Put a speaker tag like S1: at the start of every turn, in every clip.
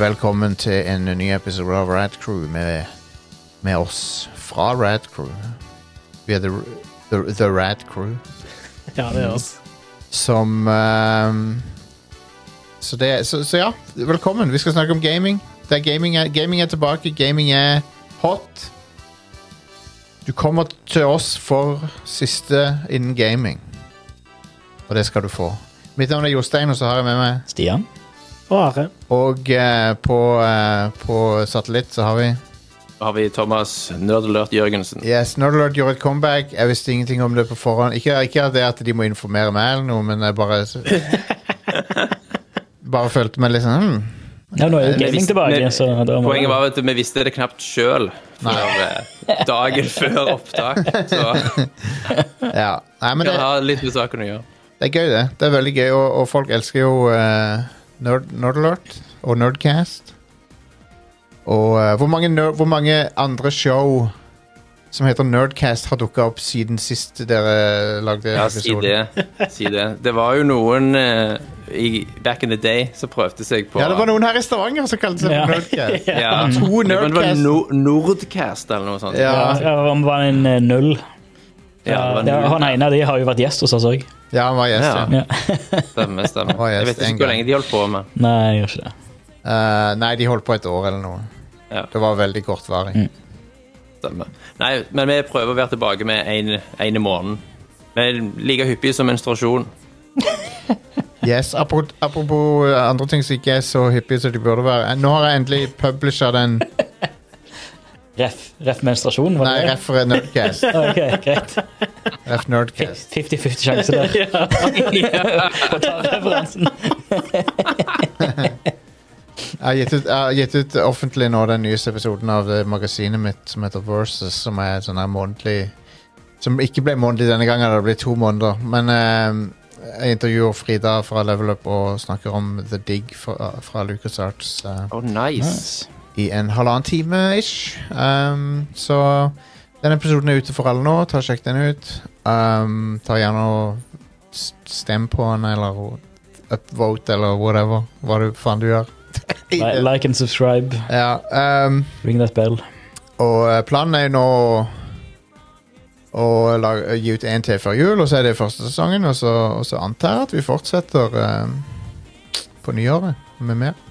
S1: Velkommen til en ny episode av Rad Crew med, med oss fra Rad Crew. Vi er The, the, the Rad Crew.
S2: Ja, det er oss.
S1: Som ehm, så, det, så, så ja, velkommen. Vi skal snakke om gaming. Det er gaming, er, gaming er tilbake. Gaming er hot. Du kommer til oss for siste innen gaming. Og det skal du få. Mitt navn er Jostein, og så har jeg med meg
S3: Stian?
S2: Og Are.
S1: Og eh, på, eh, på satellitt så har vi
S4: Da har vi Thomas Nerdelert Jørgensen.
S1: Yes, Nerdlord gjorde et comeback. Jeg visste ingenting om det på forhånd. Ikke, ikke at det at de må informere meg eller noe, men jeg bare Bare følte meg litt sånn hmm.
S3: Ja, nå er jo
S4: Vi
S3: gaming
S4: visste-
S3: tilbake,
S4: vi-
S3: så da må
S4: Poenget var at vi visste det knapt sjøl dagen før opptak. Så
S1: Ja. Nei, men
S4: det
S1: det,
S4: har litt med saken å gjøre.
S1: det er gøy, det. Det er veldig gøy, og, og folk elsker jo eh, Nerd, Nerdlord og Nerdcast. Og eh, hvor, mange ner- hvor mange andre show som heter Nerdcast, har dukka opp siden sist dere lagde
S4: Ja, si det. Si det. Det var jo noen eh, i back in the day som prøvde seg på
S1: Ja, det var noen her i Stavanger som kalte seg
S3: Ja.
S1: for Nerdcast.
S4: Ja.
S1: To
S4: Men Det var
S1: Nerdcast.
S4: no Nordcast eller noe sånt.
S1: Ja.
S3: ja, ja, om det var en eh, null.
S4: Ja,
S3: Ja,
S4: det var
S3: han
S4: Nord-
S3: ene av de har jo vært gjest hos oss òg.
S1: Ja, han var gjest, ja.
S4: Ja.
S3: Ja.
S4: Stemmer, stemmer.
S1: Å, yes,
S4: Jeg vet
S1: en
S4: ikke hvor
S1: gang.
S4: lenge de holdt på med.
S3: Nei, jeg gjør ikke det.
S1: Eh, nei, de holdt på et år eller noe.
S4: Ja.
S1: Det var veldig kortvarig.
S4: Stemmer. Nei, men vi prøver å være tilbake med en- en i måneden. Vi er like hyppige som menstruasjon.
S1: Yes, apropos, apropos eh, andre ting som ikke er så hyppige som de burde være. Eh, Nå har jeg endelig publisha den
S3: Ref, ref menstruasjon, var
S1: Nei,
S3: det
S1: ref Nerdcast.
S3: det? Ok, greit.
S1: Ref Nerdcast.
S3: 50-50 sjanse der. Å ta referansen.
S1: Jeg har gitt ut, jeg har gitt ut offentlig nå den nyeste episoden av eh, magasinet mitt som heter Versus, som er et sånn her månedlig Som ikke ble månedlig denne gangen, det ble to måneder. Men eh, jeg intervjuer Frida fra Level Up og snakker om The Dig fra, fra eh, Lucas Arts.
S4: Oh, nice.
S3: Nice.
S1: i en halvannen time ish. Um, så den episoden er ute for alle nå. Ta og Sjekk den ut. Um, ta gjerne og s- stem på den, eller upvote, eller whatever. Hva du faen du gjør.
S3: Li- Like and subscribe.
S1: ja, um,
S3: Ring that bell.
S1: og eh, planen er jo nå å- å lage, gi ut én til før jul, og så er det første sesongen. Og så, og så antar jeg at vi fortsetter um, på nyåret med mer.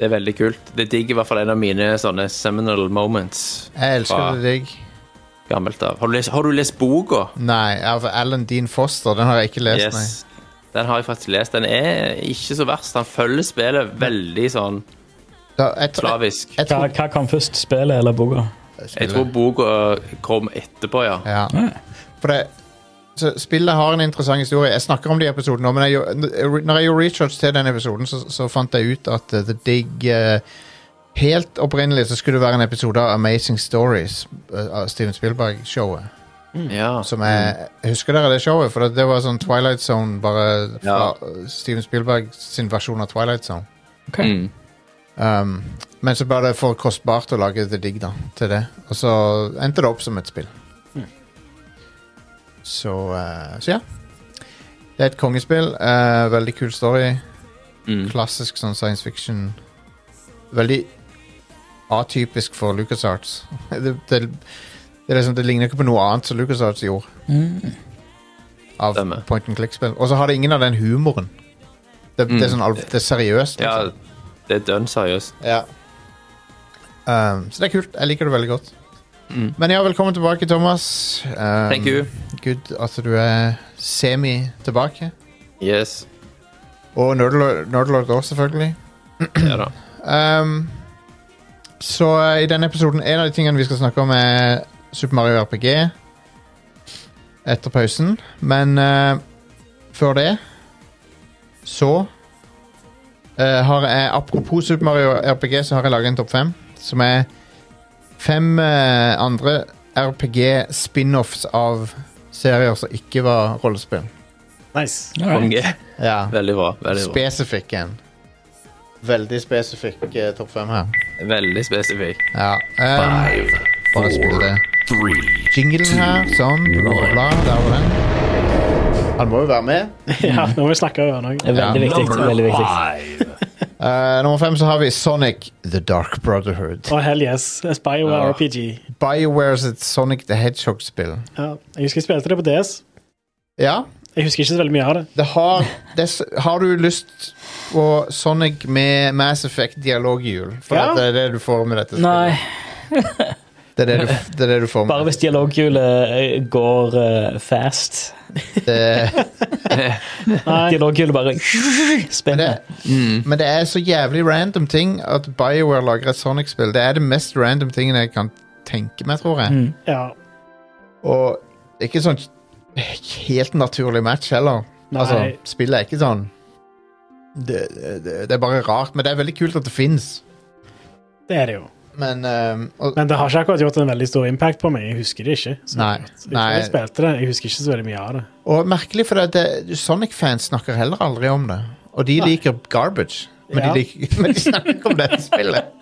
S4: Det er veldig kult. Det digger i hvert fall en av mine sånne seminal moments
S1: Jeg elsker
S4: Bra.
S1: det digg.
S4: gammelt av. Har du lest, har du lest boka?
S1: Nei, av Alan Dean Foster. Den har jeg ikke lest, nei.
S4: Yes. Den har jeg faktisk lest. Den er ikke så verst. Han følger spillet veldig sånn
S1: Da, jeg, tr-
S4: slavisk.
S1: jeg
S3: Hva,
S1: tror,
S3: hva kom først, spillet eller boka?
S4: Jeg tror boka kom etterpå, ja.
S1: ja. For det, så spillet har en interessant historie. Jeg snakker om de episodene nå, men jeg, gjorde- når jeg gjorde research til den episoden, så, så fant jeg ut at eh, The Dig eh, Helt opprinnelig så skulle det være en episode av Amazing Stories, eh, av Steven Spielberg-showet. Mm.
S4: ja.
S1: Som er,
S4: Mm.
S1: Husker dere det showet? For det, det var sånn Twilight Zone, bare fra
S4: Ja.
S1: eh, Steven Spielberg sin versjon av Twilight Zone.
S4: Mm.
S1: Um, men så ble det for kostbart å lage The Dig da, til det. Og så endte det opp som et spill.
S4: Hmm.
S1: Så, eh, så ja. Det er et kongespill. eh, veldig kul story.
S4: Mm.
S1: Klassisk sånn science fiction. Veldig atypisk for LucasArts. det, det, det, er liksom, det ligner ikke på noe annet som LucasArts gjorde. Mm, Av
S4: Stemmer.
S1: point and click-spill. Og så har det ingen av den humoren. Det, det er sånn alv- det er seriøst.
S4: Hmm.
S1: liksom.
S4: Ja, det er dønn seriøst.
S1: Ja. Um, så det er kult. Jeg liker det veldig godt. Men ja, velkommen tilbake, Thomas. Um,
S4: Thank you.
S1: Good at du er semi tilbake.
S4: Yes.
S1: Og Nerdlord Nerdlord også, selvfølgelig.
S4: Ja da.
S1: Um, så eh, i denne episoden En av de tingene vi skal snakke om, er Super Mario RPG. Etter pausen. Men eh, før det så eh, har jeg Apropos Super Mario RPG, så har jeg laga en topp fem. Som er fem eh, andre RPG-spin-offs av serier som ikke var rollespill.
S2: Nice.
S3: Alright.
S4: Konge.
S1: Ja.
S4: Veldig bra. Veldig, bra.
S1: Spesifikk en. Veldig spesifikk eh, topp fem her.
S4: veldig spesifikk.
S1: Ja. Um,
S5: Five,
S1: Bare spille det.
S5: four, three,
S1: Jinglen her, sånn, bla, bla, bla, der var den. Han må jo være med.
S2: Ja, nå må vi snakke over noe.
S3: Det er veldig
S1: Ja.
S3: viktig.
S5: number
S3: Veldig viktig.
S5: five.
S1: Eh, nummer fem så har vi Sonic The Dark Brotherhood.
S2: Og hell yes. et Bioware
S4: Ja.
S2: RPG.
S1: Biowares et Sonic the Hedgehog-spill.
S2: Ja. Jeg husker jeg spilte det på DS.
S1: Ja,
S2: Jeg husker ikke så veldig mye av det.
S1: det har det, s- Har du lyst på Sonic med Mass Effect-dialoghjul? For
S2: Ja.
S1: at det er det du får med dette
S3: Nei,
S1: Det er det du, det er det du får med
S3: bare hvis dialoghjulet eh, går eh, fast.
S1: det.
S2: Nei,
S3: Dialoghjulet bare
S1: Men det,
S3: spinner.
S1: men det er så jævlig random ting at BioWare lager et Sonic-spill. Det er det mest random tingen jeg kan tenke meg, tror jeg.
S3: Mm.
S2: ja.
S1: Og det er ikke sånn helt naturlig match heller.
S2: Nei.
S1: Altså, spillet er ikke sånn det, det, det er bare rart, men det er veldig kult at det fins.
S2: Det er det jo.
S1: Men ehm, og,
S2: Men det har ikke akkurat gjort en veldig stor impact på meg. Jeg husker det ikke. Så
S1: Nei.
S2: Jeg,
S1: Nei.
S2: jeg spilte det, jeg husker ikke så veldig mye av det.
S1: og merkelig, for det, det, Sonic-fans snakker heller aldri om det. Og de
S2: Nei.
S1: liker garbage, men,
S2: Ja.
S1: de liker, men de snakker ikke om dette spillet.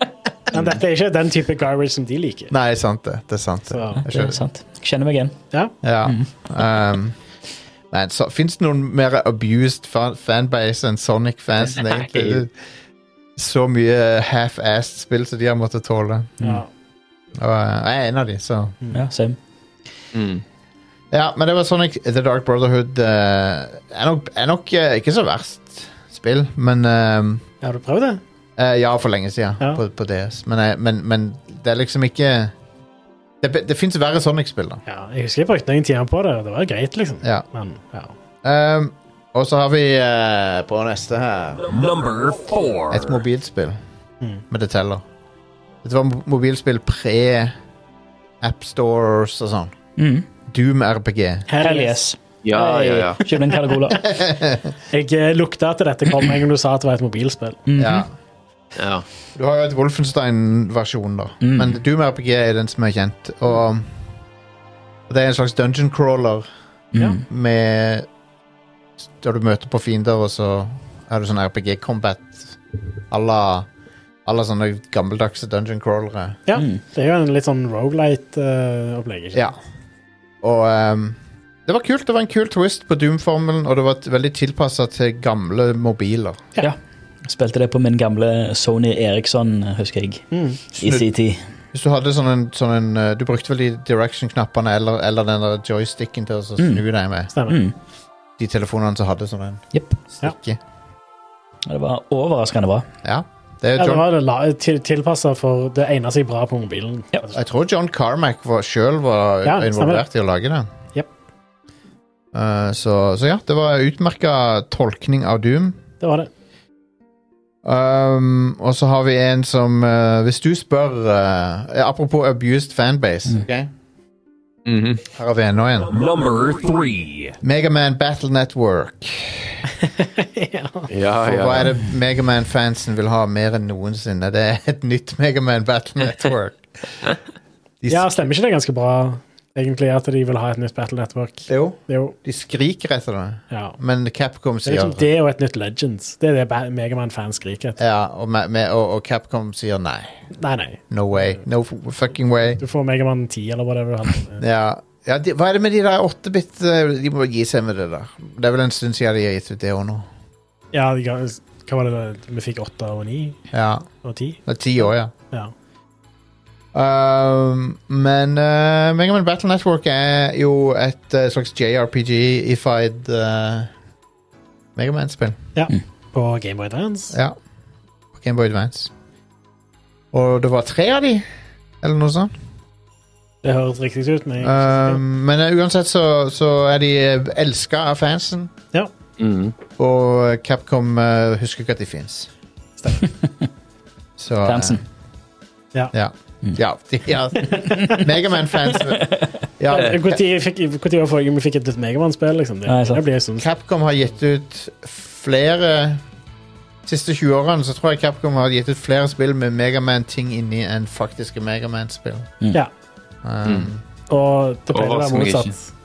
S2: Men dette er ikke den type garbage som de liker.
S1: Nei, sant det. Det er sant.
S2: Så,
S1: det. Jeg
S3: Det
S1: skjønner.
S3: er sant. Jeg Kjenner meg igjen.
S2: ja.
S1: Ja. Um, men så fins det noen mer abused fa fanbase enn Sonic-fansen,
S3: Nei.
S1: egentlig. Så mye half-assed spill som de har måttet tåle.
S2: ja.
S1: Og uh, jeg er en av de, så
S3: Ja, same.
S4: Mm.
S1: Ja, men det var Sonic The Dark Brotherhood. Uh, er nok, er nok eh, ikke så verst spill, men um,
S2: Har du prøvd det?
S1: Eh, ja, for lenge siden
S2: Ja.
S1: på, på DS. Men, jeg- men, men det er liksom ikke Det, be- det fins verre Sonic-spill, da.
S2: Ja. Jeg husker jeg brukte noen timer på det, og det var greit, liksom.
S1: Ja.
S2: Men ja.
S1: Um, og så har vi eh, på neste her
S5: Number four.
S1: et mobilspill.
S2: Mm.
S1: Men det teller. Dette var mo- mobilspill pre AppStores og sånn.
S3: Mm.
S1: Doom RPG.
S3: Hell yes.
S4: Ja,
S6: Ah,
S4: ja, ja.
S3: Hey, Kjøp en Calagola.
S2: Jeg eh, lukta at dette kom en gang du sa at det var et mobilspill.
S3: Mhm.
S1: Ja.
S4: ja.
S1: Du har jo et Wolfenstein-versjon, da.
S3: Mm.
S1: Men Doom RPG er den som er kjent. Og, og det er en slags dungeon crawler
S2: Ja.
S3: Mm.
S1: med Da du møter på fiender, og så har du sånn RPG-combat à la à la sånne gammeldagse dungeon crawlere.
S2: Ja.
S3: Mm.
S2: Det er jo en litt sånn eh, Rogalight-opplegg.
S1: Ja. Og ehm, det var kult. Det var en kul twist på Doom-formelen, og det var t- veldig tilpassa til gamle mobiler.
S3: Spilte det på min gamle Sony Eriksson, husker jeg,
S2: Mm.
S3: i sin tid.
S1: Hvis du hadde sånn en, sånn en eh, Du brukte vel de direction-knappene eller, eller den der joysticken til å så
S3: Mm.
S1: snu deg med.
S2: Stemmer.
S3: Mm.
S1: De telefonene som hadde sånn en
S3: Jepp.
S1: stikke.
S3: Og Det var overraskende bra.
S1: Ja. Det er
S2: Ja,
S1: Eh,
S2: det
S1: John,
S2: var det la- til, tilpassa for det egner seg bra på mobilen.
S3: Ja.
S2: Altså,
S1: jeg tror John Carmack var, sjøl var
S2: Ja,
S1: involvert i å lage den.
S2: Jep.
S1: Eh, så, så ja, det var utmerka tolkning av Doom.
S2: Det var det.
S1: Um, og så har vi en som eh, Hvis du spør eh, Apropos abused fanbase.
S2: Mm.
S4: Mhm.
S1: Her har vi enda en.
S5: Number three.
S1: Megaman Battle Network.
S4: ja,
S1: For
S4: ja.
S1: hva er det Megaman-fansen vil ha mer enn noensinne? Det er et nytt Megaman Battle Network. De,
S2: Ja, stemmer ikke det ganske bra, egentlig, at de vil ha et nytt Battle Network?
S1: sk- jo,
S2: Det er jo,
S1: de skriker etter det,
S2: ja.
S1: men Capcom
S2: Det er
S1: sier
S2: liksom det og et nytt Legends. Det er det Megaman-fans skriker etter.
S1: Ja, og, me- me- og, og Capcom sier nei.
S2: Nei, nei.
S1: No way. No f- fucking way.
S2: Du får Megaman 10 eller whatever. han-
S1: Ja, ja de, Hva er det med de der 8-bit eh, De må gi seg med det der. Det er vel en stund siden de har gitt ut det òg nå.
S2: Ja, de ga- hva var det da? vi fikk? 8 og 9
S1: Ja,
S2: og 10?
S1: det er ti år, ja.
S2: Ja.
S1: Um, men uh, Megaman Battle Network er jo et eh, slags JRPG-ified uh, Megaman-spill.
S2: På Gameboy Dance.
S1: Mm. Ja. På Game Boy Advance. Og det var tre av de, eller noe sånt.
S2: Det høres riktig ut, men jeg
S1: Um, men eh, uansett så, så er de elska av fansen,
S4: Mhm.
S1: og uh, Capcom eh, husker ikke at de fins. Så, eh,
S3: Fansen.
S1: Ja.
S3: Mm.
S1: ja, de- ja. Megaman-fansen. Ja,
S2: Når fikk, hvor tid var forrige gang vi fikk et nytt Megaman-spill? Liksom? Det,
S3: Nei, sant.
S2: det blir en stund.
S1: Capcom har gitt ut flere siste 20 årene så tror jeg Capcom har gitt ut flere spill med Megaman-ting inni enn faktiske Megaman-spill.
S2: Ja.
S1: Um,
S2: Og det pleide å være
S4: Overraskende
S2: motsatt.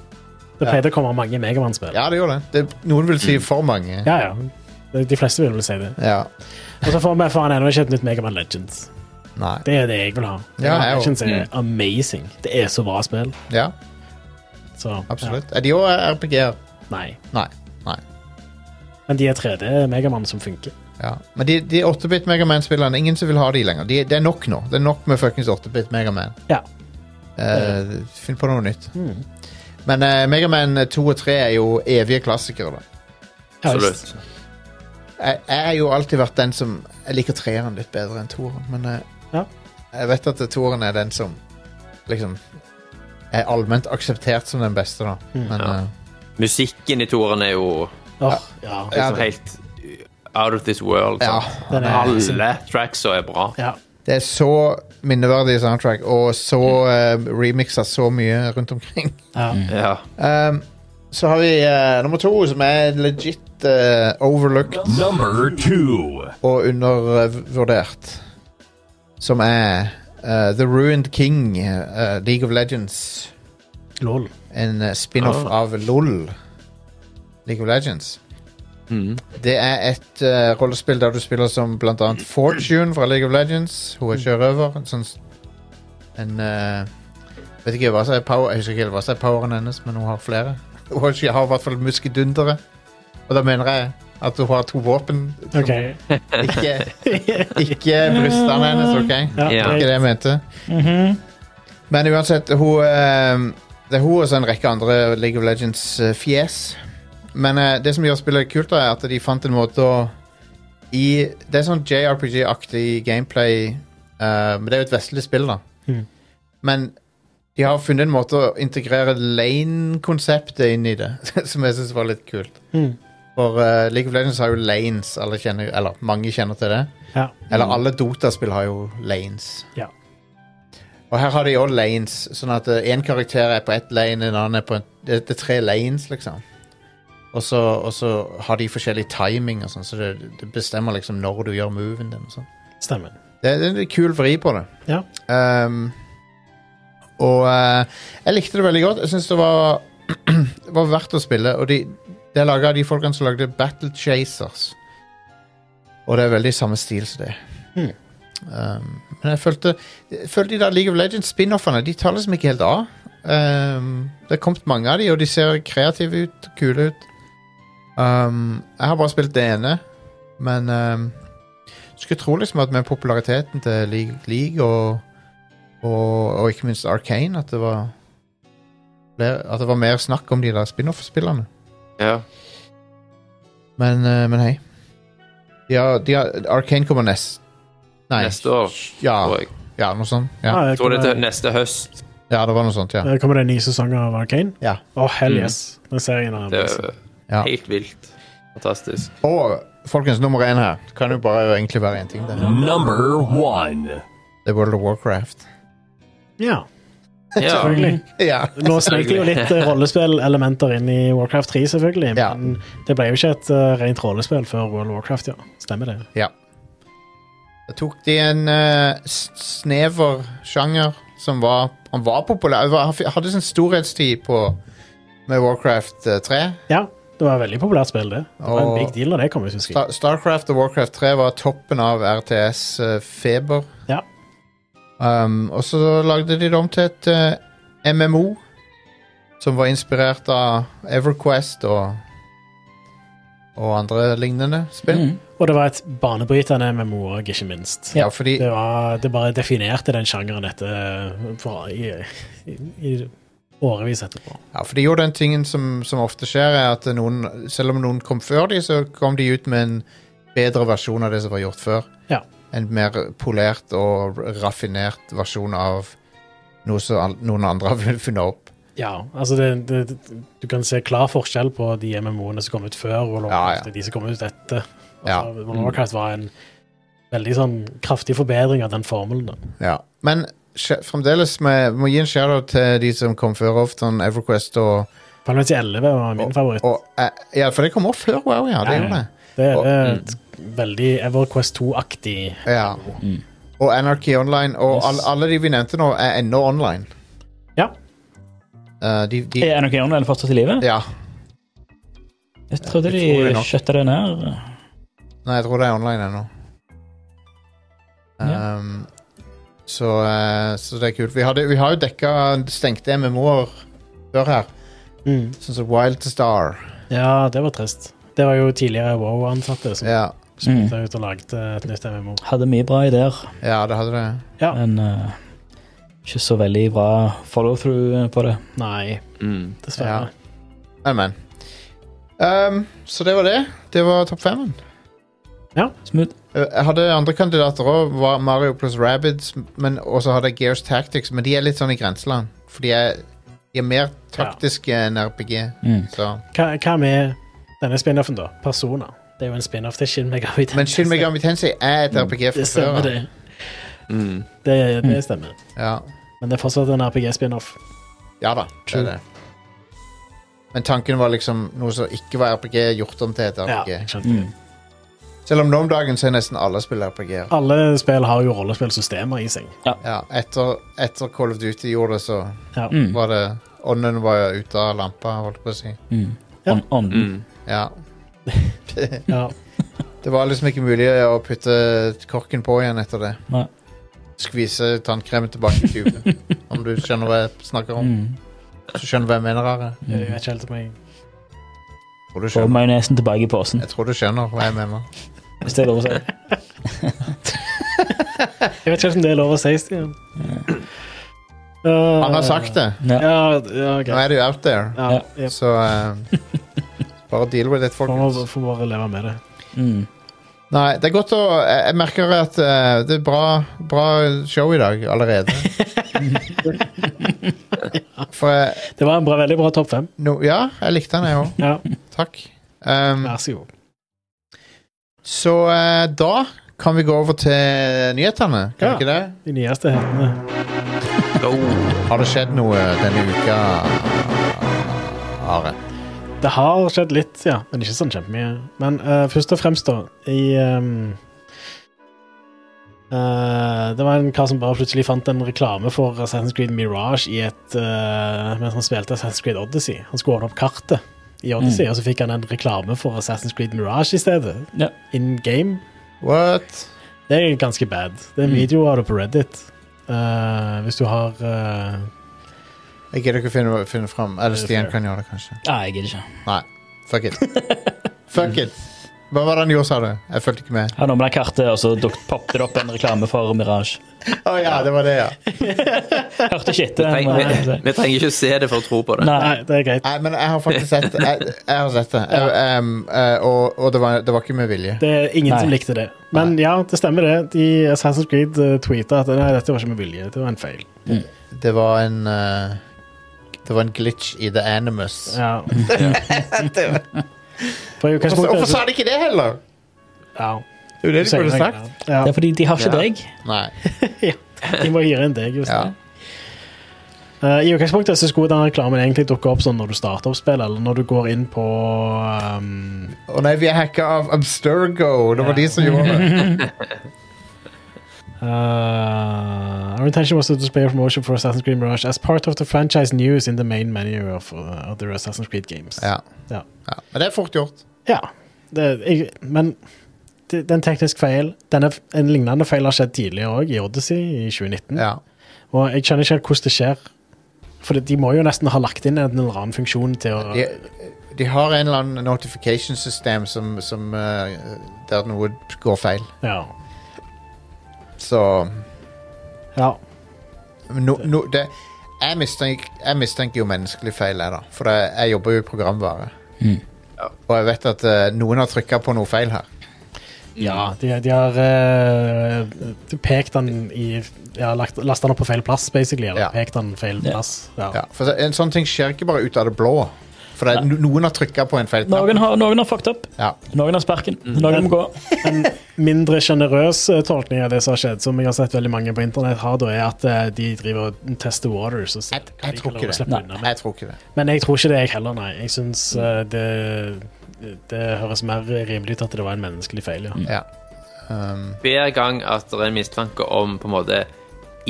S2: Det pleide å komme mange Megaman-spill.
S1: Ja, det gjorde det. det. Noen vil si for mange.
S2: Ja, ja. De- De fleste vil vel si det.
S1: Ja.
S2: Og så får vi faen ennå ikke et nytt Megaman Legends.
S1: Nei.
S2: Det er det jeg vil ha.
S1: Ja, jeg Mm.
S2: Legends er amazing. Det er så bra spill.
S1: Ja,
S2: Så,
S1: absolutt. Er de òg RPG-er?
S2: Ja. Nei.
S1: Nei. Nei.
S2: Men de er 3D-megamann som funker.
S1: Ja. Men de, de 8-bit Megaman-spillerne, ingen som vil ha de lenger. De, det er nok nå. Det er nok med fuckings 8-bit Megaman.
S2: Ja.
S1: Eh, finn på noe nytt. Men eh, Megaman 2 og 3 er jo evige klassikere, da.
S2: Ja,
S4: Absolutt.
S1: Jeg, jeg har jo alltid vært den som Jeg liker treeren litt bedre enn toeren, men eh,
S2: Ja.
S1: jeg vet at toeren er den som liksom er allment akseptert som den beste, da. Men
S4: Ja.
S1: eh,
S4: Musikken i toeren er jo
S2: Åh, ja.
S1: Ja,
S4: liksom
S1: det-
S4: helt out of this world.
S1: ja.
S4: sant?
S2: Den er,
S4: Alle tracksa er bra.
S2: ja.
S1: Det er så minneverdig soundtrack, og så mm. remixa så mye rundt omkring.
S2: ja.
S4: Ja.
S1: Um, så har vi eh, nummer to, som er legit eh, overlooked
S5: Number two.
S1: og undervurdert. Som er eh, The Ruined King, eh, League of Legends.
S2: Lol.
S1: En eh, spin-off
S4: Ah.
S1: av LOL. League of Legends. Det er et eh, rollespill der du spiller som blant annet Fortune fra League of Legends. Hun er sjørøver. En sånn s- En eh, Vet ikke hva som er power Jeg husker ikke helt hva som er poweren hennes, men hun har flere. Hun har ikke- har i hvert fall muskedundere. Og da mener jeg at hun har to våpen. som
S2: OK.
S1: Ikke, ikke brystene hennes, OK?
S4: Ja.
S2: Ja,
S1: Det var ikke det jeg mente. Men uansett, hun, eh, det er hun og så en rekke andre League of Legends-fjes. Men eh, det som gjør spillet kult, da, er at de fant en måte å i, Det er sånn JRPG-aktig gameplay, eh, men det er jo et vestlig spill, da.
S2: Mhm.
S1: Men de har funnet en måte å integrere lane-konseptet inn i det, som jeg syns var litt kult.
S2: Mhm.
S1: For eh, League of Legends har jo lanes, alle kjenner, jo- eller mange kjenner til det.
S2: Ja.
S1: Eller alle Dota-spill har jo lanes.
S2: Mm. Ja.
S1: Og her har de òg lanes, sånn at én karakter er på ett lane, en annen er på en, det, det er tre lanes, liksom. Og så, og så har de forskjellig timing, og sånn, så det, det bestemmer liksom når du gjør moven din. Og sånn.
S2: Stemmer.
S1: det, det er en kul vri på det.
S2: Ja.
S1: Ehm, og eh, jeg likte det veldig godt. Jeg syns det var, var verdt å spille. Og de, det er laga av de folkene som lagde Battle Chasers. Og det er veldig samme stil som det.
S2: Mhm.
S1: Ehm, men jeg følte, jeg følte de der League of Legends-spin-offene De tar liksom ikke helt av. Ehm, det er kommet mange av de, og de ser kreative ut, kule ut. Ehm, jeg har bare spilt det ene, men ehm, skulle tro liksom at med populariteten til League, League og, og, og ikke minst Arcane at det var flere, at det var mer snakk om de der spin-off-spillerne.
S4: ja.
S1: Men, eh, men hei. De har, de har, Arcane kommer nest... Nei.
S4: Neste år,
S1: Ja,
S4: tror jeg.
S1: ja, noe sånt. Ja.
S2: Ah,
S4: Jeg tror det er til
S2: kommer,
S4: neste høst.
S1: ja, det var noe sånt, ja.
S2: eh, kommer det en ny sesong av Arcane?
S1: ja.
S2: Å, hell
S4: Mm.
S2: yes. Den serien er
S4: Det
S2: amazing.
S4: er
S1: Ja.
S4: helt vilt. Fantastisk.
S1: Og folkens, nummer én her kan jo bare egentlig være én ting. Det.
S5: Number one.
S1: det er World of Warcraft.
S2: Ja,
S4: Ja.
S1: Mm.
S2: selvfølgelig.
S1: Ja.
S2: Nå snek det jo litt eh, rollespillelementer inn i Warcraft 3, selvfølgelig.
S1: Ja.
S2: Men det ble jo ikke et eh, rent rollespill før World of Warcraft, ja. Stemmer det.
S1: Ja. Da tok de en eh, s- snever sjanger som var Han var populær. Han var- Han hadde sin storhetstid på med Warcraft eh, 3.
S2: Ja, det var et veldig populært spill, det. Det var en
S1: Og-
S2: big deal da det kom, hvis jeg husker.
S1: Star Starcraft og Warcraft 3 var toppen av RTS-feber.
S2: Ja.
S1: eh, Um, og så lagde de det om til et eh, MMO som var inspirert av Everquest og og andre lignende spill.
S6: Mm.
S2: Og det var et banebrytende MMO òg, ikke minst.
S1: Mm, Ja, fordi
S2: Det, var, det bare definerte den sjangeren etter eh, for, i, i, i årevis etterpå.
S1: Ja, for de gjorde den tingen som, som ofte skjer, er at noen, selv om noen kom før de, så kom de ut med en bedre versjon av det som var gjort før.
S2: Ja.
S1: En mer polert og raffinert versjon av noe som an- noen andre har fun- funnet opp.
S2: Ja, altså det, det, du kan se klar forskjell på de MMO-ene som kom ut før World of
S1: Ja,
S2: Warcraft,
S1: ja.
S2: og de som kom ut etter. Altså,
S1: Ja.
S2: World of Warcraft var en veldig sånn kraftig forbedring av den formelen. da.
S1: Ja. Men skje- fremdeles med, må gi en shadow til de som kom før Ofton, Everquest og,
S2: Final Fantasy 11 var min favoritt.
S1: og eh, Ja, for det kom opp før WoW, ja. Det
S2: Ja, ja.
S1: gjorde det.
S2: det er
S1: og-
S2: et veldig EverQuest 2-aktig.
S1: Ja. Og Anarchy Online, og
S3: Yes.
S1: alle, alle de vi nevnte nå, er ennå online.
S2: Ja.
S1: Eh, de, de,
S3: Er noen online fortsatt i live?
S1: ja.
S3: Jeg trodde de
S1: Utrolig nok.
S3: skjøtta det ned.
S1: Nei, jeg tror det er online ennå.
S3: Ja.
S1: Ehm, så, eh, så det er kult. Vi, hadde, vi har jo dekka stengte MMO-er før her.
S2: Mm.
S1: Sånn som Wild to Star.
S2: ja, det var trist. Det var jo tidligere WoW-ansatte som
S1: Ja.
S2: Spytta ut og lagde et nytt MMO.
S6: Hadde mye bra ideer,
S1: Ja, det hadde det.
S2: Ja.
S6: men eh, ikke så veldig bra follow-through på det.
S2: Nei,
S4: Mm.
S2: dessverre.
S1: Men, men. Ehm, så det var det. Det var topp femmen.
S6: Smooth.
S1: Eh, Jeg hadde andre kandidater òg, Mario pluss Rabbids, men også hadde jeg Gears Tactics, men de er litt sånn i grenseland. For de er, de er mer taktiske enn RPG.
S6: Mm.
S1: Så.
S2: Hva, hva med denne spin-offen, da? Persona. Det er jo en spin-off til Shin Megami Tensei.
S1: Men Shin Megami Tensei er et RPG
S2: Det
S1: fra
S2: stemmer,
S1: før.
S2: det.
S1: av.
S4: Mm.
S2: Det, det stemmer.
S1: Ja.
S2: Men det er fortsatt en RPG-spin-off.
S1: ja da, det er
S2: True.
S1: det. Men tanken var liksom noe som ikke var RPG, gjort om til et
S2: Ja,
S1: RPG.
S2: jeg skjønte.
S6: Mm.
S1: Selv om nå om dagen så er nesten alle spill RPG-er.
S2: Alle spill har jo rollespillsystemer i seg.
S1: Ja, etter, etter Call of Duty gjorde det, så
S2: Ja.
S6: Mm.
S1: var det Ånden var jo ute av lampa, holdt jeg på å si.
S6: Mm.
S2: Ja.
S6: On, on.
S4: Mm.
S1: Ja.
S2: Ja.
S1: Det var liksom ikke mulig å putte korken på igjen etter det.
S6: Nei.
S1: Skvise tannkremen tilbake i tuben. om du skjønner hva jeg snakker om.
S6: Mm.
S1: Så skjønner du hva jeg mener. Are.
S2: Jeg vet ikke helt om jeg
S1: Jeg tror du
S6: Få
S1: skjønner,
S6: majonesen tilbake i posen,
S1: jeg tror du skjønner hva jeg mener.
S6: hvis det er lov å si.
S2: Jeg vet ikke helt om det er lov å si, Stian. Uh,
S1: Han har sagt det.
S6: Ja.
S2: Ja, ja
S1: Nå
S2: greit.
S1: er det jo out there.
S2: Ja,
S6: Ja.
S2: ja. altså.
S1: Så eh, bare deal with it,
S2: Får
S1: folkens.
S2: man- får bare leve med det.
S6: Mm.
S1: Nei, det er godt å Jeg jeg merker at eh, det er bra, bra show i dag allerede. For jeg
S2: Det var en bra, veldig bra topp fem.
S1: no, Ja, jeg likte den, jeg òg.
S2: Ja,
S6: Mm.
S1: Takk. Um,
S2: vær så god.
S1: så eh, da kan vi gå over til nyhetene, kan
S2: Ja.
S1: vi ikke det?
S2: De nyeste hendene.
S4: Oh.
S1: Har det skjedd noe denne uka, Are?
S2: Det har skjedd litt, ja, men ikke sånn kjempemye. Men eh, først og fremst, da, i ehm, eh, Det var en kar som bare plutselig fant en reklame for Assassin's Creed Mirage i et, eh, mens han spilte Assassin's Creed Odyssey. Han skulle ordne opp kartet i Odyssey, og så fikk han en reklame for Assassin's Creed Mirage i stedet.
S6: Mm. Ja.
S2: In game.
S1: What?
S2: Det er ganske bad. Det er en
S6: Mm.
S2: video av det på Reddit. Eh, hvis du har eh,
S1: Jeg gidder ikke å finne, finne fram. Eller
S2: Det er
S1: Stian
S2: fair.
S1: kan gjøre det, kanskje.
S6: Nei, jeg gidder ikke.
S1: Fuck it. Fuck it. Hva var det han gjorde, sa du? Jeg fulgte ikke med.
S6: Hadde noe med det kartet, og så duk- poppet det opp en reklame for Mirage.
S1: Å ja, det var det, ja.
S6: Hørte ikke etter.
S4: Nei,
S6: må jeg si.
S4: vi, vi trenger ikke se det for å tro på det.
S6: Nei.
S2: Nei, det er greit.
S1: Nei, men jeg har faktisk sett det. Jeg, jeg har sett det. Jeg, em, eh, og og det, var, det var ikke med vilje.
S2: Det er ingen
S6: Nei.
S2: som likte det. Men ja, det stemmer det. De Assassin's Creed uh, tweeta at nei, dette var ikke med vilje, det var en feil.
S1: Det var en eh, Det var en glitch i The Animus.
S2: Ja. For i
S1: Hvorfor, hvorfor
S2: utgangspunktet
S1: sa de ikke det heller?
S2: ja,
S1: Det er jo det de
S2: sier
S1: burde
S2: jeg
S1: sagt.
S2: det. Ja,
S6: Det er fordi de har ikke
S1: Ja.
S6: deg.
S1: Nei.
S2: de må hyre inn deg, just
S1: Ja.
S2: det. Eh, I utgangspunktet så skulle den reklamen egentlig dukke opp sånn når du starter opp spillet, eller når du går inn på um,
S1: Å nei, vi er hacka av Abstergo. Det var de som gjorde det.
S2: Uh, our intention was to display a promotion for Assassin's Creed Mirage as part of the franchise news in the main menu of uh, other Assassin's Creed games.
S1: Ja.
S2: Ja.
S1: ja. Men det er fort gjort.
S2: Ja, det, jeg, men det, det er en teknisk feil. Denne, f- en lignende feil har skjedd tidligere òg, i Odyssey i 2019.
S1: Ja.
S2: Og jeg skjønner ikke helt hvordan det skjer. For de må jo nesten ha lagt inn en eller annen funksjon til å
S1: De, de har en eller annen notification system som, som eh, der noe går feil.
S2: Ja.
S1: Så
S2: ja.
S1: no, no, det, jeg, mistenker, jeg mistenker jo menneskelig feil, jeg, da. For jeg, jeg jobber jo i programvare.
S6: Mm.
S4: Ja.
S1: Og jeg vet at eh, noen har trykka på noe feil her.
S2: ja de, de har eh, de pekt den i Ja, lagt, lasta den opp på feil plass, basically. Eller
S1: Ja.
S2: pekt den feil
S6: Ja.
S2: plass. Ja.
S1: Ja. For så- en sånn ting skjer ikke bare ut av det blå. For det, er- no- noen har trykka på en feil knapp.
S6: Noen har, noen har fucked up.
S1: Ja.
S6: Noen har sparken.
S4: Mm.
S6: Noen må gå.
S2: En mindre sjenerøs eh, tolkning av det som har skjedd, som jeg har sett veldig mange på internett har, da, er at eh, de driver og tester waters. Og ser
S1: Jeg,
S2: hva
S1: jeg
S2: de
S1: tror
S2: kan
S1: ikke
S2: lov å
S1: det.
S2: slippe unna med.
S1: Jeg tror ikke det.
S2: Men jeg tror ikke det, jeg heller, nei. Jeg syns det, det høres mer rimelig ut at det var en menneskelig feil,
S6: Mm.
S2: ja.
S1: Ja. Um,
S4: Hver gang at det er en mistanke om på en måte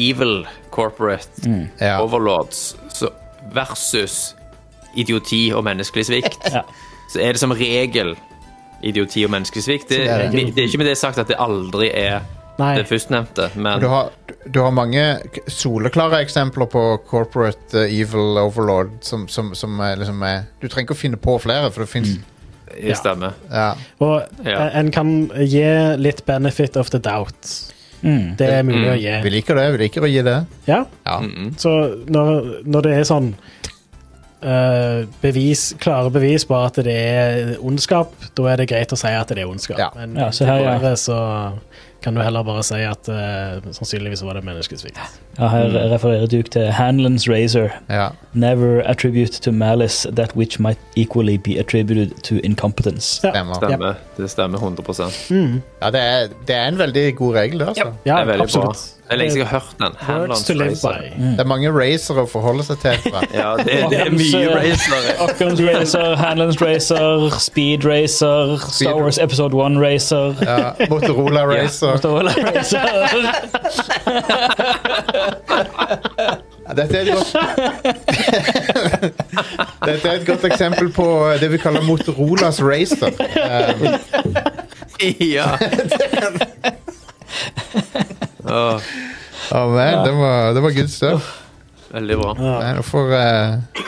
S4: evil corporate
S1: ja.
S4: overlords så versus idioti og menneskelig svikt,
S6: Ja.
S4: så er det som regel idioti og menneskelig svikt. Det,
S1: det er det.
S4: det, det er ikke med det sagt at det aldri er
S2: Nei,
S4: det førstnevnte, men
S1: Du har, du har mange k- soleklare eksempler på
S2: Mm.
S1: corporate eh, evil overlord som, som, som er liksom er Du trenger ikke å finne på flere, for det fins
S4: i
S2: Ja.
S4: stemme.
S1: Ja.
S2: Og eh,
S4: Ja.
S2: en kan gi litt benefit of the doubt.
S6: Mm.
S2: Det er mulig å
S1: Vi
S2: gi.
S1: liker det. Vi liker å gi det.
S2: Ja,
S1: Ja.
S4: Mm.
S2: så når, når det er sånn eh, bevis, klare bevis på at det er ondskap, da er det greit å si at det er ondskap.
S1: Ja.
S2: Men
S6: Ja, så her, ja.
S2: bare så kan du heller bare si at eh, sannsynligvis var det menneskesvikt.
S6: Ja, her
S4: Mm.
S6: refererer Duke til Hanlon's razor.
S1: ja.
S6: Never attribute to malice that which might equally be attributed to incompetence.
S1: Stemmer.
S4: Stemmer. Det stemmer 100
S2: Mm.
S1: Ja, det er, det er en veldig god regel, det, altså.
S2: Ja,
S4: Det er veldig
S2: absolutt.
S4: bra. Det er lenge siden jeg har hørt den.
S2: Words to live
S4: Racer.
S2: by.
S1: Det er mange racere å forholde seg til. tror jeg.
S4: Ja, det, det er mye racere.
S6: Occam's razor, Hanlon's razor, speed razor, Star Wars episode 1 razor.
S1: Ja, Motorola Racer.
S6: Motorola razor.
S1: Ja, Dette er et godt Dette er et godt eksempel på eh, det vi kaller Motorolas Racer. Um,
S4: Ja. Åh,
S1: oh man, det var, det var good stuff.
S4: veldig bra.
S1: Nei, nå får eh,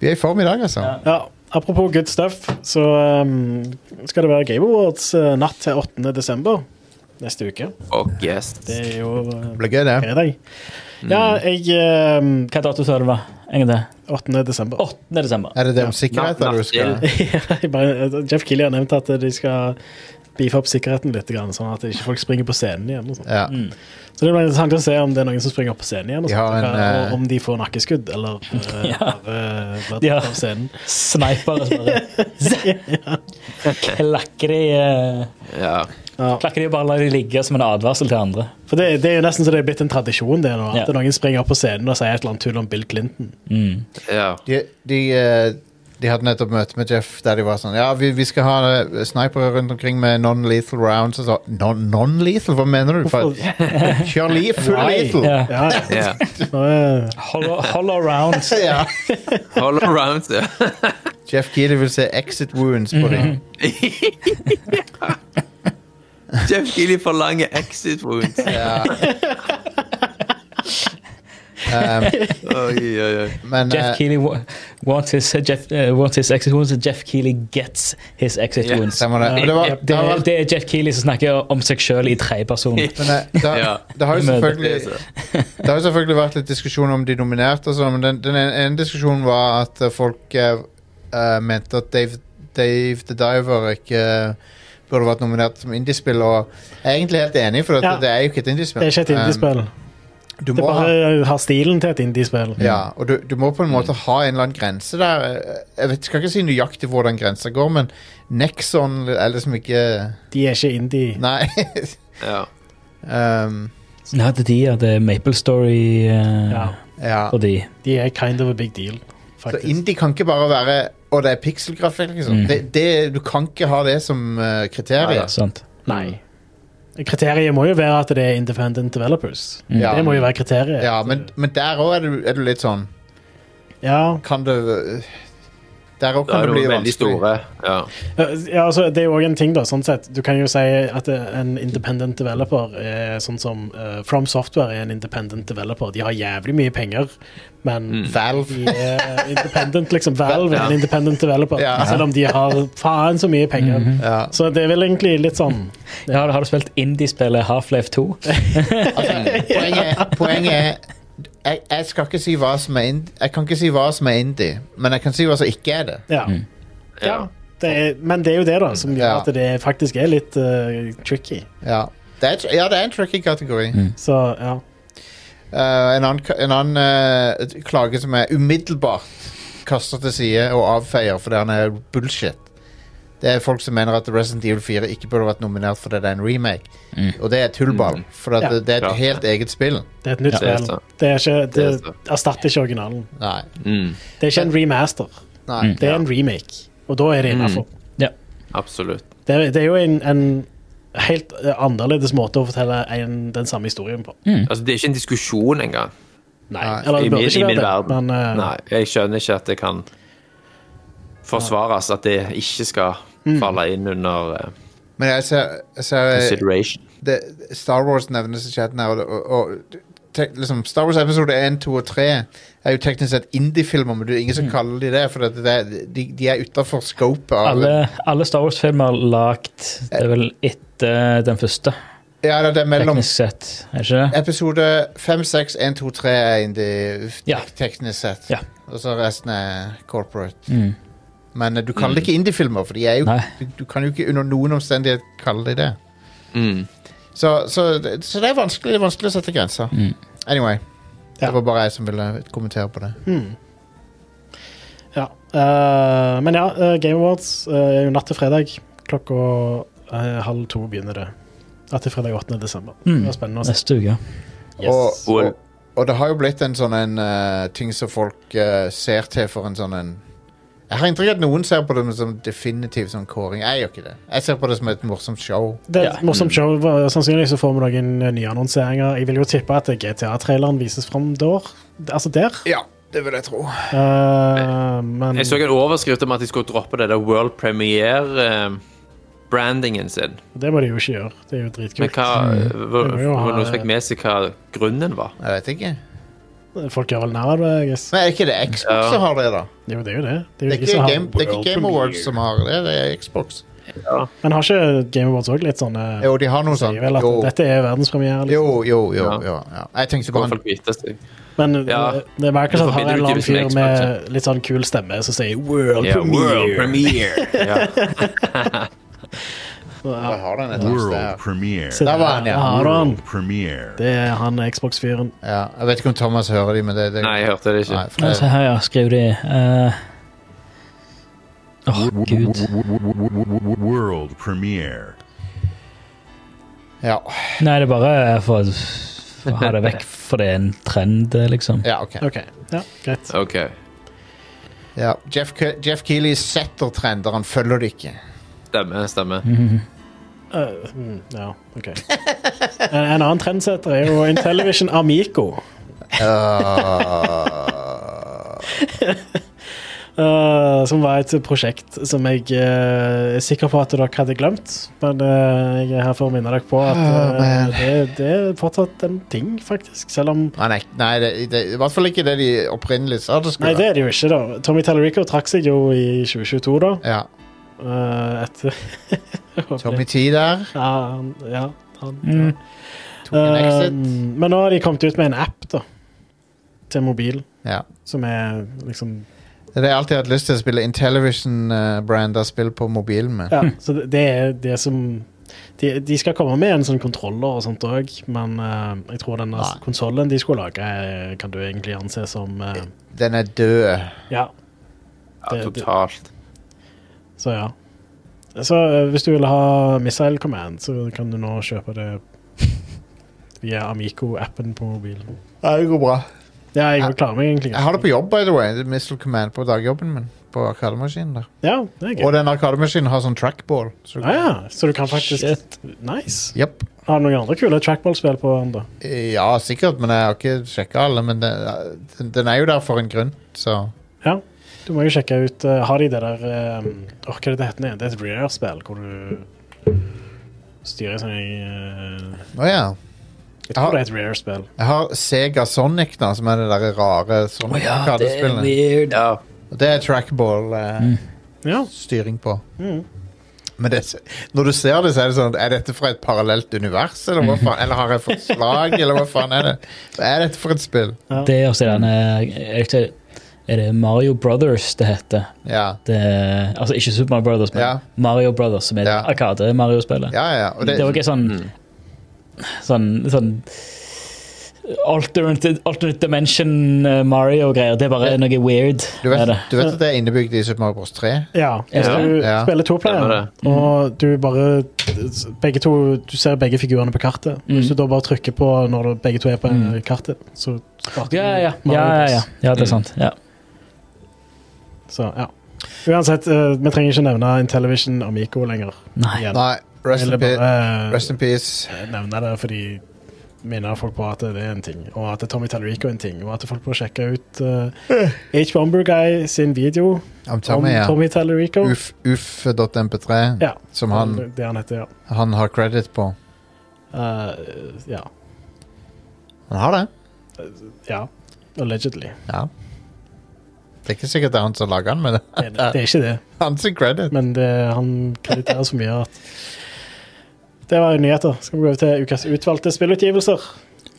S1: Vi er i form i dag, altså.
S2: Ja, apropos good stuff, så um, skal det være Game Awards eh, natt til 8. desember neste uke.
S4: Fuck yes.
S2: Det er jo eh,
S1: Det blir gøy, det.
S2: fredag.
S1: Mm.
S2: Ja, jeg um,
S6: Hva dato sa du det var? En gang til.
S2: 8. desember.
S6: 8. desember.
S1: Er det det om
S4: Natt-
S1: sikkerhet der du skal
S4: nattdel.
S2: Jeg bare, eh, Jeff Keighley har nevnt at de skal beefe opp sikkerheten litt, grann, sånn at ikke folk springer på scenen igjen. Og sånt.
S1: ja.
S2: så det blir interessant å se om det er noen som springer opp på scenen igjen, og,
S1: De har
S2: sånt,
S1: en,
S2: og
S1: eh,
S2: om de får nakkeskudd, eller uh, bare blir
S6: De har-
S2: tatt av scenen.
S6: Snipere som bare klakker de, eh,
S4: Ja.
S2: Ja.
S6: klakker de og bare lar de ligge som en advarsel til andre.
S2: For det, det er jo nesten så det er blitt en tradisjon, det nå, at
S6: Ja.
S2: det er noen springer opp på scenen og sier et eller annet tull om Bill Clinton.
S4: ja.
S1: de, de, eh, de hadde nettopp møte med Jeff der de var sånn Ja, vi, vi skal ha eh, snipere rundt omkring med non-lethal rounds. Og så, non- non-lethal? Hva mener du? For, kjør li- full
S2: Why?
S1: lethal!
S6: Ja.
S2: Ja, ja.
S4: ja.
S2: Nå er-
S6: Hollow, hollow rounds.
S1: Ja.
S4: Hold around, ja.
S1: Jeff Keeley vil se exit wounds på
S6: Mhm.
S1: dem.
S4: Jeff Gilly forlanger exit wounds.
S1: Ja. Um,
S4: Oi, oi, oi.
S1: men eh,
S6: Jeff Keeley wa- wants his, Jeff, eh, wants his exit wounds, and Jeff Keeley gets his exit
S4: Ja,
S6: wounds.
S1: stemmer det. Men det, var,
S6: Det,
S1: det, har,
S6: det er Jeff Keeley som snakker om seg sjøl i tredjeperson.
S1: men, eh, det, har-
S4: Ja.
S1: det har jo
S6: Men-
S1: selvfølgelig Det har jo selvfølgelig vært litt diskusjon om de nominerte, og sånn, men den, den ene ene diskusjonen var at eh, folk eh, eh, mente at Dave, Dave the Diver ikke eh, burde vært nominert som indiespill, og jeg er egentlig helt enig, for at
S2: Ja.
S1: det er jo ikke et indiespill.
S2: det er ikke et indiespill.
S1: Um, du
S2: Det
S1: må ha,
S2: bare har stilen til et indiespill.
S1: ja, og du, du må på en måte ha en eller annen grense der. Eh, Jeg vet, skal ikke si nøyaktig hvor den grensa går, men Nexon er liksom ikke
S2: De er ikke indie.
S1: Nei.
S4: Ja.
S1: um,
S6: Ja, det er de, ja. Det er Maple Story eh,
S2: Ja,
S1: ja.
S6: for de.
S2: de er kind of a big deal,
S1: Så
S2: faktisk.
S1: indie kan ikke bare være Og det er pikselgrafikk, liksom.
S6: Mm.
S1: Det, det, du kan ikke ha det som eh, kriterium.
S6: Sant?
S2: Nei. Kriteriet må jo være at det er independent developers.
S1: Ja.
S2: Mm. Det må jo være kriteriet.
S1: Ja, men, men der òg er, du- er du litt sånn
S2: Ja,
S1: Kan det Der òg kan
S4: Da er
S1: det
S4: de
S1: bli
S4: veldig
S1: vanskelig.
S4: store. Ja.
S2: ja altså, det er jo òg en ting, da, sånn sett. Du kan jo si at en independent developer er sånn som eh, From Software er en independent developer. De har jævlig mye penger, men
S4: Mm.
S6: Mm.
S1: Valve.
S2: de er independent, liksom. Valve er
S4: Ja.
S2: en independent developer,
S1: Ja.
S2: selv om de har faen så mye penger.
S1: Ja.
S2: Så det er vel egentlig litt sånn
S6: Ja, har du spilt indiespillet Half-Life 2?
S1: Altså, poenget, poenget er jeg, jeg skal ikke si hva som er indie, Jeg kan ikke si hva som er indie, men jeg kan si hva som ikke er det.
S2: Ja.
S4: ja.
S2: ja. Det er, men det er jo det, da, som gjør
S1: Ja.
S2: at det faktisk er litt eh, tricky.
S1: Ja, det er, ja, det er en tricky kategori.
S2: Så ja.
S1: Eh, en annen, ka- en annen eh, klage som er umiddelbart kaster til side og avfeier fordi han er eh, bullshit. Det er folk som mener at Resident Evil 4 ikke burde vært nominert fordi det er en remake. Og det er tullball, for at
S2: Ja.
S1: det, det er et
S4: Klart.
S1: helt eget spill.
S2: Det er et nytt
S4: det er
S2: spill.
S4: sant.
S2: Det, er ikke, det,
S4: Det er sant.
S2: erstatter ikke originalen.
S1: Nei.
S4: Mm.
S2: Det er ikke en remaster.
S1: Nei.
S2: Det er en remake, og da
S4: Mm.
S2: er det innafor.
S4: Absolutt.
S2: Det, er- det er jo en, en helt eh, annerledes måte å fortelle en, den samme historien på.
S4: Altså, det er ikke en diskusjon engang.
S2: Nei,
S1: Nei.
S2: eller
S4: I
S2: det burde
S4: min- i
S2: ikke
S4: min
S2: være det,
S4: verden.
S2: men eh,
S4: Nei, jeg skjønner ikke at det kan forsvares at det ikke skal falle inn under eh,
S1: Men Mm. jeg ser, eh, jeg ser
S4: consideration.
S1: det, Star Wars nevnes i chatten her, og, og, og te, liksom, Star Wars episode 1, 2 og 3 er jo teknisk sett indie-filmer, men det er ingen som kaller de det, for det, det, de, de er utafor scopet av
S6: Alle, alle Star Wars-filmer lagt Det er vel etter den første,
S1: Ja, det, det er mellom
S6: teknisk sett. Er det ikke det?
S1: episode 5, 6, 1, 2, 3 er indie f-
S6: Ja.
S1: teknisk sett.
S6: Ja.
S1: Og så resten er corporate.
S6: Mm.
S1: Men eh, du kaller det ikke indie-filmer, for de er jo,
S6: Nei.
S1: du, du kan jo ikke under noen omstendighet kalle de det.
S4: Mm.
S1: Så, så, det- så det er vanskelig, det er vanskelig å sette grenser.
S6: Mm.
S1: Anyway.
S2: Ja.
S1: Det var bare jeg som ville kommentere på det.
S2: Ja. eh, men ja, eh, Game Awards eh, er jo natt til fredag. Klokka eh, halv to begynner det. Natt til fredag 8. desember.
S6: Mm.
S2: Det var spennende å se.
S6: Neste uke.
S2: Yes.
S1: Og, og, og det har jo blitt en sånn en eh, ting som folk eh, ser til for en sånn en Jeg har inntrykk av at noen ser på det som definitiv sånn kåring. Jeg gjør ikke det. Jeg ser på det som et morsomt show.
S2: Det er
S6: Ja.
S2: et morsomt show. Eh, Sannsynligvis så får vi noen eh, nye annonseringer. Jeg vil jo tippe at GTA-traileren vises fram der. Altså der.
S1: Ja, det vil jeg tro.
S2: Eh, men
S4: Jeg så en overskrift om at de skulle droppe det der world premiere-brandingen sin.
S2: det må de jo ikke gjøre. Det er jo
S4: Men
S2: dritkult.
S4: hva var
S2: Det må jo ha-
S4: var det noen som fikk med seg hva grunnen var?
S1: Jeg vet ikke.
S2: Folk gjør vel narr av det, I guess.
S1: Men er det ikke det Xbox
S4: Ja.
S1: som har det, da?
S2: Jo, det er jo det.
S1: Det
S2: Det er jo
S1: er
S2: de som
S1: ikke
S2: har-
S1: Game, det er ikke game Awards som har det, det er Xbox.
S2: Men har ikke Game Awards òg litt sånne
S1: Jo, de har noe sånt.
S2: sier vel at
S1: Jo,
S2: dette er verdenspremiere, liksom.
S1: jo, jo. jo,
S4: Ja.
S1: jo ja. Jeg tenkte
S4: Skal
S1: bare
S4: folk vite seg?
S2: Men
S4: Ja.
S2: det, det merker seg
S4: Du får
S2: at her
S4: mindre
S2: er en eller annen
S4: utgifter
S2: fyr
S4: til
S2: med litt sånn kul stemme som sier World
S4: Ja, world
S2: Premiere.
S4: premiere! Ja.
S1: Jeg har den et eller annet
S5: World
S1: sted.
S5: premiere.
S2: Så
S1: Der var han, ja.
S2: har han.
S5: World premiere.
S2: Det er han Xbox-fyren.
S1: Ja, jeg vet ikke om Thomas hører de, men det, det
S4: Nei, jeg hørte det ikke.
S1: Nei, for
S6: Nei, se
S1: det,
S6: her, ja. Skriv de. eh. Åh, gud.
S5: World premiere.
S1: ja.
S6: Nei, det er bare for å for å ha det vekk, for det er en trend, eh, liksom.
S1: ja, ok.
S2: OK. Ja, greit.
S4: OK.
S1: Ja. Jeff, Ke- Jeff Keeley setter trender, han følger det ikke.
S4: Stemmer, stemmer.
S2: Mhm. Eh, mm, ja, OK. En, en annen trendsetter er jo Intellivision Amico.
S1: Øh.
S2: Eh, som var et prosjekt som jeg eh, er sikker på at dere hadde glemt. Men eh, jeg er her for å minne dere på at
S1: Åh,
S2: eh,
S1: Ah, man.
S2: det, det er fortsatt en ting, faktisk. Selv om
S1: Nei, nei, nei det, det, i hvert fall ikke det de opprinnelig sa det skulle
S2: Nei, det er det jo ikke, da. Tommy Tallarico trakk seg jo i 2022, da.
S1: Ja,
S2: eh, etter
S1: Tommy T der.
S2: Ja, han, ja, han
S6: Mm.
S1: Tok en
S2: Eh,
S1: exit.
S2: Men nå har de kommet ut med en app, da. Til mobil.
S1: Ja.
S2: Som er liksom
S1: Det er det jeg alltid har hatt lyst til å spille Intellivision-branda spill på mobilen med.
S2: Ja, så det det er det som de, de skal komme med en sånn kontroller og sånt òg, men eh, jeg tror denne
S1: Nei.
S2: konsollen de skulle lage, eh, kan du egentlig anse som eh,
S1: Den er død.
S2: Ja,
S4: Ja, totalt.
S2: så ja. Så eh, hvis du vil ha Missile Command, så kan du nå kjøpe det via Amico-appen på mobilen.
S1: Ja, det går bra.
S2: Ja, jeg klarer meg egentlig.
S1: Jeg har det på jobb, by the way. Det er Missile Command på dagjobben min. På arkademaskinen der.
S2: Ja, det er gøy.
S1: Og den arkademaskinen har sånn trackball. Så
S2: Ah, ja. Så du kan faktisk
S6: Shit.
S2: Nice.
S1: Japp.
S2: Har du noen andre kule trackball-spill på den, da?
S1: Ja, sikkert, men jeg har ikke sjekka alle. Men det, den- den er jo der for en grunn, så
S2: Ja. Du må jo sjekke ut eh, Har de det der um, Hva er det det heter? nå? Det er et Rare-spill hvor du styrer sånn i eh,
S1: Å ja.
S2: Jeg
S1: Ja.
S2: tror det er et Rare-spill.
S1: Jeg har Sega Sonic, da, som er det der rare
S6: Å ja, det er
S1: Sonic-arkadespillet.
S6: weird.
S4: Ja.
S1: Og det er eh, Mm. trackball-styring
S2: Ja.
S1: på.
S2: Mm.
S1: Men det, når du ser det, så er det sånn Er dette fra et parallelt univers, eller hva faen? Eller har jeg fått slag, eller hva faen er det? Hva er dette for et spill?
S6: Det er også denne Er det, ikke- er det Mario Brothers det heter?
S1: Ja.
S6: Det, er- altså ikke Super Mario Brothers, men
S1: Ja.
S6: Mario Brothers, som er
S1: Ja.
S6: Arkade-Mario-spillet.
S1: Ja, ja. Og
S6: Det
S1: det,
S6: er jo ikke
S2: Mm.
S4: Mm.
S6: sånn Sånn, sånn alternate, alternate dimension eh, Mario-greier. Det er bare noe weird.
S1: du,
S6: er
S1: vet,
S6: det.
S1: du vet at det er innebygd i Super Mario Bros. 3?
S2: ja. Hvis
S6: Ja.
S2: du
S1: Ja.
S2: spiller toplayer,
S4: Stemmer
S2: og du bare begge to, Du ser begge figurene på kartet. Hvis du
S6: Mm.
S2: da bare trykker på når du, begge to er på eh, kartet, så starter
S6: Ja, ja, ja.
S2: du
S6: ja,
S2: Mario
S6: ja,
S2: Bros.
S6: ja. ja det er sant. Ja.
S2: Så, ja. Uansett, eh, vi trenger ikke nevne Intellivision Amico lenger.
S6: Nei.
S2: Igjen.
S1: Nei. Rest
S2: Eller
S1: in, pe
S2: bare
S1: rest in peace.
S2: eh, nevne det fordi minner folk på at det er en ting, og at Tommy Tallarico er en ting, og at folk bør sjekke ut eh, H. Bomber Guy sin video
S1: Om Tommy,
S2: om
S1: ja.
S2: Tommy Tallarico.
S1: Uff.mp3,
S2: Ja.
S1: som han,
S2: Det han heter, ja.
S1: han har credit på.
S2: Eh, ja.
S1: Han har det.
S2: Ja. Allegedly.
S1: Ja. Det er ikke sikkert det er han som lager den, men det
S2: Det, det er ikke det,
S1: er han sin credit.
S2: men det, han krediteres for mye at Det var jo nyheter. Skal vi gå over til ukas utvalgte spillutgivelser?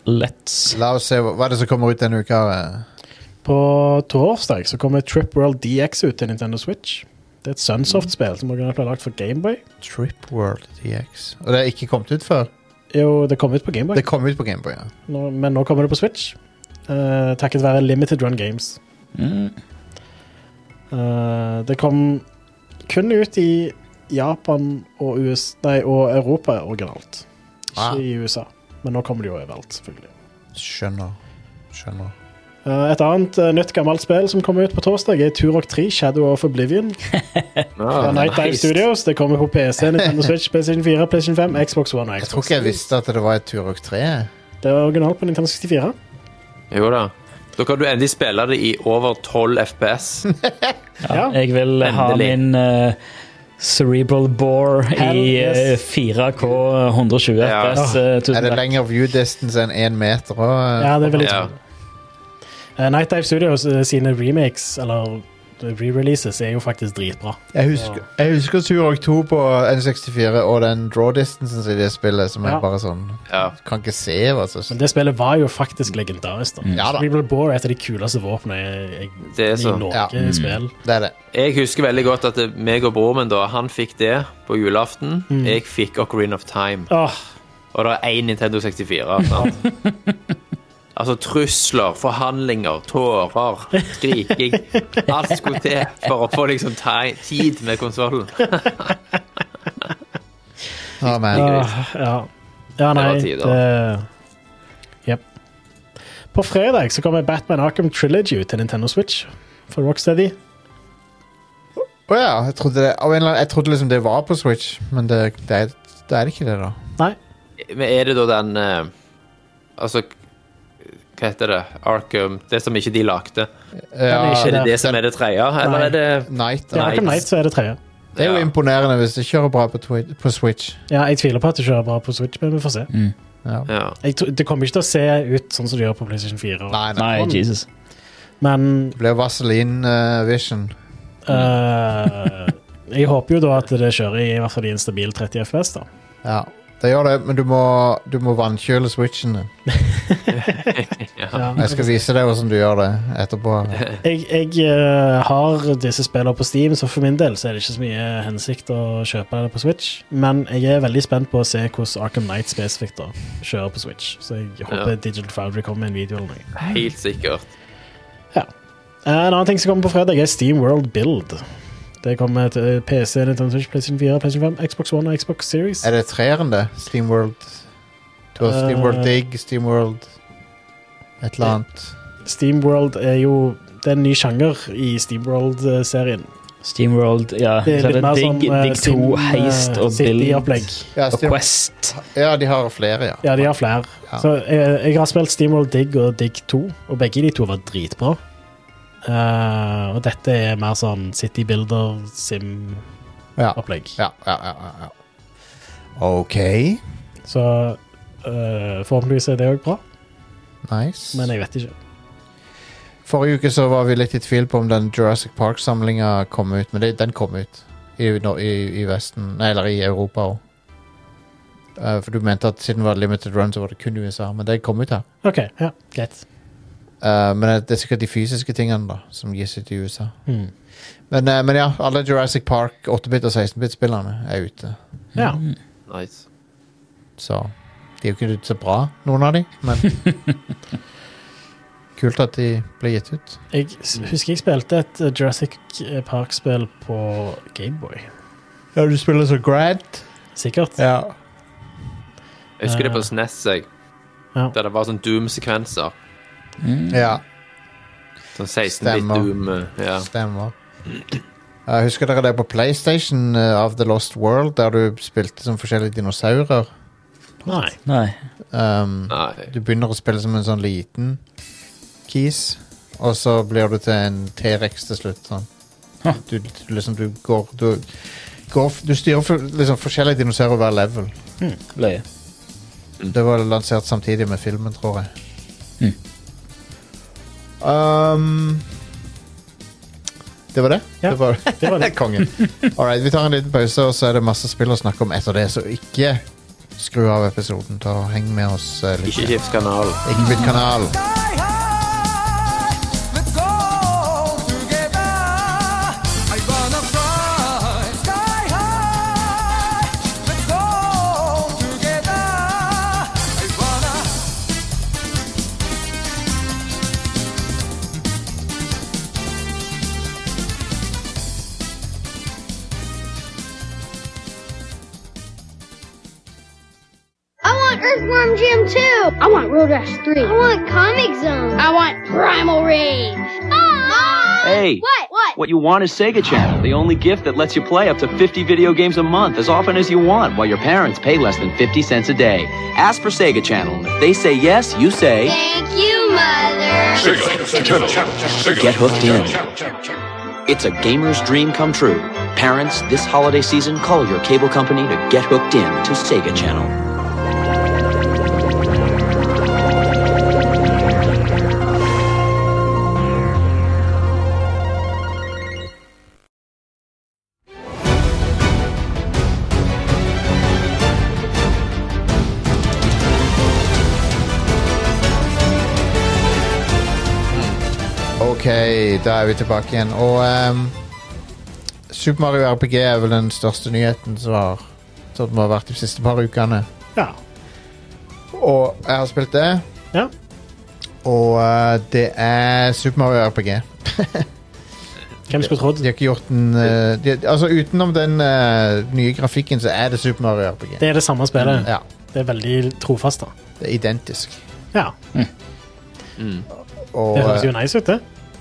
S6: Let's.
S1: La oss se hva hva er det som kommer ut denne uka. eh?
S2: På torsdag så kommer Trip World DX ut til Nintendo Switch. Det er et Sunsoft-spill som originalt ble lagt for Gameboy.
S1: Trip World DX. Og det er ikke kommet ut før?
S2: Jo, det kom ut på Gameboy,
S1: Det kom ut på Gameboy, ja.
S2: nå, men nå kommer det på Switch. Eh, takket være Limited Run Games.
S6: Mm.
S2: Eh, det kom kun ut i Japan og, US, nei, og Europa originalt. Ikke
S1: Ah.
S2: i USA, men nå kommer det jo overalt, selvfølgelig.
S1: Skjønner. Skjønner.
S2: Eh, et annet eh, nytt gammelt spill som kommer ut på torsdag, er Turok 3 Shadow of Oblivion.
S4: Ah,
S2: Fra Night Dive
S6: nice.
S2: Studios. Det kommer på PC, Nintendo Switch, PlayStation 4, PlayStation 5, Xbox One og
S1: Jeg tror
S2: Xbox.
S1: ikke jeg visste at det var et Turok 3.
S2: Det er originalt på Nintendo 64.
S4: Jo da. Da kan du endelig spille det i over 12 FPS.
S6: Ja,
S2: Ja.
S6: jeg vil ha
S4: Endelig.
S6: min eh, cerebral bore
S2: Hell,
S6: i eh,
S2: yes.
S6: 4K 120
S4: Ja.
S6: FPS. eh,
S1: Er det
S6: tusen takk.
S1: lenger view distance enn én meter? Og,
S2: Ja, det vil jeg tro.
S4: Ja.
S2: Eh, Night Dive Studios eh, sine remakes, eller eh, re-releases, er jo faktisk dritbra.
S1: Jeg husker, jeg husker Turok 2 på N64 og den draw distancen i det spillet som er
S2: Ja.
S1: bare sånn
S4: Ja.
S1: Kan ikke se hva som
S2: Men det spillet var jo faktisk legendarisk. da.
S1: Ja da.
S2: Cerebral Bore er et av de kuleste våpnene jeg, jeg,
S4: Det er
S2: i
S4: så.
S2: noe
S1: Ja. Mm.
S2: spill.
S1: Det er det.
S4: Jeg husker veldig godt at det- meg og broren min da, han fikk det på julaften.
S2: Mm.
S4: Jeg fikk Ocarina of Time.
S2: Åh, ah,
S4: Og det er én Nintendo 64. Sant? altså trusler, forhandlinger, tårer, skriking. Alt skulle til for å få liksom ti- tid med konsollen.
S1: Å, man.
S2: åh, ja. ja, nei
S4: var tid, da.
S2: det Jepp. På fredag så kommer Batman Arkham Trilogy ut til Nintendo Switch for Rocksteady.
S1: Å ja, jeg trodde, det, av en eller annen, jeg trodde liksom det var på Switch, men det, det, er, det er ikke det, da.
S2: Nei,
S4: Men er det da den eh, Altså, hva heter det? Arkham Det som ikke de lagde.
S2: er
S4: Er
S1: Ja,
S2: ikke-
S4: det det som er det tredje? Eller er det
S1: Night, da.
S2: det er
S4: Nei.
S2: Arkham Knight så er det tredje.
S1: Det er jo
S4: Ja.
S1: imponerende hvis det kjører bra på, twi på Switch.
S2: Ja, jeg tviler på at det kjører bra på Switch, men vi får se.
S1: Ja.
S4: ja.
S2: Jeg tror, det kommer ikke til å se ut sånn som det gjør på PlayStation 4. og-
S1: Nei, nei.
S6: Nei, Jesus.
S2: Men
S1: Det blir Vaseline eh, Vision.
S2: eh, jeg håper jo da at det kjører i, i hvert fall i en stabil 30 FPS, da.
S1: Ja, det gjør det, men du må, du må vannkjøle Switchen din.
S2: Ja.
S1: Jeg skal vise deg hvordan du gjør det etterpå.
S2: Jeg, jeg eh, har disse spillene på Steam, så for min del så er det ikke så mye hensikt å kjøpe det på Switch. Men jeg er veldig spent på å se hvordan Arkham Knight spesifikt da kjører på Switch. Så jeg håper
S4: Ja.
S2: Digital Foundry kommer med en video eller noe.
S4: Helt sikkert.
S2: Eh, En annen ting som kommer på fredag, er Steam World Build. Det kommer til PC, Nintendo Switch, PlayStation 4, PlayStation 5, Xbox One og Xbox Series.
S1: Er det treeren, det? Steamworld Du har
S2: Eh.
S1: Steamworld Dig, Steamworld Et eller annet.
S2: Steamworld er jo det er en ny sjanger i Steamworld-serien.
S6: Steamworld, ja.
S2: Det
S6: Så
S2: er litt mer sånn
S6: Dig,
S2: eh,
S6: Dig 2,
S2: Steam, eh,
S6: Heist og
S2: City-opplegg.
S6: Build
S1: Ja,
S6: og
S1: Steam,
S6: Quest.
S1: ja, de har flere, ja.
S2: Ja, de har flere.
S1: Ja.
S2: Så jeg, jeg har spilt SteamWorld Dig og Dig 2, og begge de to var dritbra. Eh, og dette er mer sånn City Builder Sim-opplegg.
S1: Ja, ja, ja, ja, ja, ja. OK.
S2: Så eh, forhåpentligvis er det òg bra,
S1: Nice.
S2: men jeg vet ikke.
S1: Forrige uke så var vi litt i tvil på om den Jurassic Park-samlinga kom ut, men det, den kom ut i, nå- i, i Vesten, nei, eller i Europa òg. for du mente at siden det var limited run, så var det kun i USA, men det kom ut her.
S2: OK, ja, greit.
S1: Eh, men det er sikkert de fysiske tingene da som gis ut i USA.
S2: Hmm.
S1: Men, eh, men ja, alle Jurassic Park 8-bit og 16-bit-spillerne er ute.
S2: Ja.
S6: Mm.
S4: Nice.
S1: Så de er jo ikke så bra, noen av de, men Kult at de ble gitt ut.
S2: Jeg s-
S1: Mm.
S2: husker jeg spilte et eh, Jurassic Park-spill på Gameboy.
S1: Ja, du spiller så grad.
S2: Sikkert.
S1: Ja.
S4: Jeg husker det
S2: Eh.
S4: på SNES, jeg.
S2: Ja.
S4: Der det var sånn Doom-sekvenser.
S6: Mm.
S1: ja.
S4: Sånn 16-bit
S1: Stemmer.
S4: Doom. eh, Ja.
S1: Stemmer. Jeg husker dere det på PlayStation eh, av The Lost World, der du spilte som forskjellige dinosaurer?
S2: Nei.
S6: Nei.
S1: Um,
S4: Nei.
S1: du begynner å spille som en sånn liten kis, og så blir du til en T-rex til slutt. Sånn.
S6: Huh.
S1: Du, du liksom du går Du, går, f- du styrer for, liksom forskjellige dinosaurer hver level.
S6: Løye.
S1: Det var lansert samtidig med filmen, tror jeg. Um, det var det?
S2: Ja,
S1: det var
S2: det var det.
S1: Kongen. All right, vi tar en liten pause, og så er det masse spill å snakke om etter det, så ikke skru av episoden. Ta og Heng med oss. eh, litt.
S4: Ikke skift kanal.
S1: Ikke bytt kanal.
S7: Sky high, let's go together. I wanna fly. Sky high, let's go together. I wanna.
S8: I want Earthworm Jim 2. I want Road Rash 3. I want Comic Zone. I want Primal Rage. Ah!
S9: Hey.
S8: What? What?
S9: What you want is Sega Channel, the only gift that lets you play up to 50 video games a month as often as you want while your parents pay less than 50 cents a day. Ask for Sega Channel, and if they say yes, you say,
S8: Thank you, Mother.
S9: Get hooked in. It's a gamer's dream come true. Parents, this holiday season, call your cable company to get hooked in to Sega Channel.
S1: Ok, da er vi tilbake igjen. Og ehm, Super Mario RPG er vel den største nyheten som har, som har vært de siste par ukene.
S2: Ja.
S1: Og jeg har spilt det.
S2: Ja.
S1: Og eh, det er Super Mario RPG.
S2: Hvem skulle trodd?
S1: De har ikke gjort den eh, de, Altså Utenom den eh, nye grafikken, så er det Super Mario RPG.
S2: Det er det samme spillet.
S1: Ja,
S2: Det er veldig trofast, da.
S1: det er identisk.
S2: Ja.
S1: Og,
S2: Det høres
S1: eh,
S2: jo nice ut, det.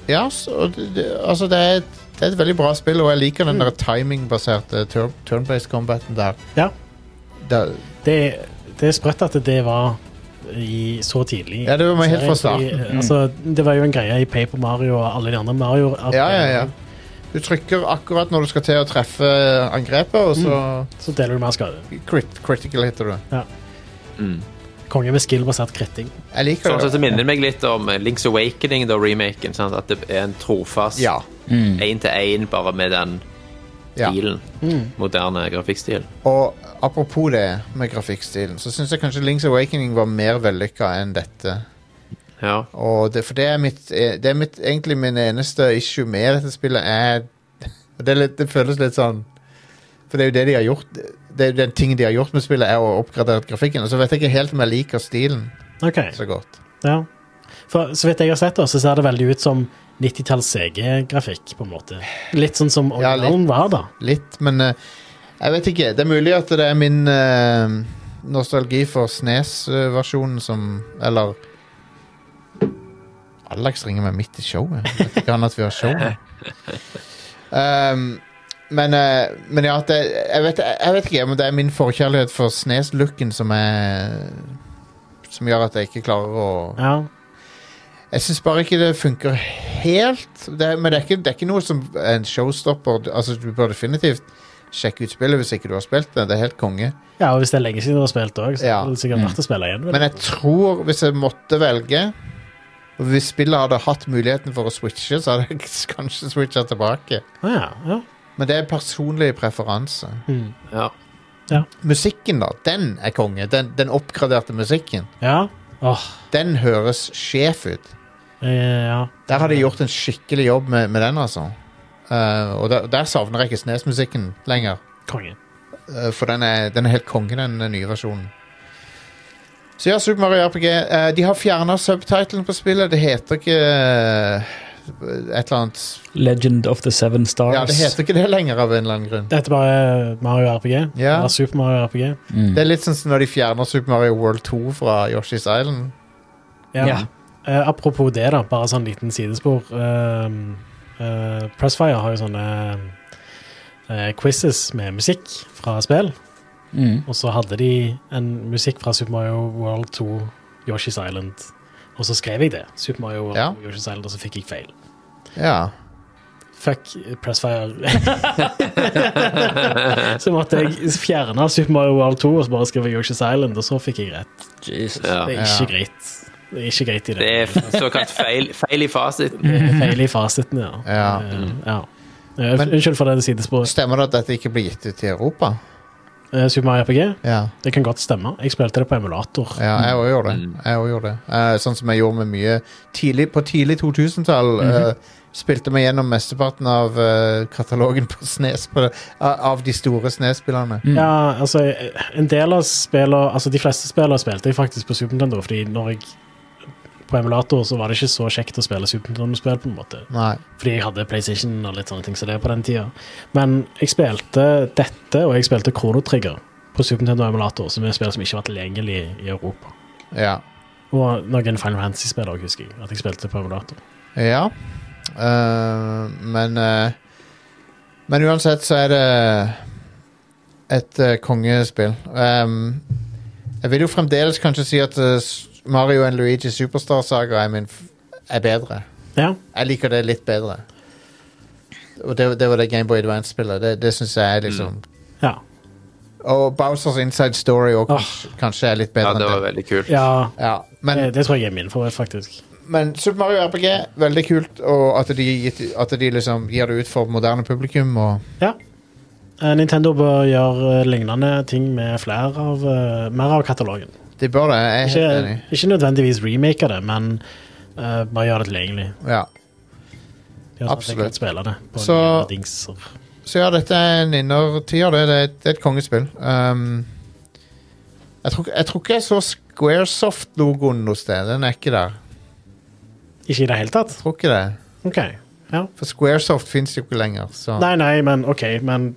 S1: ja, så, og det, det, altså det, er et, det er et veldig bra spill, og jeg liker den der
S2: Mm.
S1: timingbaserte tur- turn-based combaten der.
S2: Ja.
S1: der.
S2: Det, det er sprøtt at det var i så tidlig.
S1: Ja, det var med helt fra
S2: Serien, fordi, eh, Altså, det var jo en greie i Paper Mario og alle de andre Mario. at- eh,
S1: Ja, ja, ja. Du trykker akkurat når du skal til å treffe angrepet, og så
S2: Så deler du mer skade.
S1: crit, critical hitter du.
S2: Mm. Konge med skill-basert kritting.
S1: Jeg liker
S4: Sånn
S1: det.
S4: sett så minner det meg litt om eh, Link's Awakening, da, remaken. Sant? At det er en trofast
S1: Ja.
S4: én til én, bare med den
S1: ja.
S4: stilen. Mm. Moderne grafikkstil.
S1: Og apropos det med grafikkstilen, så syns jeg kanskje Link's Awakening var mer vellykka enn dette.
S4: Ja.
S1: Og det, for det er, mitt, eh, det er mitt, egentlig min eneste issue med dette spillet, er og det, er litt, det føles litt sånn For det er jo det de har gjort. Det er jo den tingen de har gjort med spillet, er å oppgradere grafikken. Og så vet jeg ikke helt om jeg liker stilen
S2: OK.
S1: så godt.
S2: Ja. For så vidt jeg har sett, da, så ser det veldig ut som 90-talls CG-grafikk, på en måte. Litt sånn som
S1: Ja, litt.
S2: originalen var, da.
S1: Litt, men eh, jeg vet ikke. Det er mulig at det er min eh, nostalgi for Snes-versjonen som Eller Alex ringer meg midt i showet. Jeg Vet ikke han at vi har show? Um, men, eh, men ja, at det, jeg, vet, jeg vet ikke om det er min forkjærlighet for Snes-looken som er Som gjør at jeg ikke klarer å
S2: Ja.
S1: jeg syns bare ikke det funker helt. Det, men det er, ikke, det er ikke noe som er en showstopper. Du- Altså, du bør definitivt sjekke ut spillet hvis ikke du har spilt det. Det er helt konge.
S2: ja, og hvis det er lenge siden du har spilt òg, så
S1: Ja.
S2: er det sikkert verdt å spille igjen. vel?
S1: Men jeg tror, hvis jeg måtte velge og Hvis spillet hadde hatt muligheten for å switche, så hadde jeg kanskje switcha tilbake.
S2: Ah, ja, ja. Mm.
S1: Men det er personlig preferanse.
S4: ja.
S1: Musikken, da. Den er konge. Den, den oppgraderte musikken.
S2: ja. Åh,
S1: Den høres sjef ut.
S2: eh, ja.
S1: Der har de gjort en skikkelig jobb med, med den, altså. Eh, og der, der savner jeg ikke Snes-musikken lenger.
S2: Konge.
S1: Eh, For den er, den er helt konge, den eh, nye versjonen. Så ja, Super Mario RPG. eh, de har fjerna subtitlen på spillet. Det heter ikke eh, et eller annet
S6: Legend of the Seven Stars.
S1: Ja, det heter ikke det lenger, av en eller annen grunn.
S2: Det heter bare Mario RPG.
S1: Ja.
S2: Eller Super Mario RPG.
S6: Mm.
S1: Det er litt sånn som når de fjerner Super Mario World 2 fra Yoshi's Island.
S2: Ja.
S6: Ja.
S2: Eh, apropos det, da, bare sånn liten sidespor. Ehm, eh, Pressfire har jo sånne eh, quizzes med musikk fra spill.
S6: Mm.
S2: Og så hadde de en musikk fra Super Mario World 2, Yoshi's Island. Og så skrev jeg det. Super Mario World
S1: Ja.
S2: 2, Yoshi's Island, og så fikk jeg feil.
S1: Ja.
S2: Fuck Pressfire. så måtte jeg fjerne Super Mario World 2 og så bare skrive Yoshi's Island, og så fikk jeg rett.
S6: Jesus.
S4: ja.
S2: Det er
S1: Ja.
S2: ikke greit. Det er ikke greit i
S4: Det
S2: det.
S4: er f- såkalt feil, feil i fasiten.
S2: Det er feil i fasiten, ja.
S1: Ja.
S2: Eh, ja. Eh,
S1: Men-
S2: Unnskyld for det sidesporet.
S1: Stemmer det at dette ikke blir gitt ut i Europa?
S2: Eh, Super Mario RPG,
S1: Ja,
S2: det kan godt stemme. Jeg spilte det på emulator.
S1: ja jeg òg gjorde det. Jeg også gjorde det. Eh, sånn som jeg gjorde med mye tidlig, På tidlig 2000-tall eh, spilte vi gjennom mesteparten av eh, katalogen på Snes, på, eh, av de store Snes-spillerne.
S6: Mm.
S2: Ja, altså, en del av spillene Altså, de fleste spillene spilte jeg faktisk på Super Nintendo, fordi når jeg på emulator så var det ikke så kjekt å spille Super Nintendo-spill, på en måte.
S1: Nei.
S2: Fordi jeg hadde PlayStation og litt sånne ting som det på den tida. Men jeg spilte dette, og jeg spilte Chrono Trigger på Super Nintendo emulator, som er spill som ikke var tilgjengelig i Europa.
S1: Ja.
S2: Og noen Final Fantasy-spill også, husker jeg. At jeg spilte på emulator.
S1: Ja. Eh, men eh, Men uansett så er det et eh, kongespill. Ehm, jeg vil jo fremdeles kanskje si at eh, S- Mario and Luigi Superstar Saga er, min f er bedre.
S2: Ja.
S1: Jeg liker det litt bedre. Og det, det var det Gameboy Advance-spillet. Det, det syns jeg
S4: Mm.
S1: er liksom
S2: Ja.
S1: Og Bowsers Inside Story også, kanskje er litt
S4: Ja,
S1: bedre
S4: det var
S1: enn det.
S4: veldig kult.
S2: ja
S1: Ja, men,
S2: det, det tror jeg er min favoritt, faktisk.
S1: men Super Mario RPG, veldig kult. Og at de, gitt- at de liksom gir det ut for moderne publikum. Og
S2: Ja. Eh, Nintendo bør gjøre eh, lignende ting med flere av, eh, mer av katalogen.
S1: de bør det. Jeg er helt
S2: Ikke,
S1: enig.
S2: ikke nødvendigvis remake av det, men eh, bare gjøre det tilgjengelig.
S1: Ja.
S2: Gjør sånn at jeg kan
S1: Absolutt.
S2: Spille det på
S1: Så-
S2: nye dingser.
S1: Så ja, dette er en innertier. Det, det, er et- det er et kongespill. Um, jeg, tror, jeg tror ikke jeg så Squaresoft-logoen noe sted. Den er ikke der.
S2: Ikke i det hele tatt?
S1: Jeg tror ikke det.
S2: OK. Ja.
S1: For Squaresoft fins jo ikke lenger. Så.
S2: Nei, nei, men OK, men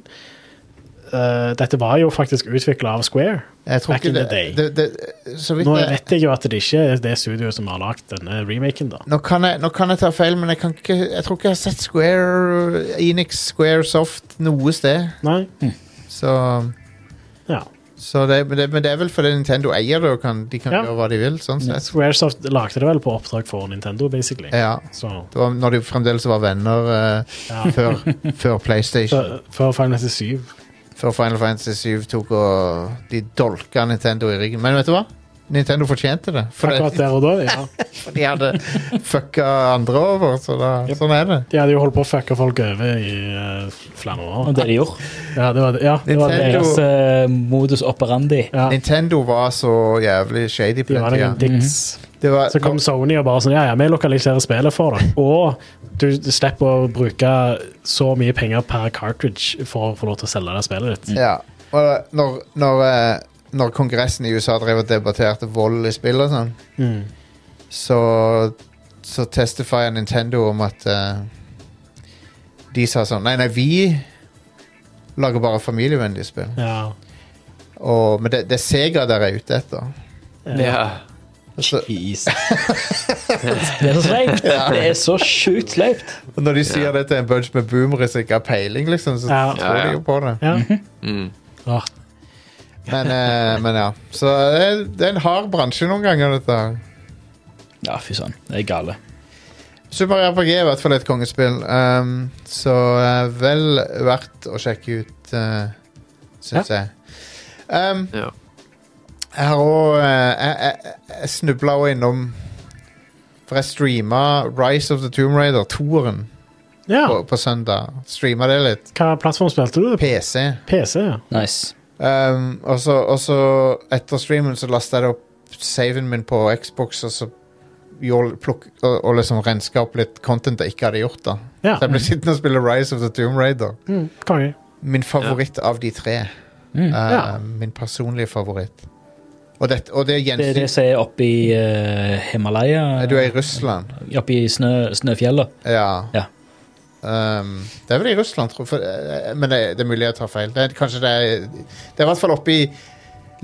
S2: eh, dette var jo faktisk utvikla av Square.
S1: jeg tror
S2: back
S1: ikke
S2: in the
S1: det,
S2: day.
S1: det, det, så vidt
S2: Nå
S1: jeg,
S2: vet jeg jo at det ikke er det studioet som har lagd denne remaken, da.
S1: nå, kan jeg, nå kan jeg ta feil, men jeg, kan ikke, jeg tror ikke jeg har sett Square Enix Squaresoft noe sted.
S2: Nei?
S1: Hm. Så,
S2: Ja.
S1: så det, men, det, men det er vel fordi Nintendo eier det, og kan, de kan
S2: Ja.
S1: gjøre hva de vil. sånn sett.
S2: Squaresoft lagde det vel på oppdrag for Nintendo, basically.
S1: Ja.
S2: Så
S1: Det var når de fremdeles var venner eh,
S2: Ja.
S1: før, før PlayStation.
S2: før før Final Fantasy 7.
S1: Før Final Fantasy 7 tok og De dolka Nintendo i ryggen. Men vet du hva? Nintendo fortjente det. For,
S2: Akkurat
S1: det,
S2: der og da, ja.
S1: for de hadde fucka andre over. Så da, sånn er det.
S2: De hadde jo holdt på å fucke folk over i eh, flere år.
S6: Og det de gjorde.
S2: Ja, det var det. Ja, det var det.
S1: Nintendo-
S6: Deres eh, modus operandi.
S2: Ja,
S1: Nintendo var så jævlig shady på
S2: de var
S1: den
S2: noen
S1: tida.
S2: dicks.
S1: Det var,
S2: Så kom Sony og bare sånn Mhm. Ja, ja, vi lokaliserer spillet for deg. Og du slipper å bruke så mye penger per cartridge for å få lov til å selge det spillet ditt.
S1: ja. Og når, når, eh, når Kongressen i USA drev og debatterte vold i spill og sånn,
S2: Mm.
S1: så, så testifier Nintendo om at eh, De sa sånn Nei, nei, vi lager bare familievennlige spill.
S2: Ja.
S1: Og, men det, det er Sega der er ute etter.
S4: Ja.
S1: Altså,
S6: Jeez. Det er så sleipt. Det er så sjukt sleipt.
S1: og når de sier det til en bunch med boomere som ikke har peiling, liksom, så
S2: Ja.
S1: tror
S4: Ja, ja.
S1: de jo på det.
S2: ja.
S4: Mm.
S2: Åh,
S1: Men, eh, men ja. Så det er, det er en hard bransje noen ganger, dette her.
S6: Ja, fy søren. Det er gale.
S1: Super RPG er i hvert fall et kongespill, ehm, så eh, vel verdt å sjekke ut, uh, syns jeg. Ehm,
S4: Ja.
S1: jeg har òg Jeg, jeg, jeg snubla òg innom For jeg streama Rise of the Tomb Raider, toeren,
S2: ja.
S1: på, på søndag. Streama det litt.
S2: Hva plattform spilte du det på?
S1: PC.
S2: PC, ja.
S6: Nice.
S1: Um, og, så, og så etter streamen så lasta jeg det opp saven min på Xbox og så gjorde- plukk, og, og liksom renska opp litt content jeg ikke hadde gjort. da
S2: Ja.
S1: Så jeg ble sittende og spille Rise of the Tomb Raider.
S2: Mm, Konge.
S1: Min favoritt av de tre.
S6: Mm.
S1: Uh,
S2: Ja.
S1: Min personlige favoritt. Og, det, og det
S6: Det er det
S1: gjensynet
S6: som er oppe i eh, Himalaya.
S1: Du er i Russland.
S6: Oppe i snø, snøfjellet.
S1: Ja.
S6: Ja.
S1: Um, det er vel i Russland, tror jeg. For, eh, men det, det er mulig jeg tar feil. Det er, kanskje det er Det er i hvert fall oppe i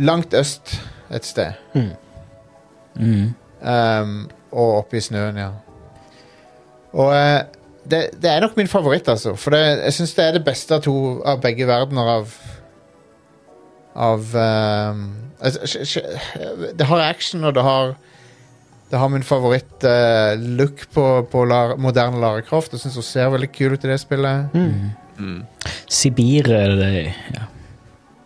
S1: langt øst et sted.
S6: Mm.
S1: Um, og oppe i snøen, ja. Og eh, det, det er nok min favoritt, altså. For det, jeg syns det er det beste av, to, av begge verdener av Av um, altså, sj- sj- Det har action, og det har Det har min favoritt-look på, på Lara- moderne Lara Croft. Jeg syns hun ser veldig kul ut i det spillet.
S6: Sibir er det det ja.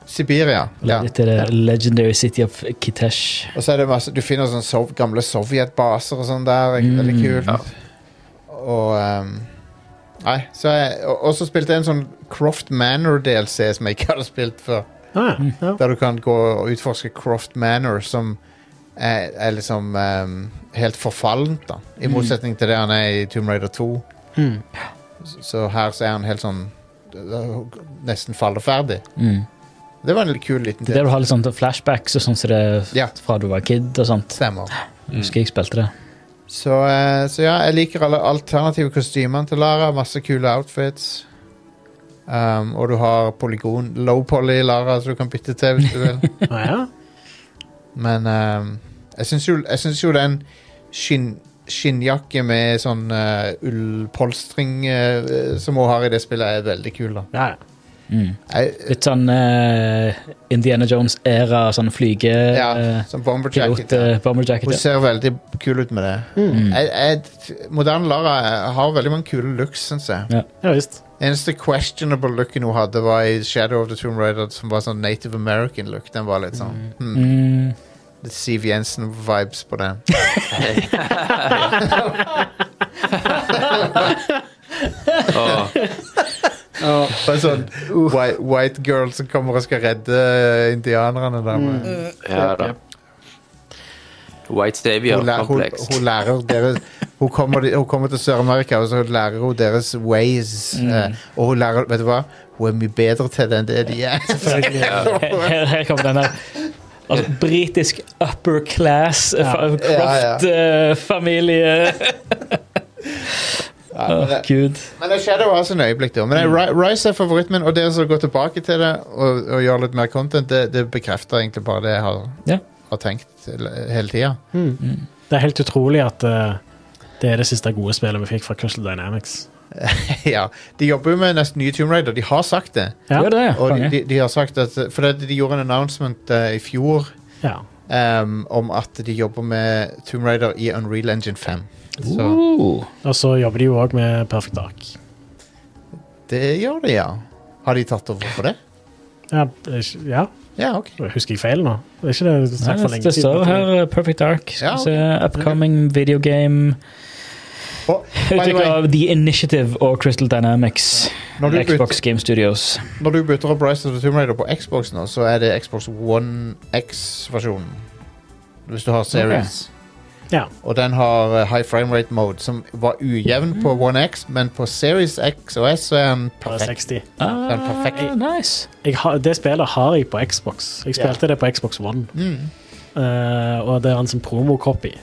S1: Siberia. Ja.
S6: Dette er the legendary city of Kitesh.
S1: Og så er det masse, du finner sånne sov, gamle sovjetbaser og sånn der. ikke? Veldig
S6: Mm,
S1: kult. Og ehm, Nei, så jeg og- Og så spilte jeg en sånn Croft Manor-DLC som jeg ikke hadde spilt før.
S2: Ah, ja.
S1: Der du kan gå og utforske Croft Manor, som er, er liksom ehm, helt forfallent, da. I
S6: Mm.
S1: motsetning til det han er i Tomb Raider 2.
S2: Mm.
S1: Så, så her så er han helt sånn øh, Nesten falleferdig.
S6: Mm.
S1: Det var en litt kul liten
S6: Det er der du har litt sånn flashbacks og sånn som det er
S1: Ja.
S6: fra du var kid og sånt.
S1: Stemmer.
S6: Jeg husker jeg spilte det.
S1: Så, eh, så ja, jeg liker alle alternative kostymene til Lara. Masse kule outfits. Um, og du har polygon low poly Lara, så du kan bytte til hvis du vil.
S2: Ah, ja.
S1: Men um, jeg syns jo, jeg synes jo den skinn, skinnjakke med sånn eh, ullpolstring eh, som hun har i det spillet, er veldig kul. da.
S2: Ja, ja.
S6: Mm.
S1: Jeg,
S6: Litt sånn eh, Indiana Jones-æra, sånn flyge...
S1: ja,
S6: eh,
S1: som bomber
S6: Pilot
S1: jacket.
S6: uh, bomber jacket.
S1: Hun
S6: ja.
S1: ser veldig kul ut med det. Jeg, jeg, moderne Lara har veldig mange kule looks, syns jeg.
S2: ja visst.
S1: Eneste questionable looken hun hadde, var i Shadow of the Tomb Raider, som var sånn Native American look. Den var litt sånn hmm,
S6: Mm.
S1: litt Siv Jensen-vibes på den.
S4: Åh,
S1: Bare sånn white, white girl som kommer og skal redde eh, indianerne. Der.
S6: Mm.
S1: med-
S4: ja da. White
S1: Hun, lær, hun,
S4: Stavier-kompleks.
S1: hun lærer deres Hun kommer, hun kommer til Sør-Amerika, og så lærer hun deres ways.
S6: Mm.
S1: eh, og hun lærer Vet du hva? Hun er mye bedre til det enn det de er.
S6: Her, her- her kommer den der. Altså, britisk upper class, eh, fa- croft eh, familie.
S1: Ja, men
S6: Åh,
S1: det-
S6: Gud.
S1: Men det er Shadow har sine øyeblikk, da. Men
S6: Mm.
S1: det er Ri- Rise er favoritten min, og dere som går tilbake til det og, og gjør litt mer content, det, det bekrefter egentlig bare det jeg har,
S6: Ja.
S1: har tenkt hele hele tida.
S2: Det er helt utrolig at eh, det er det siste gode spillet vi fikk fra Crystal Dynamics.
S1: ja. De jobber jo med nesten nye Tomb Raider. De har sagt det.
S2: Ja.
S6: Gjør det, ja.
S1: Og de,
S6: Konge.
S1: de, de har sagt at For det, de gjorde en announcement eh, i fjor
S2: Ja.
S1: em, om at de jobber med Tomb Raider i Unreal Engine 5. Så
S6: Uh,
S2: Og så jobber de jo òg med Perfect Dark.
S1: det gjør de, ja. Har de tatt over for det?
S2: Ja, det er ikke- ja,
S1: Ja, OK.
S2: husker jeg feil nå? Det er ikke det
S6: nei,
S2: sagt for lenge
S6: det står her eh, Perfect Dark. Skal
S1: Ja,
S6: vi se, upcoming video game.
S1: Og, by the
S6: Utviklet
S1: way,
S6: av The Initiative og Crystal Dynamics.
S1: når du bytter
S6: Xbox Game Studios.
S1: Når du bytter opp Rise of the Tomb Raider på Xbox nå, så er det Xbox One X-versjonen. Hvis du har Series.
S2: Ja.
S1: Og den har eh, high frame rate mode, som var ujevn på
S2: Mm.
S1: One X, men på Series X og S så er den perfekt.
S2: 60.
S1: Den er perfekt.
S6: Ah, nice.
S2: Jeg har, det spillet har jeg på Xbox. Jeg spilte det på Xbox One.
S1: Mm.
S2: Eh, og det er en sånn promo-copy.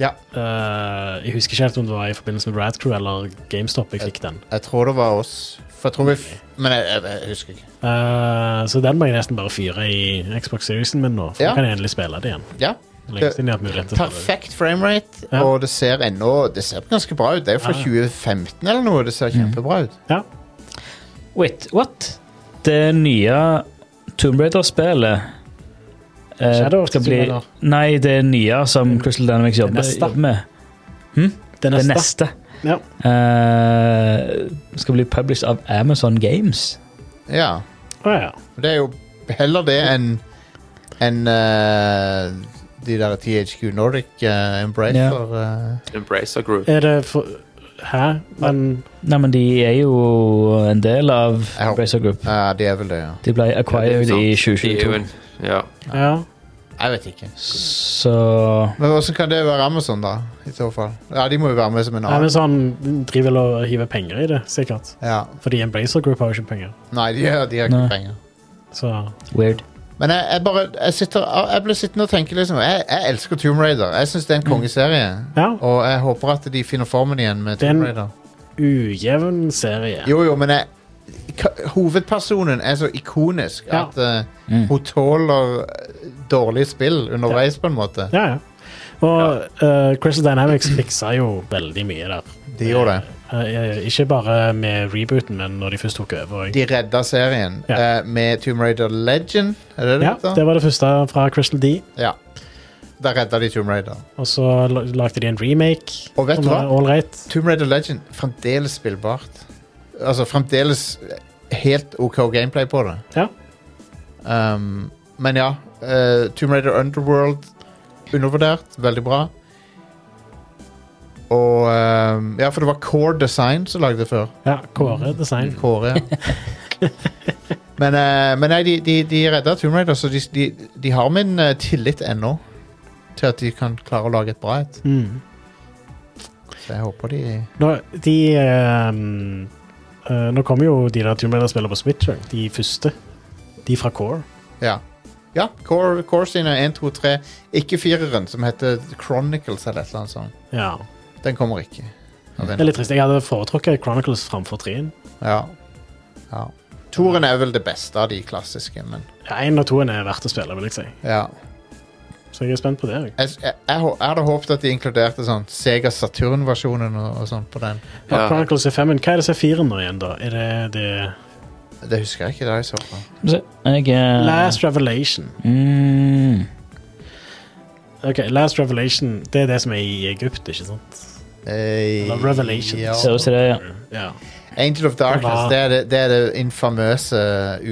S1: Ja.
S2: Eh, jeg husker ikke helt om det var i forbindelse med Radcrew eller GameStop jeg fikk den.
S1: Jeg tror det var oss. For jeg tror vi f Men jeg, jeg, jeg husker ikke.
S2: Eh, så den må jeg nesten bare fyre i Xbox Seriesen min nå, for
S1: Ja.
S2: nå kan jeg endelig spille det igjen.
S1: Ja.
S2: Det er Lenge siden jeg har hatt mulighet til å spille det.
S1: Perfekt frame rate,
S2: Ja. Ah.
S1: og det ser ennå Det ser ganske bra ut. Det er jo fra
S2: Ja, ja.
S1: 2015 eller noe. Det
S2: Mm.
S1: ser kjempebra ut.
S2: Ja.
S6: Wait, what? Det nye Tomb Raider-spielet eh,
S2: Shadow of
S6: skal
S2: the
S6: bli-
S2: Tomb Raider.
S6: Nei, det nye som Crystal Dynamics jobber,
S2: neste. Hm?
S6: jobber med.
S2: Det
S6: Det
S2: neste.
S6: neste.
S2: Ja.
S6: Eh, skal bli published av Amazon Games.
S1: Ja.
S2: Å, ja.
S1: Det er jo heller det enn enn eh, de der THQ Nordic eh, Embracer. eh.
S4: Embracer Group.
S2: Er det for Hæ? Men
S6: Nei, men de er jo en del av
S1: Ja.
S6: Bracer Group.
S1: Ja, de er vel det, ja.
S6: De ble acquired
S4: Ja, det
S6: i
S4: er sant. Det er jo
S6: 2022.
S4: en- Ja.
S2: ja.
S1: Jeg vet ikke.
S6: Så
S1: Men hvordan kan det være Amazon, da? I så fall. Ja, de må jo være med som en
S2: Nei, men
S1: annen.
S2: sånn driver vel og hiver penger i det, sikkert.
S1: Ja.
S2: Fordi en Blazer Group har jo ikke penger.
S1: Nei, de, har- de har ikke
S6: Nei.
S1: penger.
S2: Så
S6: weird.
S1: Men jeg, jeg bare jeg, sitter, jeg blir sittende og tenke liksom Jeg, jeg elsker Tomb Raider. Jeg syns det er en kongeserie.
S2: Ja.
S1: Og jeg håper at de finner formen igjen med Tomb
S2: Den-
S1: Raider.
S2: ujevn serie.
S1: Jo, jo, men jeg, ka- hovedpersonen er så ikonisk
S2: Ja.
S1: at eh, hun tåler eh, dårlige spill underveis, på en måte.
S2: Ja, ja. Og eh, Crystal Dynamics fiksa jo veldig mye der.
S1: De gjorde det.
S2: Eh, eh, ikke bare med rebooten, men når de først tok over. også.
S1: De redda serien
S2: Ja.
S1: eh, med Tomb Raider Legend. Er det det?
S2: Ja,
S1: da?
S2: det var det første fra Crystal D.
S1: ja. Der redda de Tomb Raider.
S2: Og så la- lagde de en remake.
S1: Og vet du
S2: som var
S1: hva?
S2: all right.
S1: Tomb Raider Legend fremdeles spillbart. Altså fremdeles helt OK gameplay på det.
S2: Ja.
S1: Um, men ja, eh, Tomb Raider Underworld undervurdert. Veldig bra. Og ehm, Ja, for det var Core Design som lagde det før.
S2: Ja, Kåre Design.
S1: Kåre, ja. men, eh, men nei, de, de, de redda Tomb Raider, så de, de, de har min eh, tillit ennå til at de kan klare å lage et bra et.
S2: Mm.
S1: Så jeg håper de
S2: Nå, de ehm, eh, Nå kommer jo de der Tomb Raider-spillene på Switch, også, de første. De fra Core.
S1: Ja. Ja, Core, Core sine 1, 2, 3. Ikke fireren, som heter Chronicles eller et eller annet sånt.
S2: Ja.
S1: Den kommer ikke. Av en-
S2: Det er litt trist. Jeg hadde foretrukket Chronicles framfor 3-en.
S1: Ja. ja. Toren er vel det beste av de klassiske, men
S2: Ja, Én og toen er verdt å spille, vil jeg si.
S1: ja.
S2: Så jeg er spent på det. jeg.
S1: Jeg, jeg, jeg, hå- jeg hadde håpet at de inkluderte sånn Sega Saturn-versjonen og, og sånn på den.
S4: Ja.
S2: Chronicles er 5 Hva er det som er 4 nå igjen, da? Er det, det
S1: Det husker jeg ikke. det har jeg så på.
S6: Skal vi se. Jeg eh,
S2: Last Revelation?
S6: mm,
S2: Ok, Last Revelation Det er det som er i Egypt, ikke sant?
S1: Eh,
S2: Eller Revelations.
S1: ja.
S6: Ser ut som det, ja.
S2: Ja.
S1: Angel of Darkness,
S2: Ja.
S1: det er det, det, er det infamøse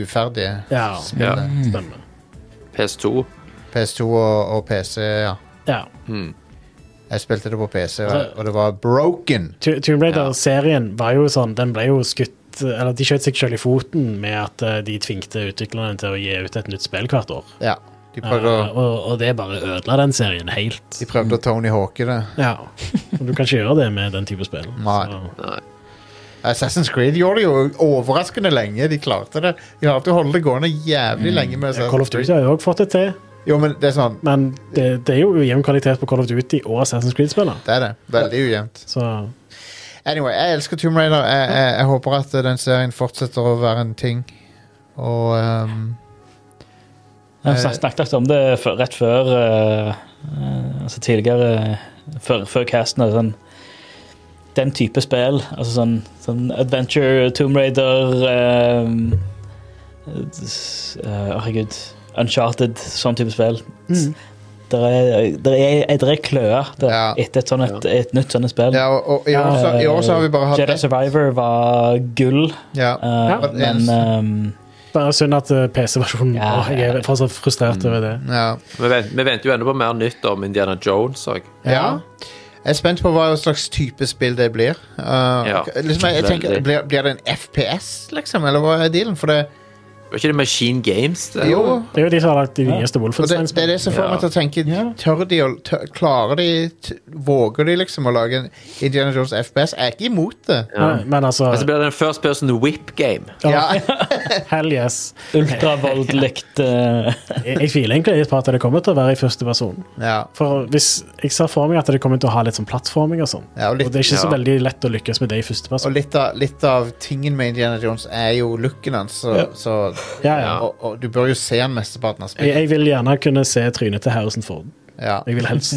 S1: uferdige.
S2: ja.
S4: Ja.
S6: Hmm.
S2: Stemmer.
S4: PS2.
S1: PS2 og, og PC, ja.
S2: Ja.
S4: Mm.
S1: Jeg spilte det på PC, og, og det var broken.
S2: Tu- Tomb Raider-serien var jo sånn Den ble jo skutt Eller de skjøt seg selv i foten med at eh, de tvingte utviklerne til å gi ut et nytt spill hvert år.
S1: Ja. De prøvde,
S2: Eh,
S1: å,
S2: og, og det bare ødela den serien helt.
S1: de prøvde å Tony Hawke det.
S2: Ja. Og du kan ikke gjøre det med den type spill.
S1: Nei.
S2: Så-
S4: Nei.
S1: Assassin's Creed gjorde det jo overraskende lenge. De klarte det. De klarte å holde det gående jævlig lenge med
S2: Ja, Call of
S1: Assassin's
S2: Duty
S1: Creed.
S2: har jo også fått det til,
S1: Jo, men det er sånn.
S2: men det, det er jo ujevn kvalitet på Call of Duty og Assassin's Creed-spillene.
S1: Det er det. Veldig ujevnt.
S2: Så
S1: Anyway, jeg elsker Tomb Raider. Jeg, jeg, jeg håper at eh, den serien fortsetter å være en ting. Og ehm,
S6: Jeg snak- snakket om det før- rett før eh, eh, Altså tidligere Før, før casten og sånn Den type spill Altså sånn, sånn Adventure, Tomb Raider eh, s- eh, Herregud Uncharted, sånn type spill
S2: Mhm.
S6: Der er, der er, der er kløer
S1: Mm.
S6: der,
S1: Ja.
S6: Etter et, sånn et, et nytt sånne spill
S1: Ja, og, og i, år så, i år så har vi bare hatt
S6: Jedi
S1: det.
S6: Survivor var gull
S1: Ja.
S6: eh,
S1: Ja.
S6: Men ehm,
S2: bare synd at eh, PC-versjonen
S6: Ja,
S2: Åh, Jeg er fortsatt frustrert
S1: Mm.
S2: over det.
S1: Ja.
S4: Vi, vent, vi venter jo ennå på mer nytt om Indiana Jones òg.
S1: ja. Jeg er spent på hva slags type spill det blir. Uh,
S4: Ja,
S1: liksom, jeg, jeg tenker,
S4: veldig.
S1: blir, blir det en FPS, liksom? Eller hva er dealen? For det
S4: Var ikke det Machine Games? Det?
S1: Jo.
S2: Det er jo de som har lagt de
S6: Ja.
S2: nyeste
S1: Og det, det er
S2: Wolfenstein-spillene.
S1: det som får
S4: Ja.
S1: meg til å tenke
S6: Ja.
S1: Tør de å tør, Klarer de t Våger de liksom å lage en Indiana Jones FPS? Jeg er ikke imot det.
S4: Ja.
S2: Nei, Men altså,
S4: Men så blir det en first person whip game.
S1: Ja.
S2: hell yes.
S6: ultravoldelig eh,
S2: Jeg, jeg tviler egentlig litt på at det kommer til å være i første person.
S1: ja.
S2: For hvis jeg ser for meg at det kommer til å ha litt sånn plattforming og sånn.
S1: Ja, og litt-
S2: det er ikke så
S4: ja.
S2: veldig lett å lykkes med det i første
S1: Og
S2: person.
S1: litt av, litt av tingen med Indiana Jones er jo looken hans, så, så
S2: Ja, ja.
S1: Og, og du bør jo se han mesteparten av
S2: Jeg,
S1: spillet.
S2: jeg vil gjerne kunne se trynet til Harrison Ford.
S1: Ja.
S2: Jeg vil helst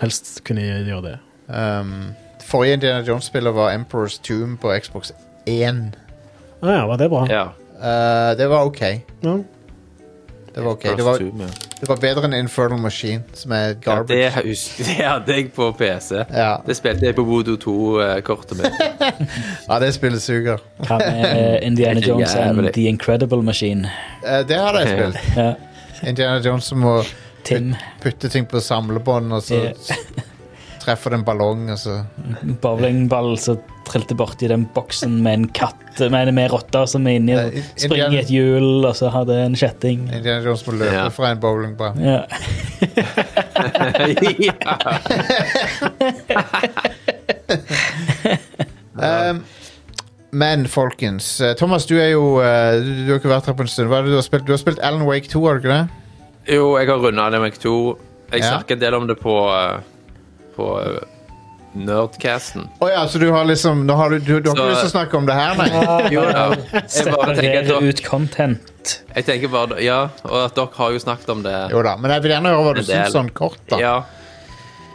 S2: helst kunne gjøre det.
S1: Um, forrige Indiana Jones-spillet var Emperor's Tomb på Xbox 1.
S2: Å Ah, ja, var det bra?
S4: Ja.
S1: Uh, det var ok.
S2: Ja.
S1: Det var, ok.
S4: First
S1: det, var,
S4: Tomb, ja.
S1: det var bedre enn Infernal Machine, som er
S4: Ja,
S1: garbage.
S4: det, hus- det hadde jeg på PC.
S1: Ja.
S4: Det spilte jeg på Voodoo 2-kortet mitt.
S1: Ja, det spillet suger.
S6: Hva med eh, Indiana
S4: Det er
S6: Jones and
S4: jævlig.
S6: The Incredible Machine?
S1: Eh, det har jeg
S4: Ja.
S1: spilt.
S6: Ja,
S1: Indiana Jones som må
S6: Tim,
S1: putte ting på samlebånd, og så
S6: Ja.
S1: treffer det en ballong, og så
S6: bowlingball som trilte borti den boksen med en katt med, med rotter som er inni og
S1: Eh,
S6: springer i
S1: Indiana-
S6: et hjul, og så har det en kjetting.
S1: Indiana Jones må løpe
S4: Ja.
S1: fra en bowlingball.
S6: Ja.
S4: ja.
S1: Um, men folkens, eh, Thomas, du er jo eh, Du du har ikke vært her på en stund. Hva er det du har spilt? Du har spilt Alan Wake 2, har du ikke det?
S4: Jo, jeg har runda LMX2. Jeg
S1: Ja.
S4: snakker en del om det på, eh, på eh, Nerdcasten.
S1: Å ja, så du har liksom nå har du, du, du har
S4: Så-
S1: ikke lyst til å snakke om det her, nei?
S4: Jo, ja. jeg, bare tenker at
S6: Separere
S4: dere,
S6: ut content.
S4: jeg tenker bare Ja, og at dere har jo snakket om det.
S1: Jo da, men jeg vil gjerne høre hva du
S4: En del.
S1: syns sånn kort, da.
S4: Ja.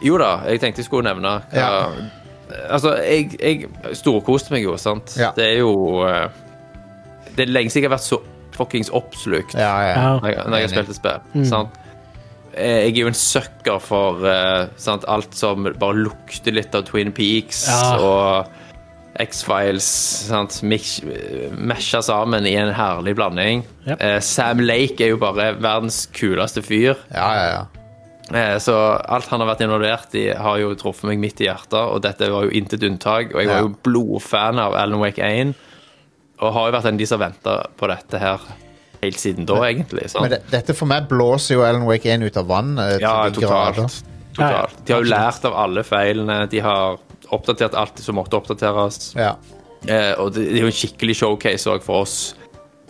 S4: Jo da, jeg tenkte jeg skulle nevne hva
S1: Ja.
S4: Altså, jeg, jeg storkoste meg jo, sant?
S1: Ja.
S4: Det er jo eh, Det er lenge siden jeg har vært så fuckings oppslukt
S1: Ja, ja.
S2: Ja.
S4: når jeg, når jeg har
S1: Enig. Mm.
S4: spilt et spill. Sant? Eh, Jeg er jo en sucker for eh, sant, alt som bare lukter litt av Twin Peaks
S2: Ja.
S4: og X-Files sant, mix- eh, mesja sammen i en herlig blanding.
S2: Ja.
S4: Eh, Sam Lake er jo bare verdens kuleste fyr.
S1: Ja, ja, ja.
S4: Eh, Så alt han har vært involvert i, har jo truffet meg midt i hjertet, og dette var jo intet unntak. Og jeg var
S1: Ja.
S4: jo blodfan av Alan Wake 1, og har jo vært en av de som venta på dette her helt siden da, egentlig. Sant?
S1: Men det, dette for meg blåser jo Alan Wake 1 ut av vannet. eh, til
S4: Ja,
S1: de grader.
S4: totalt. totalt. De har jo lært av alle feilene. De har oppdatert alt som måtte oppdateres.
S1: Ja.
S4: Eh, og det, det er jo en skikkelig showcase også for oss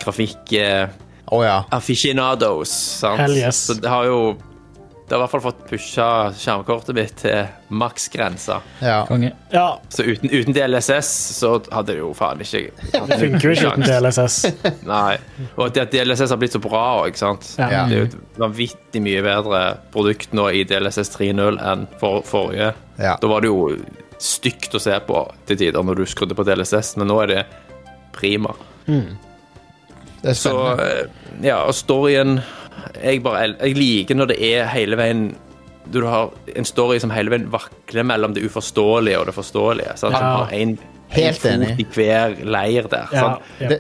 S4: grafikk eh,
S1: Å ja.
S4: aficionados. Sant?
S2: Hell yes.
S4: Så det har jo Det har i hvert fall fått pusha skjermkortet mitt til maksgrensa.
S1: ja.
S6: Konge.
S2: Ja,
S4: Så uten, uten DLSS så hadde det jo faen ikke hatt
S2: det funker jo ikke uten
S4: sjans.
S2: DLSS.
S4: Nei. Og at det at DLSS har blitt så bra òg, ikke sant.
S2: Ja.
S4: Det er jo et vanvittig mye bedre produkt nå i DLSS 3.0 enn for, forrige.
S1: Ja.
S4: Da var det jo stygt å se på til tider når du skrudde på DLSS, men nå er det prima.
S1: Det er
S4: Så
S1: spennende.
S4: eh, ja, og storyen jeg, bare, el- jeg liker når det er hele veien Du har en story som hele veien vakler mellom det uforståelige og det forståelige. Sant? Som
S2: Ja.
S4: har en, en
S1: Helt
S4: fot
S1: enig.
S4: i hver leir der.
S2: Ja,
S4: Sant?
S2: ja.
S1: det,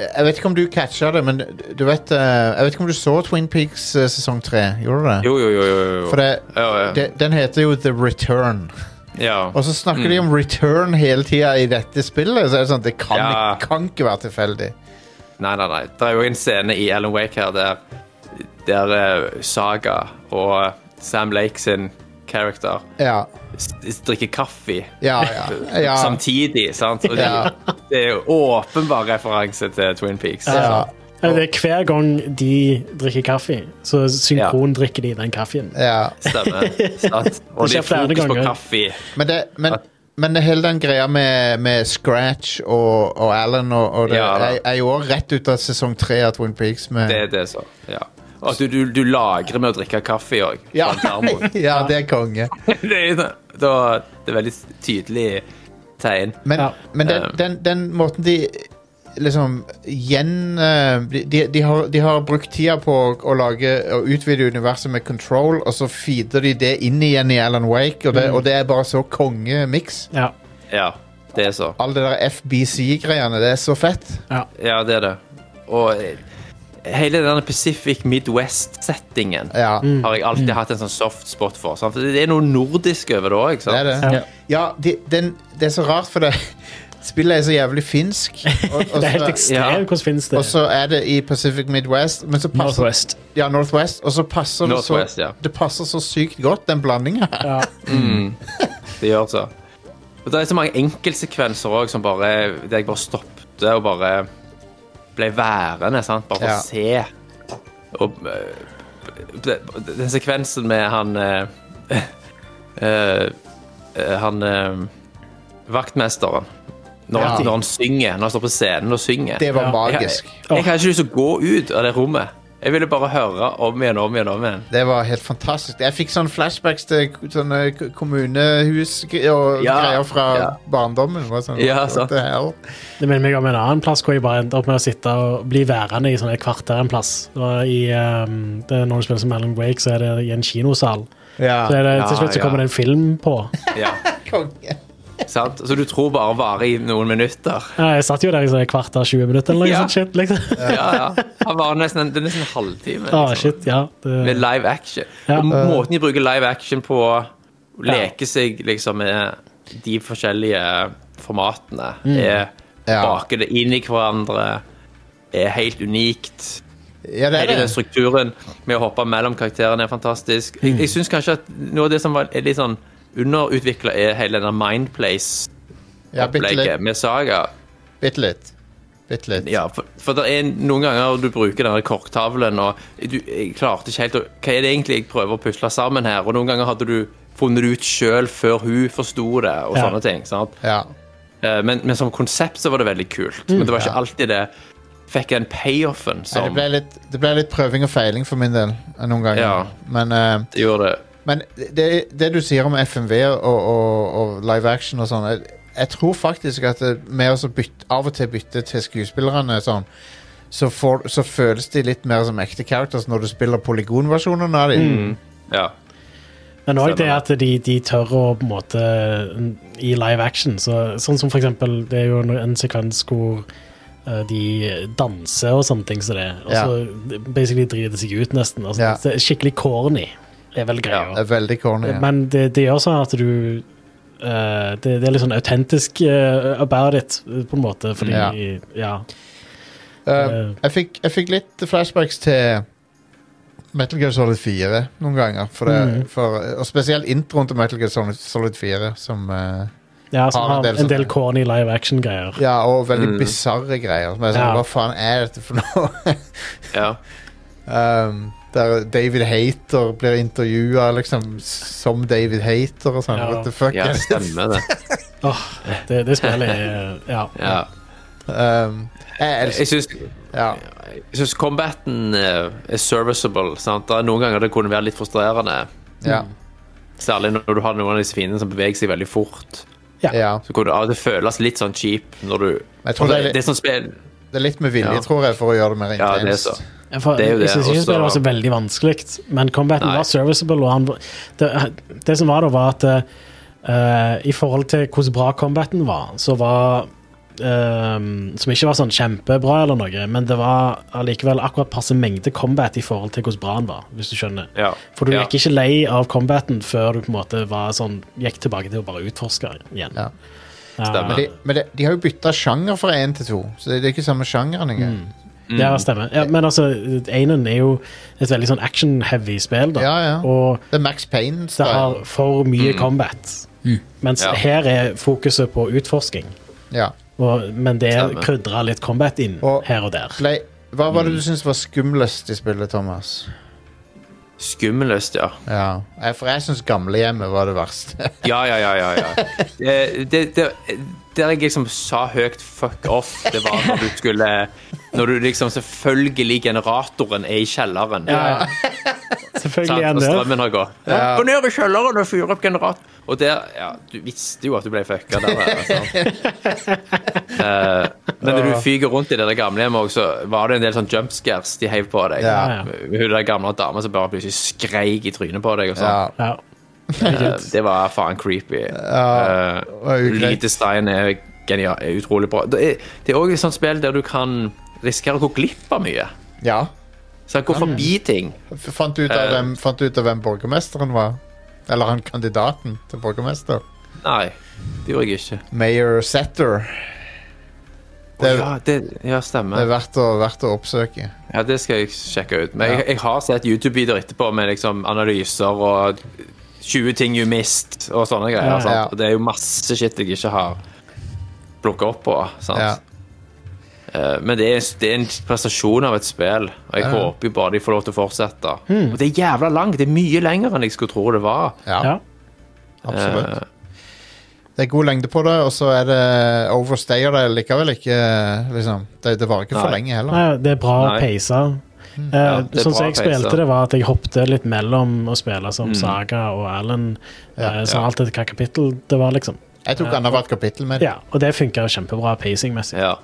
S1: jeg vet ikke om du catcha det, men du vet eh, Jeg vet ikke om du så Twin Peaks eh, sesong tre? Gjorde du det?
S4: Jo, jo, jo. jo, jo.
S1: For det,
S4: Ja, ja.
S1: det, den heter jo The Return.
S4: ja.
S1: Og så snakker de
S4: Mm.
S1: om return hele tida i dette spillet. Så er det sånn, det kan,
S4: Ja.
S1: kan ikke være tilfeldig.
S4: Nei, nei, nei. Det er jo en scene i Alan Wake her der, der eh, Saga og eh, Sam Lake sin character
S1: Ja,
S4: s- s- drikker kaffe
S1: ja, ja. ja.
S4: samtidig, sant? Og det,
S1: Ja.
S4: det er jo åpenbar referanse til Twin Peaks.
S1: Ja,
S2: Eller Det er hver gang de drikker kaffe, så synkron drikker de den kaffen.
S1: ja.
S4: Stemmer. Sant? Og det
S2: Det skjer
S4: er fokus
S2: flere
S4: på
S2: ganger.
S4: kaffe.
S1: Men, det, men, men det hele den greia med, med Scratch og, og Alan og, og det,
S4: Ja, da.
S1: er, er jo også rett ut av sesong tre av Twin Peaks. Med,
S4: Det er det så, ja. Og at du, du, du lagrer med å drikke kaffe òg.
S1: ja. ja, det er konge.
S4: det er da, det er veldig tydelig tegn.
S1: Men,
S2: Ja.
S1: men den,
S4: Um.
S1: den, den måten de liksom gjen eh, de, de, de, har, de har brukt tida på å, å lage og utvide universet med Control, og så feeder de det inn igjen i Alan Wake, og det,
S2: Mm.
S1: og det er bare så konge-miks.
S2: Ja,
S4: Ja, det er så.
S1: All det der FBC-greiene, det er så fett.
S4: Ja, det er det. Og eh, hele denne Pacific Midwest-settingen
S1: Ja,
S2: Mm.
S4: har jeg alltid hatt en sånn soft spot for. Sant? For det er noe nordisk over det òg,
S1: det
S4: ikke sant?
S1: er det.
S6: Ja.
S1: Ja, de, den, det er så rart, for det spillet er så jævlig finsk. Og, og
S2: det er helt
S1: så-
S2: ekstremt
S4: Ja.
S2: hvordan finnes det.
S1: og så er det i Pacific Midwest, men så passer,
S6: Northwest.
S1: Ja, Northwest, og så passer det
S4: Northwest,
S1: så
S4: ja.
S1: Det passer så sykt godt, den blandinga.
S2: Ja.
S4: Det gjør så. Og det er så mange enkeltsekvenser òg som bare Der jeg bare stoppet og bare ble værende, sant? Bare for
S1: Ja.
S4: å se. Og eh, det- den sekvensen med han eh, eh, eh, Han eh, vaktmesteren. Når,
S1: Ja.
S4: når han synger, når han står på scenen og synger.
S1: Det var
S2: Ja.
S1: magisk.
S4: Jeg, jeg, jeg har ikke lyst til å gå ut av det rommet. Jeg ville bare høre om igjen, om igjen, om igjen.
S1: Det var helt fantastisk. Jeg fikk sånne flashbacks til k- sånne k- kommunehus g- og
S4: Ja,
S1: greier fra
S4: ja.
S1: barndommen. Og sånn.
S4: Ja,
S1: What the hell?
S2: Det minner meg om en annen plass hvor jeg bare endte opp med å sitte og bli værende i sånn et kvarter en plass. Det var i, ehm, det er når du spiller som Alan Wake, så er det i en kinosal. Så
S1: Ja.
S2: er det,
S4: Ja,
S2: til slutt så
S4: ja.
S2: kommer det en film på.
S4: Ja,
S1: Konge.
S4: sant? Så du tror bare varer i noen minutter.
S2: Ja, Jeg satt jo der i sånn et kvarter, 20 minutter eller noe
S4: Ja.
S2: sånt shit. Liksom.
S4: Ja, ja. Han varer nesten en, det er nesten en halvtime.
S2: Ah,
S4: liksom.
S2: shit, ja.
S4: Med
S2: Det,
S4: live action.
S2: Ja.
S4: Og måten de bruker live action på å leke seg liksom med de forskjellige formatene,
S2: Mm.
S4: er
S1: Ja.
S4: baker det inn i hverandre, er helt unikt.
S1: Ja, det er
S4: Hele den
S1: det.
S4: strukturen med å hoppe mellom karakterene er fantastisk.
S2: Mm.
S4: Jeg, jeg syns kanskje at noe av det som var er litt sånn underutvikla, er hele denne Mindplace-opplegget
S1: Ja, bitte litt.
S4: med Saga.
S1: Bitte litt. Bitte litt.
S4: Ja, for, for det er noen ganger du bruker denne korktavlen, og du jeg klarte ikke helt å Hva er det egentlig jeg prøver å pusle sammen her? Og noen ganger hadde du funnet det ut sjøl før hun forsto det, og
S2: Ja.
S4: sånne ting. sant?
S1: Ja.
S4: Eh, Men, men som konsept så var det veldig kult. Men det var ikke
S1: Mm. ja.
S4: alltid det fikk den payoffen
S1: Nei,
S4: som
S1: det, ble litt, det ble litt prøving og feiling for min del eh, noen ganger.
S4: Ja.
S1: Men, eh,
S4: det gjorde det.
S1: men det, det du sier om FMV og, og, og live action og sånn jeg, jeg tror faktisk at det, med å så bytte, av og til bytte til skuespillerne sånn, så, får, så føles de litt mer som ekte characters når du spiller polygonversjonen av dem.
S4: Ja.
S2: men Men òg det
S4: Stemmer
S2: at de, de tør å på en måte n- I live action. Så, sånn som for eksempel Det er jo en, en sekvens hvor eh, de danser og sånne ting som det. Og
S1: Ja.
S2: så basically driter det seg ut, nesten. Altså,
S1: Ja.
S2: det er Skikkelig corny er vel
S1: Det
S2: greia.
S1: er veldig corny. Ja.
S2: Men det, det gjør sånn at du eh, det, det er litt sånn autentisk eh, about it, på en måte, fordi Ja.
S1: Ja. Eh, jeg, fikk, jeg fikk litt flashbacks til Metal Gear Solid 4 noen ganger. For det,
S2: Mhm.
S1: for, og spesielt introen til Metal Gear Solid, Solid 4, som eh,
S2: ja, som
S1: Har en
S2: har
S1: del sånn-
S2: en del
S1: sånne-
S2: corny live action-greier.
S1: Ja, og veldig
S4: Mhm.
S1: bisarre greier. Som er sånn,
S2: Ja.
S1: Hva faen er dette for noe?
S4: Ja.
S1: um, der David Hater blir intervjua liksom, som David Hater og sånn.
S2: Ja.
S1: What the fuck?
S4: ja, stemmer det.
S2: Det, det spillet er ja.
S4: Ja.
S1: um, jeg elsker
S4: Jeg syns
S1: ja.
S4: jeg syns combaten eh, er serviceable. Sant? Det er noen ganger det kunne være litt frustrerende.
S1: Ja.
S4: Særlig når du har noen av disse fiendene som beveger seg veldig fort.
S1: ja.
S4: Så kunne det av og til føles litt sånn cheap når du
S1: Jeg tror
S4: Og
S1: det er
S4: det,
S1: litt-
S4: det er sånn spill
S1: Det er litt med vilje,
S4: Ja.
S1: tror jeg, for å gjøre det mer
S4: Ja, det er
S1: intenst.
S4: så.
S2: Ja, for,
S4: Det er jo det,
S2: Jeg synes ikke
S4: og så-
S2: spillet var så veldig vanskelig, men combaten
S4: Nei.
S2: var serviceable. Og han, var- det, det som var da, var at eh, i forhold til hvordan bra combaten var, så var eh, Som ikke var sånn kjempebra eller noe, men det var allikevel akkurat passe mengde combat i forhold til hvordan bra han var, hvis du skjønner.
S4: Ja.
S2: For du
S4: ja.
S2: gikk ikke lei av combaten før du på en måte var sånn, gikk tilbake til å bare utforske igjen.
S1: Ja.
S2: Ja,
S1: Men,
S4: Stemmer.
S1: de, men de, de har jo bytta sjanger fra én til to, så det, det er ikke samme sjangeren engang.
S2: Ja, stemmer. Ja,
S4: Mm.
S2: men altså, Einen er jo et veldig sånn action-heavy spill, da.
S1: Ja, ja.
S2: Og
S1: Det er Max
S2: det
S1: Payne-style.
S2: har for mye combat. Mens
S4: Mm. Ja.
S2: her er fokuset på utforsking.
S1: Ja.
S2: Og, men det er
S4: Stemmer.
S2: krydra litt combat inn
S1: Og-
S2: her og der.
S1: Clay, Hva
S4: Mm.
S1: var det du syntes var skumlest i spillet, Thomas?
S4: Skummeløst, ja.
S1: Ja. Eh, For jeg syns gamlehjemmet var det verste.
S4: Ja, ja, ja. ja, ja. Eh, Det, det, der jeg liksom sa høyt 'fuck off', det var når du skulle Når du liksom Selvfølgelig, generatoren er i kjelleren.
S2: Selvfølgelig
S4: sant?
S2: er
S4: Og
S2: det
S4: strømmen har gått. Ja. Gå ned i kjelleren og fyr opp generator. Og der Ja, du visste jo at du ble fucka der. altså, Sant? Eh, men når du fyker rundt i det der gamlehjemmet òg, så var det en del sånn jumpscares de heiv på deg.
S1: Ja.
S2: Ja,
S4: Hun der gamle dama som bare plutselig skreik i trynet på deg og sånn.
S1: Ja.
S2: ja.
S4: Eh, Det var faen creepy. Eh,
S1: var ugreit.
S4: Lite stein er, genial, er utrolig bra. Det er- det er òg et sånt spill der du kan risikere å gå glipp av mye.
S1: ja.
S4: Så Gå forbi ting.
S1: F- Fant du ut, av
S4: Eh.
S1: hvem, fant du ut av hvem borgermesteren var? Eller han kandidaten til borgermester?
S4: Nei, det gjorde jeg ikke.
S1: Mayor Setter. Det,
S4: Å,
S1: er-
S4: ja, det,
S1: det
S4: ja,
S1: er
S4: stemmer.
S1: verdt å, verdt å oppsøke.
S4: Ja, det skal jeg sjekke ut. Men jeg, jeg har sett YouTube-videoer etterpå med liksom analyser og 20 ting you missed og sånne greier.
S2: Ja.
S1: Ja.
S4: Sant? Og det er jo masse shit jeg ikke har plukka opp på. Sant?
S1: Ja.
S4: Eh, Men det er, det er en prestasjon av et spill, og jeg håper jo bare de får lov til å fortsette.
S1: Hmm.
S4: Og det er jævla langt. Det er mye lenger enn jeg skulle tro det var.
S1: Ja,
S2: ja.
S1: absolutt.
S4: Eh.
S1: Det er god lengde på det, og så er det overstayer det likevel ikke. liksom. Det, det varer ikke for
S4: Nei.
S1: lenge heller.
S2: Nei, det er bra å
S4: Nei.
S2: peise. Eh,
S4: det er
S2: sånn
S4: bra Mm. å
S2: som jeg
S4: peise.
S2: spilte det, var at jeg hoppet litt mellom å spille som Saga og Alan. eh, så alt etter hva kapittel det var, liksom.
S1: Jeg tok annethvert kapittel med det.
S2: Ja, og det funka kjempebra pacingmessig.
S4: Eh, Ja.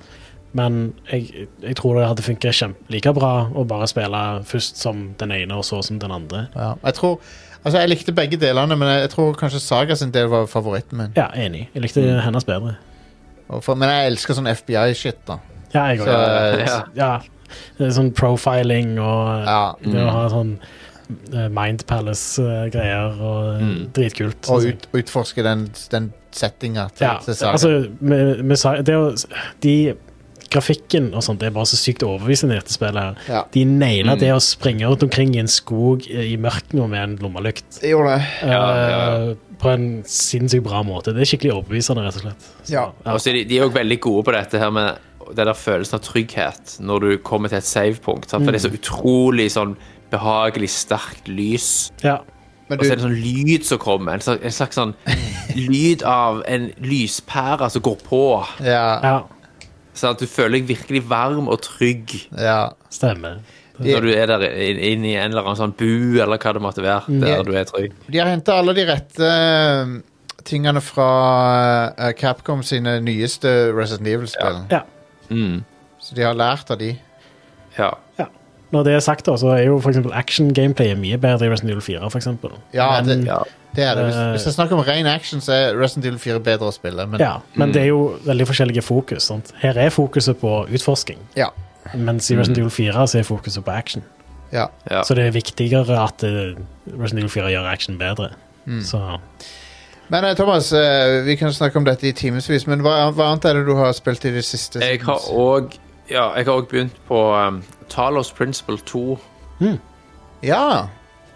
S2: Men jeg, jeg tror det hadde funka like bra å bare spille først som den ene, og så som den andre.
S1: Ja. Jeg tror, altså jeg likte begge delene, men jeg tror kanskje Saga sin del var favoritten min.
S2: Ja, enig. Jeg likte
S4: Mm.
S2: hennes bedre.
S1: Og For, men jeg elsker sånn FBI-shit, da.
S2: Ja, jeg
S1: Så,
S2: òg.
S4: ja.
S2: Ja. Det er sånn profiling og
S1: ja.
S2: det å ha sånn eh, Mind Palace-greier og eh, dritkult. synes
S1: Og
S2: jeg.
S1: ut, utforske den, den settinga til,
S2: ja,
S1: til Saga.
S2: altså, med, med, Sa- det å, de Grafikken og sånt det er bare så sykt overbevisende i dette spillet. her.
S1: Ja.
S2: De naila det å springe rundt omkring i en skog eh, i mørket med en lommelykt.
S1: Jeg gjorde det.
S4: ja,
S2: Eh, På en sinnssykt bra måte. Det er skikkelig overbevisende, rett og slett.
S1: Ja.
S4: Og så er de, de er jo veldig gode på dette her med den der følelsen av trygghet når du kommer til et savepunkt. sant? For det er så
S1: Mm.
S4: utrolig sånn behagelig sterkt lys.
S2: Ja.
S1: Men
S4: Og så er
S1: du,
S4: det sånn lyd som kommer. En slags, en slags sånn lyd av en lyspære som går på.
S1: ja,
S2: ja
S4: Sånn at du føler deg virkelig varm og trygg.
S1: ja.
S2: stemmer.
S1: Ja.
S4: Når du er der inn, inn i en eller annen sånn bu, eller hva det måtte være,
S1: Ja.
S4: der du er trygg.
S1: De har henta alle de rette eh, tingene fra eh, Capcom sine nyeste Resident Evil-spill.
S2: Ja.
S1: Så de har lært av de.
S4: Ja.
S2: Ja. Når det er sagt, da, så er jo f.eks. action-gameplayet mye bedre i Resident Evil 4. For eksempel.
S1: Ja,
S2: men,
S1: det, det er det. Hvis,
S2: eh,
S1: hvis det er snakk om ren action, så er Resident Evil 4 bedre å spille. Men,
S2: ja, men det er jo
S4: Mm.
S2: veldig forskjellige fokus. Sant? Her er fokuset på utforsking,
S1: Ja,
S2: mens i Resident Evil 4 så er fokuset på action.
S1: ja.
S4: Mm. Ja.
S2: Så det er viktigere at eh, Resident Evil 4 gjør action bedre.
S4: Mm.
S2: Så
S1: Men eh, Thomas, eh, vi kan snakke om dette i timevis, men hva, hva annet er det du har spilt i det siste?
S4: Jeg har
S1: siden-
S4: òg ja, jeg har også begynt på um, Talos Principle 2.
S1: Ja,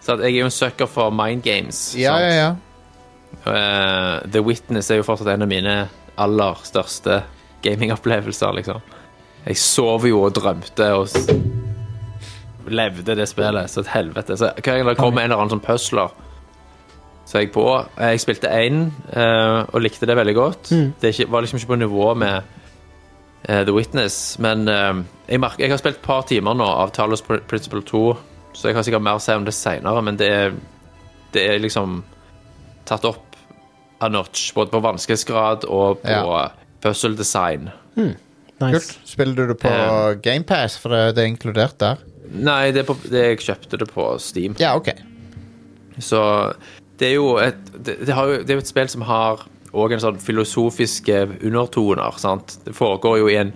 S4: Så at jeg er jo en sucker for mind games.
S1: ja,
S4: sant?
S1: ja. ja.
S4: Eh, The Witness er jo fortsatt en av mine aller største gamingopplevelser, liksom. Jeg sov jo og drømte og s- levde det spillet. Så et helvete. Så hver gang det kom en eller annen sånn pusler, så er jeg på. Eh, Jeg spilte én eh, og likte det veldig godt. Det er ikke, var liksom ikke på nivå med eh, The Witness, men eh, jeg, merker, jeg har spilt et par timer nå av Talos Pr- Principle 2, så jeg har sikkert mer å si om det seinere, men det er, det er liksom tatt opp a notch, både på vanskelighetsgrad og på
S1: Ja.
S4: puzzle design.
S2: nice.
S1: Kult. Spiller du det på
S4: Eh. GamePass,
S1: GamePass, for det, det er inkludert der?
S4: Nei, det er på, det, jeg kjøpte det på Steam.
S1: Ja, OK.
S4: Så det er jo et, det, det har jo, det er jo et spill som har òg en sånn filosofiske undertoner. sant? Det foregår jo i en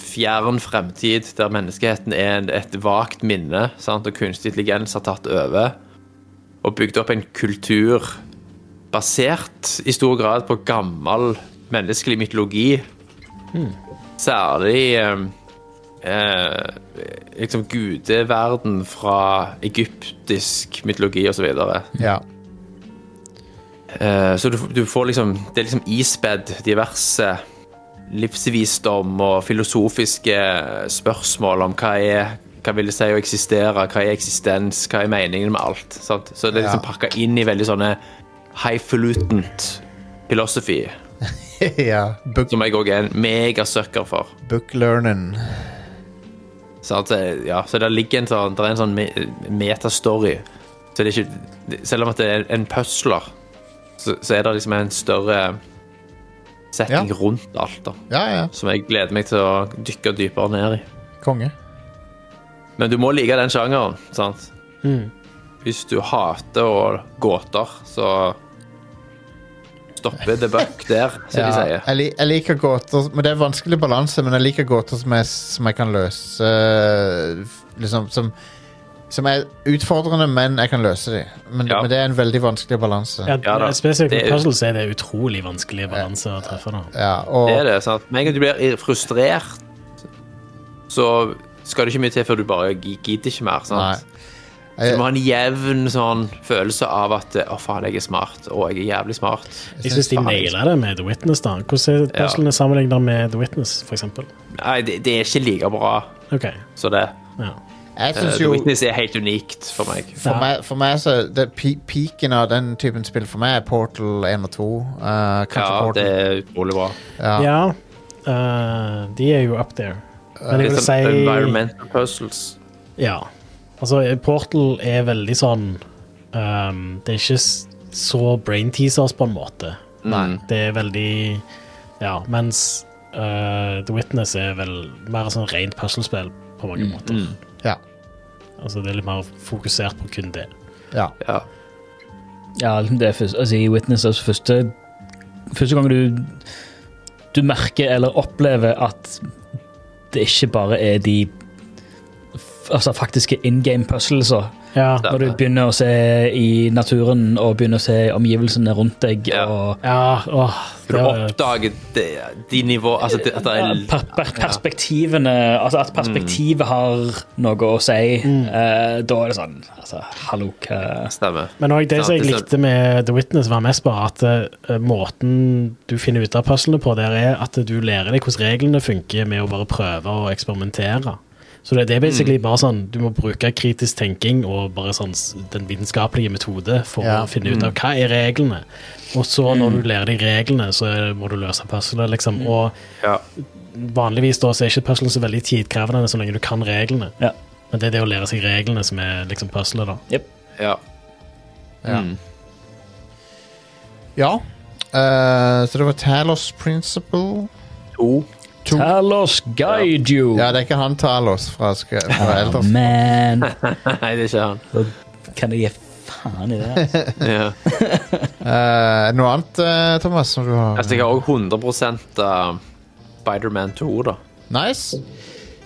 S4: fjern fremtid der menneskeheten er en, et vagt minne, sant? og kunstig intelligens har tatt over og bygd opp en kultur basert i stor grad på gammel menneskelig mytologi. Hmm. Særlig eh, eh, liksom gudeverden fra egyptisk mytologi osv.
S1: Ja.
S4: Eh, så du, du får liksom Det er liksom ispedd diverse livsvisdom og filosofiske spørsmål om hva er hva vil det si å eksistere, hva er eksistens, hva er meningen med alt? Sant? Så det er liksom
S1: Ja.
S4: pakka inn i veldig sånne highfalutant philosophy,
S1: ja. Book,
S4: som jeg òg er en megasucker for.
S1: book learning.
S4: Så, at, eh, ja, så der ligger en sånn, der er en sånn me- metastory. Så det er ikke, selv om at det er en pusler, så, så er det liksom en større setting
S1: Ja.
S4: rundt alt da,
S1: Ja, ja.
S4: som jeg gleder meg til å dykke dypere ned i.
S1: Konge.
S4: Men du må like den sjangeren, sant?
S1: Mm.
S4: Hvis du hater og gåter, så stopper The Buck der, som
S1: Ja.
S4: de sier.
S1: Jeg, li- jeg liker gåter Men Det er vanskelig balanse, men jeg liker gåter som jeg, som jeg kan løse eh, Liksom som som er utfordrende, men jeg kan løse dem. Men,
S4: Ja.
S1: men det er en veldig vanskelig balanse.
S2: Ja,
S4: Ja da,
S2: spesielt
S4: det
S2: med
S4: er-
S2: puzzles er det utrolig vanskelig balanse å treffe. da
S1: Ja, og,
S4: Det er det, sant? Med en gang du blir ir- frustrert, så skal det ikke mye til før du bare gi- gidder ikke mer, sant? Så du må ha en jevn sånn følelse av at eh, å faen, jeg er smart, og jeg er jævlig smart.
S2: Jeg syns de
S4: Faen.
S2: naila det med The Witness. da Hvordan er
S4: Ja.
S2: puzzlene sammenlignet med The Witness, for eksempel?
S4: Nei, det, det er ikke like bra
S2: Ok,
S4: som det.
S2: ja.
S1: Jeg
S4: Eh,
S1: syns
S4: The
S1: jo
S4: Witness er helt unikt for meg.
S1: For,
S2: Ja.
S1: meg, for meg så det, pe Peaken av den typen spill for meg er Portal 1 og 2. eh, kanskje
S4: Ja, det
S1: Portal
S4: er utrolig bra.
S1: ja.
S2: Ja, eh, de er jo up there. Men jeg
S4: Litt
S2: vil
S4: sånn
S2: si
S4: environmental puzzles.
S2: Ja. Altså, Portal er veldig sånn ehm, Det er ikke s- så brain teasers, på en måte.
S4: Nei.
S2: Det er veldig Ja, mens eh, The Witness er vel mer sånn rent puslespill på mange
S4: Mm.
S2: måter.
S1: Ja,
S2: Altså, det er litt mer fokusert på kun det.
S1: ja.
S4: Ja.
S6: Ja, liksom det er først, altså i Witness altså første, første gang du du merker eller opplever at det ikke bare er de f- altså faktiske in game puzzles
S2: Ja,
S4: Ja.
S6: når du begynner å se i naturen og begynner å se omgivelsene rundt deg
S4: Ja.
S6: og
S2: ja åh,
S4: Du
S2: det var-
S4: oppdager de, de nivå... Altså, det- at det
S6: Ja,
S4: er
S6: eh, per, per, perspektivene Altså at perspektivet har noe å si. eh, da er det sånn altså, Hallo, hva
S4: Stemmer.
S2: Men også det
S4: Sant,
S2: som jeg
S4: det er
S2: likte med The Witness, var mest bare at eh, måten du finner ut av puzzlene på, der er at du lærer deg hvordan reglene funker med å bare prøve og eksperimentere. Så det, det er basically bare sånn du må bruke kritisk tenking og bare sånn s- den vitenskapelige metode for
S1: Ja.
S2: å finne ut av hva er reglene. Og så når du lærer deg reglene, så er- må du løse puzzlet, liksom. Og
S4: Ja.
S2: vanligvis da så er ikke puzzlene så veldig tidkrevende så lenge du kan reglene.
S6: Ja.
S2: Men det er det å lære seg reglene som er liksom puzzlet, da.
S4: Ja.
S1: Ja.
S4: Mm.
S1: ja. Eh, så det var Talos Principle
S4: To.
S1: 2. to
S6: Talos guide you.
S1: Ja, det er ikke han Talos fra, Sk- fra Elders.
S6: Man,
S4: Nei, det er ikke han.
S6: kan jeg gi faen i det? altså?
S4: Ja.
S1: Eh, er det noe annet, eh, Thomas, som du har?
S4: Altså, jeg har òg 100 uh, Spider-Man 2, da.
S1: Nice.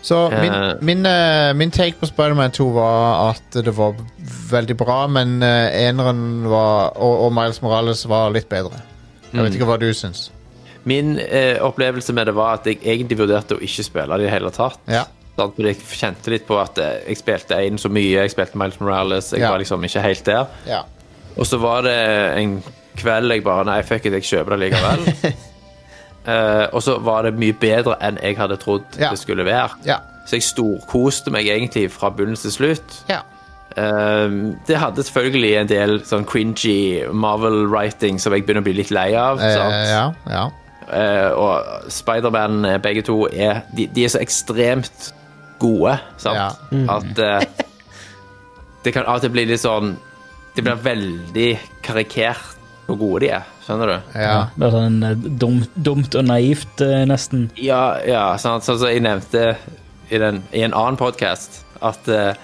S1: Så
S4: Eh.
S1: min, min, eh, min take på Spiderman 2 var at det var veldig bra, men eh, eneren var, og, og Miles Morales var litt bedre. Jeg
S4: Mm.
S1: vet ikke hva du syns.
S4: Min eh, opplevelse med det var at jeg egentlig vurderte å ikke spille det i det hele tatt.
S1: Ja.
S4: Sant? Men jeg kjente litt på at eh, jeg spilte én så mye, jeg spilte Miles Morales, jeg
S1: Ja.
S4: var liksom ikke helt der.
S1: Ja.
S4: Og så var det en kveld jeg bare Nei, fuck it, jeg kjøper det likevel. Eh, og så var det mye bedre enn jeg hadde trodd
S1: Ja.
S4: det skulle være.
S1: Ja.
S4: Så jeg storkoste meg egentlig fra begynnelse til slutt.
S1: ja.
S4: Ehm, det hadde selvfølgelig en del sånn cringy Marvel-writing som jeg begynner å bli litt lei av.
S1: Eh,
S4: sant?
S1: ja, ja.
S4: Eh, og Spider-Man, eh, begge to, er, de, de er så ekstremt gode, sant?
S1: Ja.
S4: At eh, det kan av og til bli litt sånn Det blir veldig karikert hvor gode de er, skjønner du?
S1: ja.
S6: Det er sånn eh, dumt, dumt og naivt, eh, nesten.
S4: Ja, ja, sant? sånn som jeg nevnte i, den, i en annen podkast, at eh,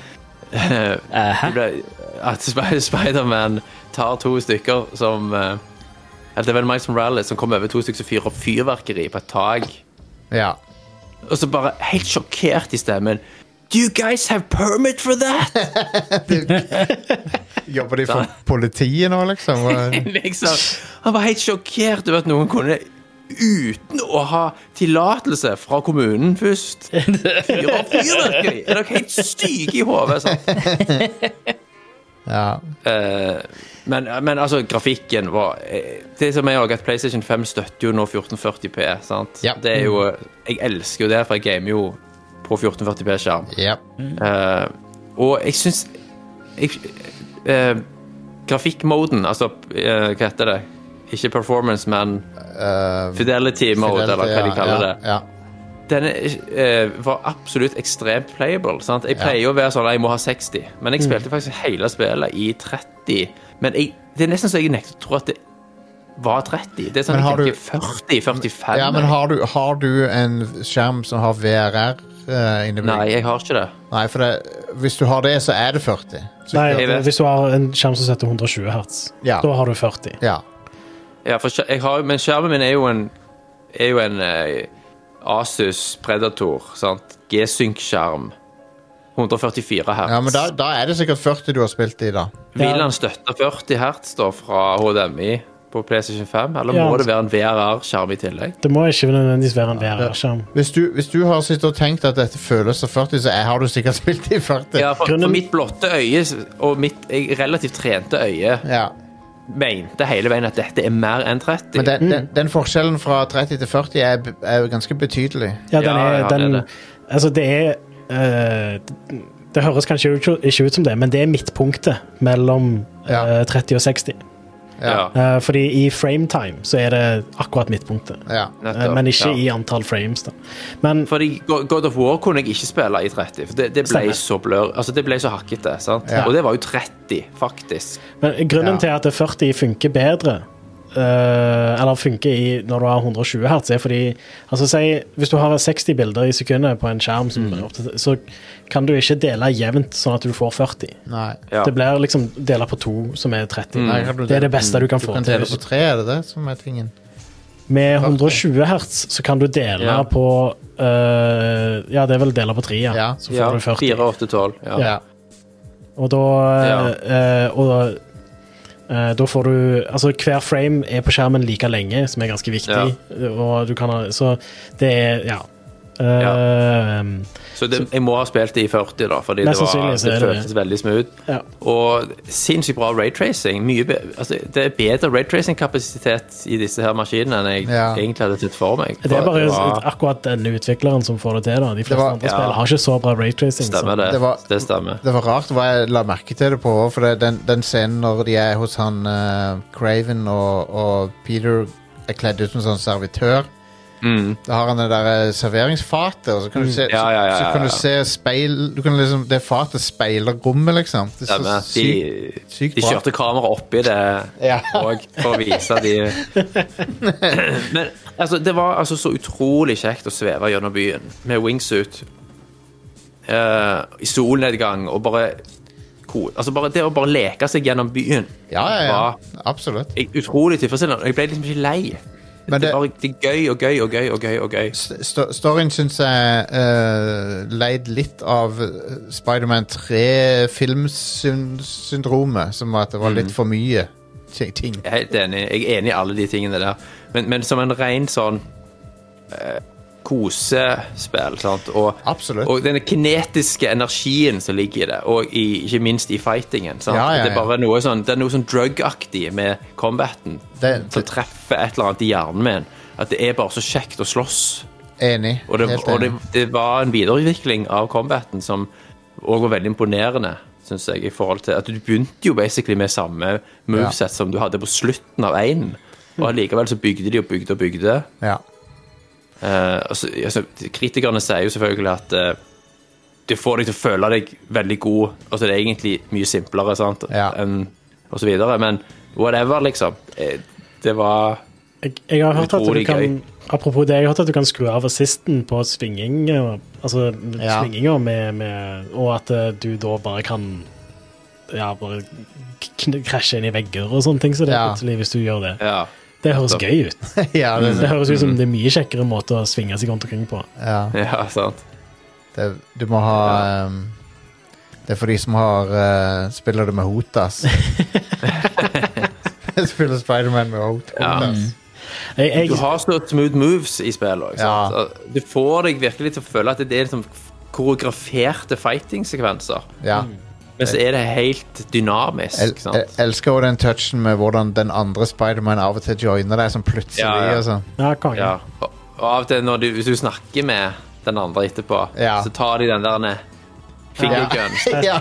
S6: Hæ?
S4: Det ble- At Sp- Spider-Man tar to stykker som eh, Eller det er vel Miles Morales som kommer over to stykker som fyrer opp fyrverkeri på et tak.
S1: ja.
S4: Og så bare helt sjokkert i stemmen Do you guys have permit for that?
S1: Jobber de for politiet nå, liksom? Hva-
S4: liksom. Han var helt sjokkert over at noen kunne Uten å ha tillatelse fra kommunen først. Fyre opp fyrverkeri! Er dere helt syke i hodet? altså? sant?
S1: Ja.
S4: Eh, men, men altså, grafikken var eh, Det som er også at PlayStation 5 støtter jo nå 1440p, sant?
S1: Ja.
S4: Det er jo Jeg elsker jo det, for jeg gamer jo på 1440p-skjerm.
S1: ja.
S4: Eh, og jeg syns jeg- eh, Grafikkmoden, altså eh, Hva heter det? Ikke performance, men
S1: Eh,
S4: fidelity
S1: Fidelity,
S4: mode, eller hva de
S1: ja,
S4: kaller det.
S1: Ja,
S4: Den eh, var absolutt ekstremt playable. Sant? Jeg pleier jo å være sånn jeg må ha 60, men
S1: Mm.
S4: jeg spilte faktisk hele spillet i 30. Men jeg, det er nesten så jeg nekter å tro at det var 30. Det er sånn
S1: Men har
S4: jeg
S1: du-
S4: tenker 40-45.
S1: ja. ja, men har du, har du en skjerm som har VRR uh, innebygd?
S4: Nei, jeg har ikke det.
S1: Nei, for det, hvis du har det, så er det 40. Så-
S2: Nei,
S4: Jeg vet.
S2: hvis du har en skjerm som setter 120 hertz,
S1: Ja.
S2: da har du 40.
S1: Ja.
S4: Ja, for skjer- jeg har, men skjermen min er jo en, er jo en eh, Asus Predator. sant? G-Sync-skjerm. 144 hertz.
S1: ja, men da, da er det sikkert 40 du har spilt i, da.
S4: Vil han støtte 40 hertz da, fra HDMI på PlayStation 5, eller
S2: Ja,
S4: må
S2: han-
S4: det være en VRR-skjerm i tillegg?
S2: Det må ikke nødvendigvis være en VR-skjerm.
S1: Hvis du, hvis du har sittet og tenkt at dette føles som 40, så er, har du sikkert spilt i 40.
S4: Ja, for,
S2: Grunnen-
S4: for mitt blotte øye og mitt jeg, relativt trente øye
S1: Ja.
S4: mente hele veien at dette er mer enn 30.
S1: Men den, den, den forskjellen fra 30 til 40 er, b- er jo ganske betydelig.
S2: Ja, den
S4: Ja,
S2: er,
S4: ja, det
S2: den,
S4: er det.
S2: Altså, det er eh, det, det høres kanskje ikke ut- ikke ut som det, men det er midtpunktet mellom
S1: Ja.
S2: eh, 30 og 60.
S4: ja.
S2: Eh, fordi i frame time så er det akkurat midtpunktet.
S1: Ja.
S4: nettopp,
S2: Eh, men ikke
S4: ja.
S2: i antall frames, da. Men
S4: Fordi Go- God of War kunne jeg ikke spille i 30, for det, det ble
S2: Stemmer.
S4: så blør, altså det ble så hakkete. sant?
S1: Ja.
S4: Og det var jo 30, faktisk.
S2: Men grunnen
S1: Ja.
S2: til at 40 funker bedre eh, eller funker i, når du har 120 hertz, er fordi altså si, Hvis du har 60 bilder i sekundet på en skjerm, som, så kan du ikke dele jevnt sånn at du får 40.
S1: Nei.
S4: Ja.
S2: Det blir liksom dela på to, som er 30.
S1: Nei, kan du
S2: Det er det
S1: dele-
S2: beste du kan
S1: Du
S2: få
S1: kan
S2: til.
S1: dele på tre, er det det som er tingen?
S2: Med 120 hertz så kan du dele
S4: Ja.
S2: på eh, Ja, det er vel dele på tre, ja.
S1: Ja.
S2: Så får
S4: Ja,
S2: du 40.
S4: 4, 8, 12. Ja.
S1: Ja.
S2: Og da eh, Og da, eh, da får du Altså, hver frame er på skjermen like lenge, som er ganske viktig. Og du kan ha Så det er Ja. Eh,
S4: Så det, jeg må ha spilt det i 40, da, fordi det,
S2: Mest
S4: var,
S2: sannsynlig så
S4: det
S2: er det det.
S4: føltes veldig smooth.
S2: Ja.
S4: Og sinnssykt bra raytracing. Mye be, altså, det er bedre raytracing-kapasitet i disse her maskinene enn jeg
S1: Ja.
S4: egentlig hadde sett for meg.
S2: Det er bare
S4: var-
S2: akkurat denne utvikleren som får det til. da De fleste
S1: Det var-
S2: andre
S4: ja.
S2: spill har ikke så bra raytracing.
S4: Stemmer det.
S1: Det
S4: Det,
S1: var-
S4: stemmer.
S1: Det var rart hva jeg la merke til det på, for det, den, den scenen når de er hos han eh, Craven og, og Peter er kledd ut som sånn servitør. Da har han det der eh, serveringsfatet, og så kan du se,
S4: Mm. Ja, ja, ja,
S1: så,
S4: ja,
S1: så kan
S4: ja.
S1: du se speil du kan liksom, Det fatet speiler rommet, liksom. Det er så
S4: Stemmer.
S1: sykt
S4: De,
S1: sykt
S4: de
S1: bra.
S4: kjørte kamera oppi det
S1: Ja.
S4: og for å vise de Men Altså, det var altså så utrolig kjekt å sveve gjennom byen med wingsuit eh, i solnedgang og bare ko- Altså bare det å bare leke seg gjennom byen
S1: Ja, ja,
S4: var
S1: ja. Absolutt.
S4: jeg- utrolig tilfredsstillende. Jeg ble liksom ikke lei.
S1: Men
S4: Det
S1: det,
S4: var det er gøy og gøy og gøy og gøy. og gøy.
S1: st- sto- storyen syns jeg eh, leid litt av eh, Spiderman 3-filmsyndromet, som var at det var
S4: Mm.
S1: litt for mye ti- ting.
S4: Jeg er helt enig. Jeg er enig i alle de tingene der. Men, men som en ren sånn eh, kosespill, sant. Og,
S1: Absolutt.
S4: og den kinetiske energien som ligger i det, og i, ikke minst i fightingen. Sant?
S1: Ja, ja,
S4: Det er
S1: ja.
S4: bare noe sånn, det er noe sånn drug-aktig med combaten
S1: Det-
S4: som treffer et eller annet i hjernen min. At det er bare så kjekt å slåss.
S1: Enig.
S4: Og det,
S1: Helt
S4: og det,
S1: enig.
S4: det var en videreutvikling av combaten som òg var veldig imponerende, syns jeg, i forhold til at du begynte jo basically med samme moveset som du hadde på slutten av én, og allikevel så bygde de og bygde og bygde.
S1: Ja.
S4: Eh, altså, altså, kritikerne sier jo selvfølgelig at eh, det får deg til å føle deg veldig god, altså det er egentlig mye simplere, sant,
S1: Ja.
S4: enn og så videre, men whatever, liksom. Eh, Det var
S2: Jeg, jeg har hørt at du
S4: Utrolig
S2: kan
S4: gøy.
S2: Apropos det, jeg har hørt at du kan skru av assisten på svinging, og- altså
S1: Ja.
S2: svinginger, med, med, og at eh, du da bare kan Ja, bare kn- krasje inn i vegger og sånne ting, så det er
S1: Ja.
S2: plutselig, hvis du gjør det.
S4: Ja.
S2: Det høres
S4: Nettopp.
S2: gøy ut.
S1: ja, det,
S4: Mm.
S2: Det høres ut som det er mye kjekkere måte å svinge seg rundt omkring på.
S1: ja.
S4: ja sant.
S1: Det, du må ha ehm, Det er for de som har eh, spiller det med Hotas. spiller Spiderman med hot,
S4: Ja. Mm.
S1: Hotas.
S2: Jeg, jeg,
S4: Du har så smooth moves i spillet òg.
S1: Ja.
S4: Du får deg virkelig til å føle at det er liksom koreograferte fighting-sekvenser.
S1: Ja.
S4: Men så er det helt
S1: El,
S4: dynamisk.
S1: el,
S4: Mm. sant?
S1: elsker også den touchen med hvordan den andre Spiderman av og til joiner deg sånn plutselig.
S4: Ja, ja.
S1: Og sånn.
S2: ja, konge.
S4: Ja. Og og av og til når du, hvis du snakker med den andre etterpå,
S1: Ja.
S4: så tar de den der
S1: Ja.
S4: fingerguns
S1: ja.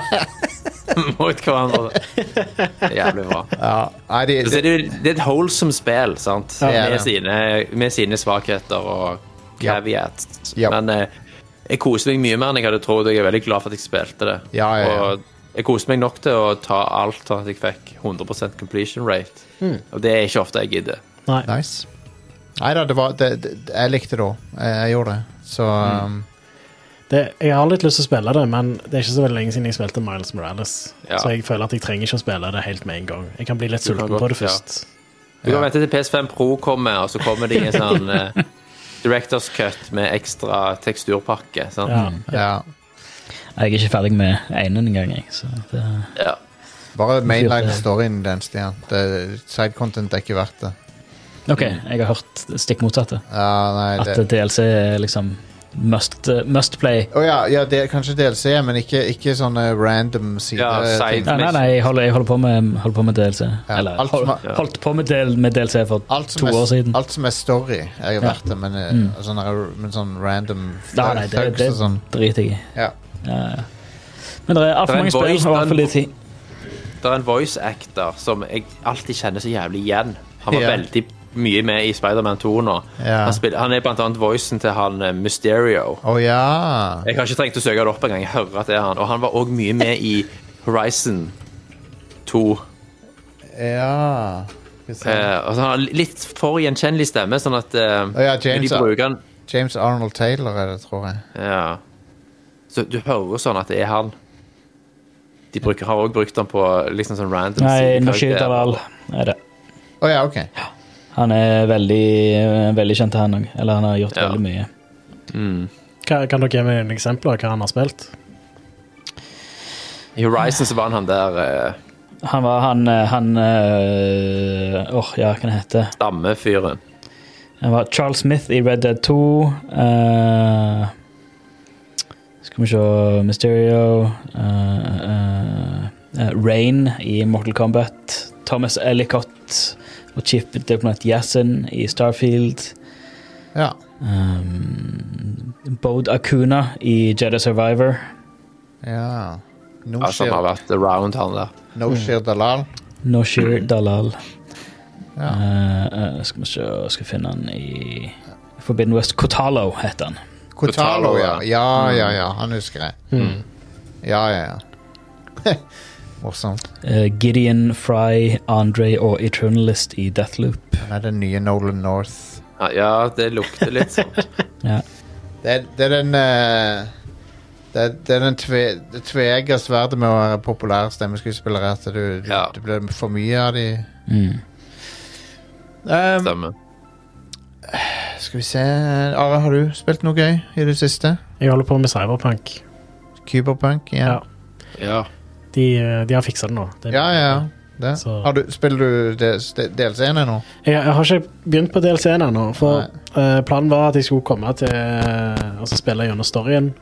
S4: mot hverandre. Det er Jævlig bra.
S1: ja. Nei, de,
S4: Så er det, jo- det er et wholesome spill, sant?
S1: Ja, det er
S4: med,
S1: det.
S4: sine, med sine svakheter og
S1: Ja.
S4: caveats.
S1: Ja.
S4: Men eh, jeg koser meg mye mer enn jeg hadde trodd. og Jeg er veldig glad for at jeg spilte det.
S1: Ja, ja, ja.
S4: Og jeg koste meg nok til å ta alt sånn at jeg fikk 100 completion rate.
S1: Hmm.
S4: Og det er ikke ofte jeg gidder.
S2: Nei.
S1: nice. Neida, det var det, det, Jeg likte det òg. Jeg, jeg gjorde det. Så
S4: Mm.
S1: um,
S2: Det, jeg har litt lyst til å spille det, men det er ikke så veldig lenge siden jeg spilte Miles Morales.
S4: Ja.
S2: Så jeg føler at jeg trenger ikke å spille det helt med en gang. Jeg kan bli litt
S4: Du kan
S2: sulten
S4: godt,
S2: på det
S4: ja.
S2: først.
S4: Du kan
S1: Ja.
S4: vente til PS5 Pro kommer, og så kommer det i en sånn eh, Directors cut med ekstra teksturpakke. Sant?
S2: Ja.
S1: ja.
S6: Jeg er ikke ferdig med enen engang, jeg. Så det,
S4: Ja.
S1: Bare mainline storyen den, Stian. Det- Side content er ikke verdt det.
S6: OK, jeg har hørt stikk motsatte.
S1: Ja, nei,
S6: At
S1: det
S6: DLC er liksom must, eh, must play.
S1: Å ja, ja, det er kanskje DLC, men ikke, ikke sånne random sider.
S4: Ja, side-
S6: Nei, nei, nei jeg, holder, jeg holder på med, holder på med DLC. Eller
S1: alt som
S6: hold,
S1: er-
S6: holdt på med, del, med DLC for
S1: Alt
S6: to
S1: som,
S6: år
S1: er,
S6: siden. Mm.
S1: alt som er story, er jo verdt det, men, eh, sånn, her- men sånn random
S6: Nei, nei, det,
S1: thugs
S6: det
S1: og sånn.
S6: driter jeg i.
S1: Ja.
S6: Men det er altfor
S4: Det er en
S6: mange spill
S4: voice,
S6: og altfor
S4: den-
S6: lite tid.
S4: Det er en voice actor som jeg alltid kjenner så jævlig igjen. Han var
S1: Ja.
S4: veldig mye med i Spider-Man 2 nå.
S1: Ja.
S4: Han, spiller, han er blant annet voicen til han eh, Mysterio.
S1: Å ja.
S4: Jeg har ikke trengt å søke det opp engang. Jeg hører at det er han. Og han var òg mye med i Horizon 2.
S1: Ja. Skal vi
S4: Eh,
S1: se.
S4: altså, han har litt for gjenkjennelig stemme, sånn at eh,
S1: Å ja,
S4: men
S1: James,
S4: de bruker han
S1: James Arnold Taylor er det, tror jeg.
S4: Ja. Så du hører sånn at det er han. De bruker, har òg brukt han på liksom sånn random
S6: Nei, Norshid
S4: sidekarakterer.
S6: Dalal er det.
S1: Å ja, ok.
S6: Han er veldig, veldig kjent, han òg. Eller han har gjort
S4: Ja.
S6: veldig mye.
S2: Kan, kan dere gi meg en eksempel av hva han har spilt?
S4: I Horizon så var han han der eh,
S6: Han var han eh, Han eh, Åh, ja, hva heter han?
S4: stammefyren.
S6: Han var Charles Smith i Red Dead 2. eh, skal vi se Mysterio. eh, eh, eh, Rain i Mortal Kombat. Thomas Ellicott og Chief Diplomat Yasin i Starfield.
S1: Ja.
S6: Um, Bode Akuna i Jedi Survivor.
S1: ja. No
S4: Altså, han har vært around, han der.
S6: Mm.
S1: Noshir Dalal.
S6: Noshir Dalal.
S1: Ja.
S6: Eh, eh, skal vi se Skal finne han i Forbidden West. Kotalo heter han.
S1: Kotalo,
S4: Kotalo,
S1: ja.
S4: ja. Mm.
S1: Ja, ja, ja. Han husker jeg. Ja, ja, ja. Morsomt.
S6: Eh, Gideon Fry, Andre og Eternalist i Deathloop.
S1: Han er den nye Nolan North.
S4: Ja, Ja, det lukter litt sånn.
S6: Ja.
S1: Det, er- det er den eh, det, er- det er den tve, det tveegga sverdet med å være populær stemmeskuespiller. At du, du,
S4: Ja.
S1: det blir for mye av de
S6: Mm.
S1: Ehm,
S4: Stemmer.
S1: Skal vi se Are, har du spilt noe gøy i det siste?
S2: Jeg holder på med Cyberpunk.
S1: Cyberpunk? igjen?
S2: Ja.
S4: Ja.
S2: De, eh, de har fiksa det nå. Det,
S1: Ja, ja. ja. Det.
S2: Så-
S1: Har du, spiller du dels- de- DLC-en ennå?
S2: Jeg, jeg har ikke begynt på DLC-en ennå. For eh, planen var at jeg skulle komme til eh, Altså spille gjennom storyen.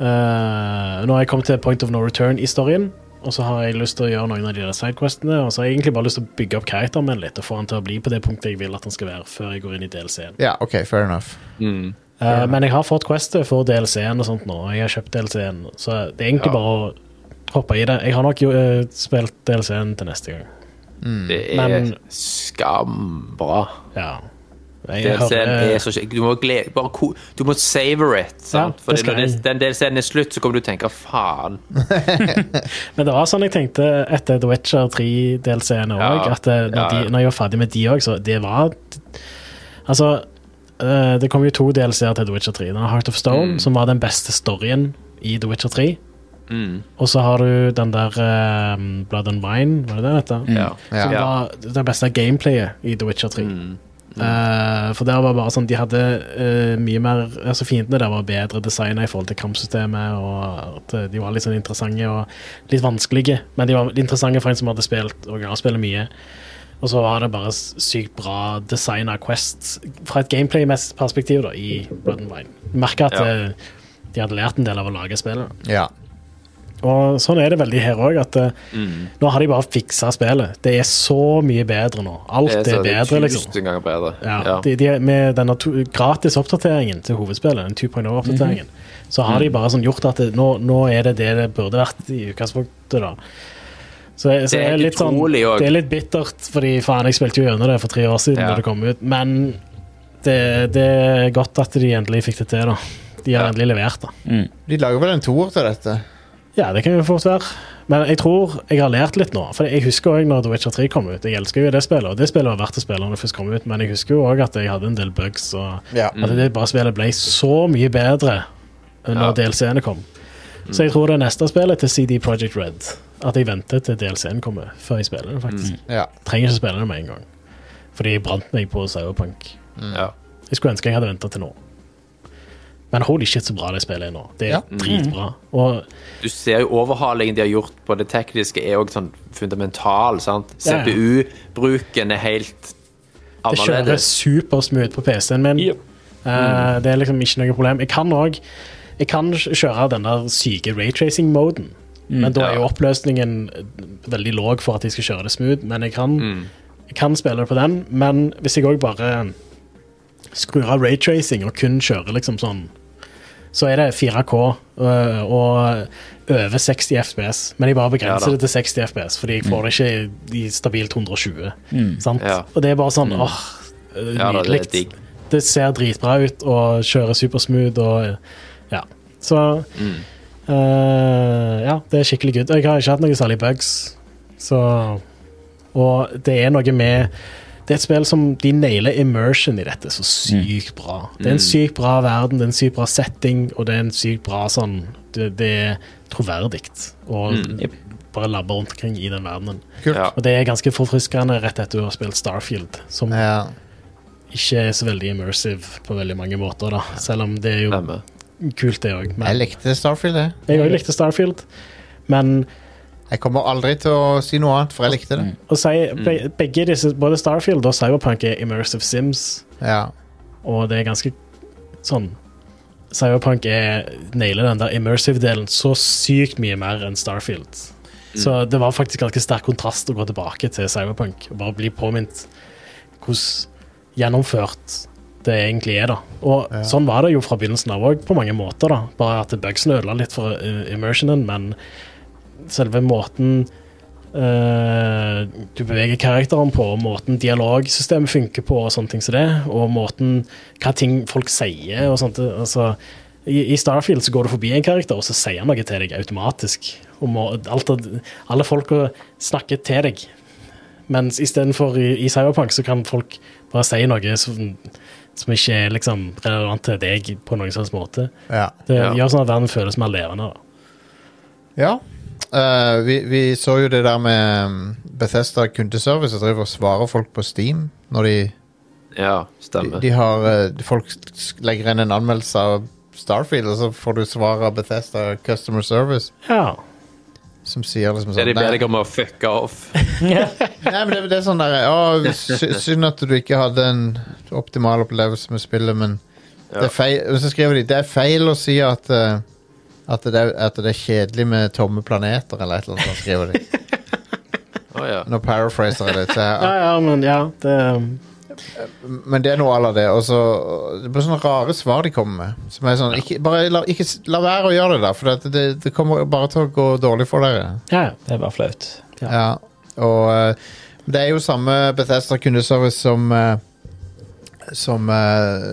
S2: Eh, nå har jeg kommet til point of no return i storyen. Og så har jeg lyst til å gjøre noen av de der sidequestene. Og så har jeg egentlig bare lyst til å bygge opp karakteren min litt og få han til å bli på det punktet jeg vil at han skal være før jeg går inn i DLC-en.
S1: Ja, OK, fair enough.
S4: Mm.
S2: Eh, men jeg har fått questet for DLC-en og sånt nå. og Jeg har kjøpt DLC-en, så det er
S4: Ja.
S2: egentlig bare å hoppe i det. Jeg har nok jo, eh, spilt DLC-en til neste gang.
S4: Mm. Det er
S2: Men-
S4: skambra.
S2: Ja. Jeg eh,
S4: DLC-en
S2: hører-
S4: er så kjekk. Du må glede Bare ko... Du må savor it. Sant?
S2: Ja,
S4: For
S2: det skal
S4: når den,
S2: jeg.
S4: den DLC-en er slutt, så kommer du til å tenke faen.
S2: Men det var sånn jeg tenkte etter The Witcher 3-delseende òg,
S4: Ja,
S2: at eh, når,
S4: ja, ja.
S2: De, når jeg var ferdig med de òg, så det var Altså, eh, det kom jo to DLC-er til The Witcher 3. Den har Heart of Stone, som var den beste storyen i The Witcher 3.
S4: Mm.
S2: Og så har du den der eh, Blood and Wine, var det det den heter?
S4: Ja.
S1: Ja.
S2: Som
S4: Ja. Mm.
S2: var det beste gameplayet i The Witcher 3. Eh, for der var bare sånn De hadde eh, mye mer Altså Fiendene der var bedre designa i forhold til kampsystemet. Og at eh, De var litt sånn interessante og litt vanskelige, men de var interessante for en som hadde spilt originalspillet mye. Og så var det bare s- sykt bra designa quests fra et gameplay-messig perspektiv da i Blood and Wine. Merka at
S4: Ja.
S2: eh, de hadde lært en del av å lage spillet.
S1: Ja.
S2: Og sånn er det veldig her òg, at eh,
S4: Mm.
S2: nå har de bare fiksa spillet. Det er så mye bedre nå. Alt er,
S4: så-
S2: bedre, liksom.
S4: Tusen ganger bedre.
S2: Ja, De, de, med denne to, gratis oppdateringen til hovedspillet, den 2.0-oppdateringen,
S4: Mhm.
S2: så har de bare sånn gjort at det, nå, nå er det det det burde vært i utgangspunktet, da. Så, jeg- så
S4: Det er
S2: det, er
S4: helt
S2: litt sånn,
S4: utrolig også.
S2: det er litt bittert, fordi faen, jeg spilte jo gjennom det for tre år siden,
S4: Ja.
S2: da det kom ut, men det, det er godt at de endelig fikk det til, da. De har
S4: Ja.
S2: endelig levert, da.
S1: De lager vel en toer til dette?
S2: Ja, det kan jo fort være. Men jeg tror jeg har lært litt nå. For jeg husker også når The Witcher 3 kom ut. Jeg elsker jo det spillet, og det spillet var verdt å spille når det først kom ut, men jeg husker jo òg at jeg hadde en del bugs,
S4: Mm.
S2: og
S1: Ja.
S2: at det bare spillet ble så mye bedre eh, når
S4: Ja.
S2: DLC-ene kom. Så jeg tror det neste spillet til CD Project Red. At jeg venter til DLC-en kommer før jeg spiller det, faktisk.
S1: Ja.
S2: Trenger ikke spille det med en gang. Fordi jeg brant meg på Cyberpunk.
S4: Ja.
S2: Jeg skulle ønske jeg hadde venta til nå. Men holy shit, så bra det spillet er nå. Det er
S1: Ja.
S2: dritbra. Og
S4: Du ser jo overhalingen de har gjort på det tekniske, er òg sånn fundamental. sant?
S2: Ja, ja.
S4: CPU-bruken er helt
S2: Det kjører
S4: annerledes.
S2: supersmooth på PC-en min.
S6: Yep.
S2: Eh, det er liksom ikke noe problem. Jeg kan òg Jeg kan kj- kjøre den der syke raytracing-moden, men da er jo
S4: Ja.
S2: oppløsningen veldig låg for at jeg skal kjøre det smooth, men jeg kan,
S4: Mm.
S2: jeg kan spille det på den. Men hvis jeg òg bare skrur av raytracing og kun kjører liksom sånn så er det 4K øh, og over 60 FPS, men jeg bare begrenser
S4: Ja da.
S2: det til 60 FPS, fordi jeg får det ikke i stabilt 120. Sant?
S4: Ja.
S2: Og det er bare sånn åh, øh,
S4: Ja da, det er
S2: nydelig.
S4: digg.
S2: det, ser dritbra ut og kjører supersmooth og ja. Så
S4: Mm.
S2: øh, ja, det er skikkelig good. Og Jeg har ikke hatt noen særlig bugs, så Og det er noe med det er et spill som de nailer immersion i dette så
S4: Mm.
S2: sykt bra. Det er en sykt bra verden, det er en sykt bra setting, og det er en sykt bra sånn Det, det er troverdig å
S4: Mm.
S2: bare labbe rundt omkring i den verdenen.
S1: Kult.
S4: Ja.
S2: Og det er ganske forfriskende rett etter du har spilt Starfield, som
S1: Ja.
S2: ikke er så veldig immersive på veldig mange måter, da. Selv om det er jo
S4: Stemmer.
S2: kult, det òg.
S1: Jeg
S2: Men
S1: likte Starfield, jeg.
S2: jeg òg likte Starfield. Men
S1: Jeg kommer aldri til å si noe annet, for jeg likte det.
S2: å si be-
S1: Mm.
S2: begge disse, både Starfield og Cyberpunk er immersive sims.
S1: Ja.
S2: Og det er ganske sånn Cyberpunk er nailer den der immersive-delen så sykt mye mer enn Starfield. Så det var faktisk ganske sterk kontrast å gå tilbake til Cyberpunk og bare bli påminnet hvordan gjennomført det egentlig er. da. Og sånn var det jo fra begynnelsen av òg, på mange måter. da. Bare at bugsene ødela litt for eh, immersionen, men selve måten eh, du beveger karakteren på, og måten dialogsystemet funker på, og sånne ting som det, og måten hva ting folk sier og sånt. Altså, i, I Starfield så går du forbi en karakter, og så sier han noe til deg automatisk. Og må, alt, av- alle folka snakker til deg Mens istedenfor i, i Cyberpunk så kan folk bare si noe som, som ikke er liksom relevant til deg på noen slags måte.
S1: Ja.
S2: Det
S4: Ja.
S2: gjør sånn at verden føles mer levende. da.
S1: Ja. Eh, vi, vi så jo det der med um, Bethesda kundeservice, at driver og svarer folk på Steam når de,
S4: Ja,
S1: de,
S4: stemmer.
S1: de har eh, Folk sk- legger inn en anmeldelse av Starfield, og så får du svar av Bethesda Customer Service,
S2: Ja.
S1: som sier liksom
S4: Det er
S1: sånn
S4: de ber
S1: Nei,
S4: deg om å fucke off.
S1: nei men det, det er sånn der Å, sy, synd at du ikke hadde en optimal opplevelse med spillet, men det er feil, og så skriver de det er feil å si at eh, at det, er, at det er kjedelig med tomme planeter, eller et eller annet sånt, skriver de.
S4: Å ja.
S1: Nå paraphraser jeg litt. så jeg-
S2: ja, ja, men ja, det
S1: Men det er noe à la det. Og så Det blir sånne rare svar de kommer med. Som er sånn ikke, bare, la, ikke, s- la være å gjøre det, der, for det, det, det kommer bare til å gå dårlig for dere.
S2: Ja, ja.
S6: Det er bare flaut.
S1: Ja. Og eh, det er jo samme Bethesda kundeservice som eh, som eh,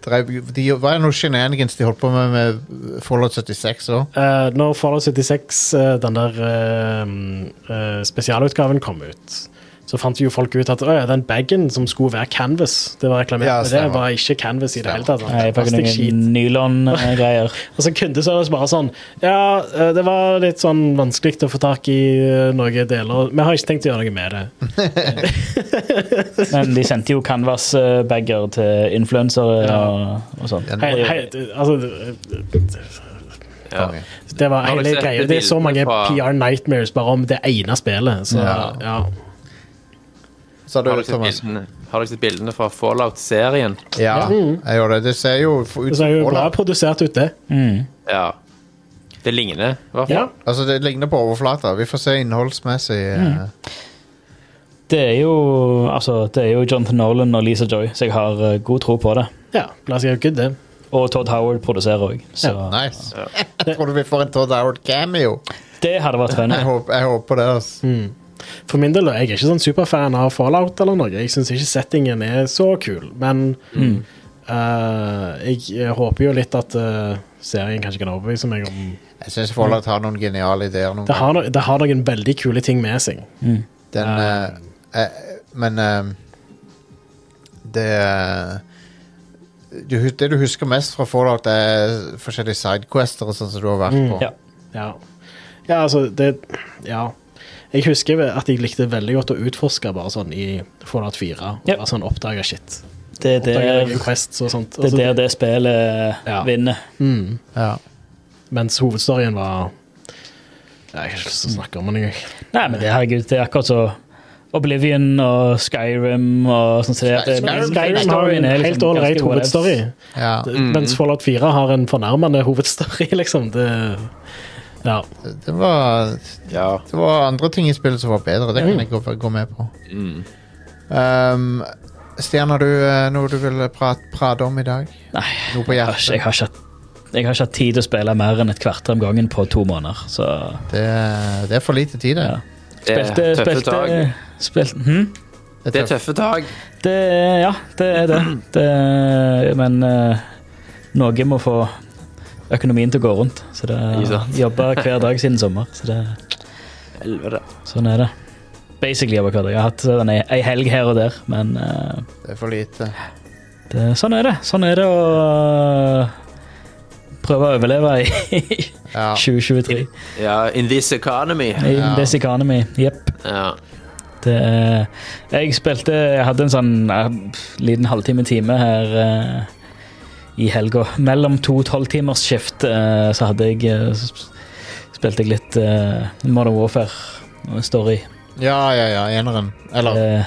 S1: drev de, Hva er det noe shenanigans de holdt på med med Fallout 76 òg?
S2: Eh, når Fallout 76, eh, den der eh, eh, spesialutgaven, kom ut, så fant jo folk ut at «Å ja, den bagen som skulle være canvas, det var reklamert
S1: Ja,
S2: med det,
S1: stemmer.
S2: var ikke canvas i det hele tatt.
S6: Nei, bare
S2: Plastikkskit.
S6: noen nylongreier.
S2: Og så kundeservice bare sånn Ja, eh, det var litt sånn vanskelig å få tak i eh, noen deler. Vi har ikke tenkt å gjøre noe med det.
S6: Men de sendte jo canvas-bager til influensere og, og sånn.
S2: Hei, hei, det- altså det-
S4: ja.
S2: Det var
S4: Har du
S2: hele
S4: sett
S2: greia. Det er så mange
S4: bildene fra-
S2: PR nightmares bare om det ene spillet. Så,
S1: Ja.
S2: ja.
S1: Sa du
S4: Har dere
S1: det,
S4: sett
S1: Thomas?
S4: bildene, har dere sett bildene fra Fallout-serien?
S1: Ja, jeg gjorde det. Det ser jo f- ut
S2: Mm. Det ser jo bra
S1: Fallout.
S2: produsert ut, det.
S4: Ja. Det ligner, i hvert fall.
S2: Ja.
S1: Altså, det ligner på overflata. Vi får se innholdsmessig. eh,
S2: Mm.
S6: Det er jo altså, det er jo Jonathan Nolan og Lisa Joy, så jeg har eh, god tro på det.
S2: Ja, la oss gjøre good, det.
S6: Og Todd Howard produserer òg, så
S1: Nice. Jeg tror du vi får en Todd Howard cameo.
S6: det hadde vært
S1: Jeg
S6: spennende.
S1: håper, jeg håper det. Altså.
S2: Mm. For min del, jeg er ikke sånn superfan av Fallout eller noe. Jeg syns ikke settingen er så kul, men
S6: Mm.
S2: eh, jeg håper jo litt at eh, serien kanskje kan overbevise meg om
S1: Jeg syns Fallout har noen geniale ideer. Noen
S2: Det har, no det har noen veldig kule ting med seg.
S1: ganger. Den, eh, eh, men eh, det eh, du, hus- Det du husker mest fra Fallout, er forskjellige sidequester og sånn som du har vært på.
S6: Ja.
S2: Ja. ja, altså, det Ja. Jeg husker vel at jeg likte veldig godt å utforske bare sånn i Fallout 4. Og
S6: Ja.
S2: bare sånn oppdage shit.
S6: Det er
S2: Oppdage
S6: der
S2: noen quests og sånt.
S6: det, er
S2: Altså,
S6: der det spillet
S2: Ja.
S6: vinner.
S1: Ja.
S2: Mens hovedstoryen var Nei, Jeg har ikke lyst til å snakke om den engang.
S6: Nei, men det, herregud, det er akkurat så Oblivion og Skyrim og sånn som det. det-
S1: Skyrim-
S2: Skyrim har
S6: storyen
S2: en
S6: er liksom
S2: helt ålreit
S6: ganske whatevs.
S2: hovedstory,
S1: Ja.
S2: mens Fallout 4 har en fornærmende hovedstory, liksom. Det, ja.
S1: Det, var,
S4: Ja.
S1: det var andre ting i spillet som var bedre. Det kan jeg gå, gå med på. Um, Stian, har du eh, noe du vil prate, prate om i dag?
S6: Nei,
S1: Noe på
S6: jeg har ikke-
S1: hjertet?
S6: jeg har ikke hatt jeg har ikke hatt tid til å spille mer enn et kvarter om gangen på to måneder. Så
S1: Det, det er for lite tid, det.
S6: Ja.
S4: Det er
S6: spilte,
S4: tøffe
S6: spilte,
S4: tak.
S6: spilte hm?
S1: Det
S4: Det
S1: er
S4: er tøffe tak.
S6: Det, ja, det er det. det men eh, noe må få økonomien til å gå rundt. Så det
S4: Ikke sant?
S6: jobber hver dag siden sommer. Så det,
S4: Helvete.
S6: sånn er det. Basically jobber hver dag. Jeg har hatt sånn ei ei helg her og der, men eh,
S1: tøft. Det er for lite.
S6: det, sånn er det. Sånn er det å øh, prøve å overleve i
S1: Ja.
S6: 2023.
S4: Ja, in this economy.
S6: I this economy. Jepp.
S4: Ja.
S6: Det er Jeg spilte Jeg hadde en sånn eh, liten halvtime-time her eh, i helga. Mellom to tolvtimersskift eh, så hadde jeg eh, s- Spilte jeg litt eh, Modern øh, Warfare-story.
S1: Ja, ja, ja, eneren. Eller
S6: Øh,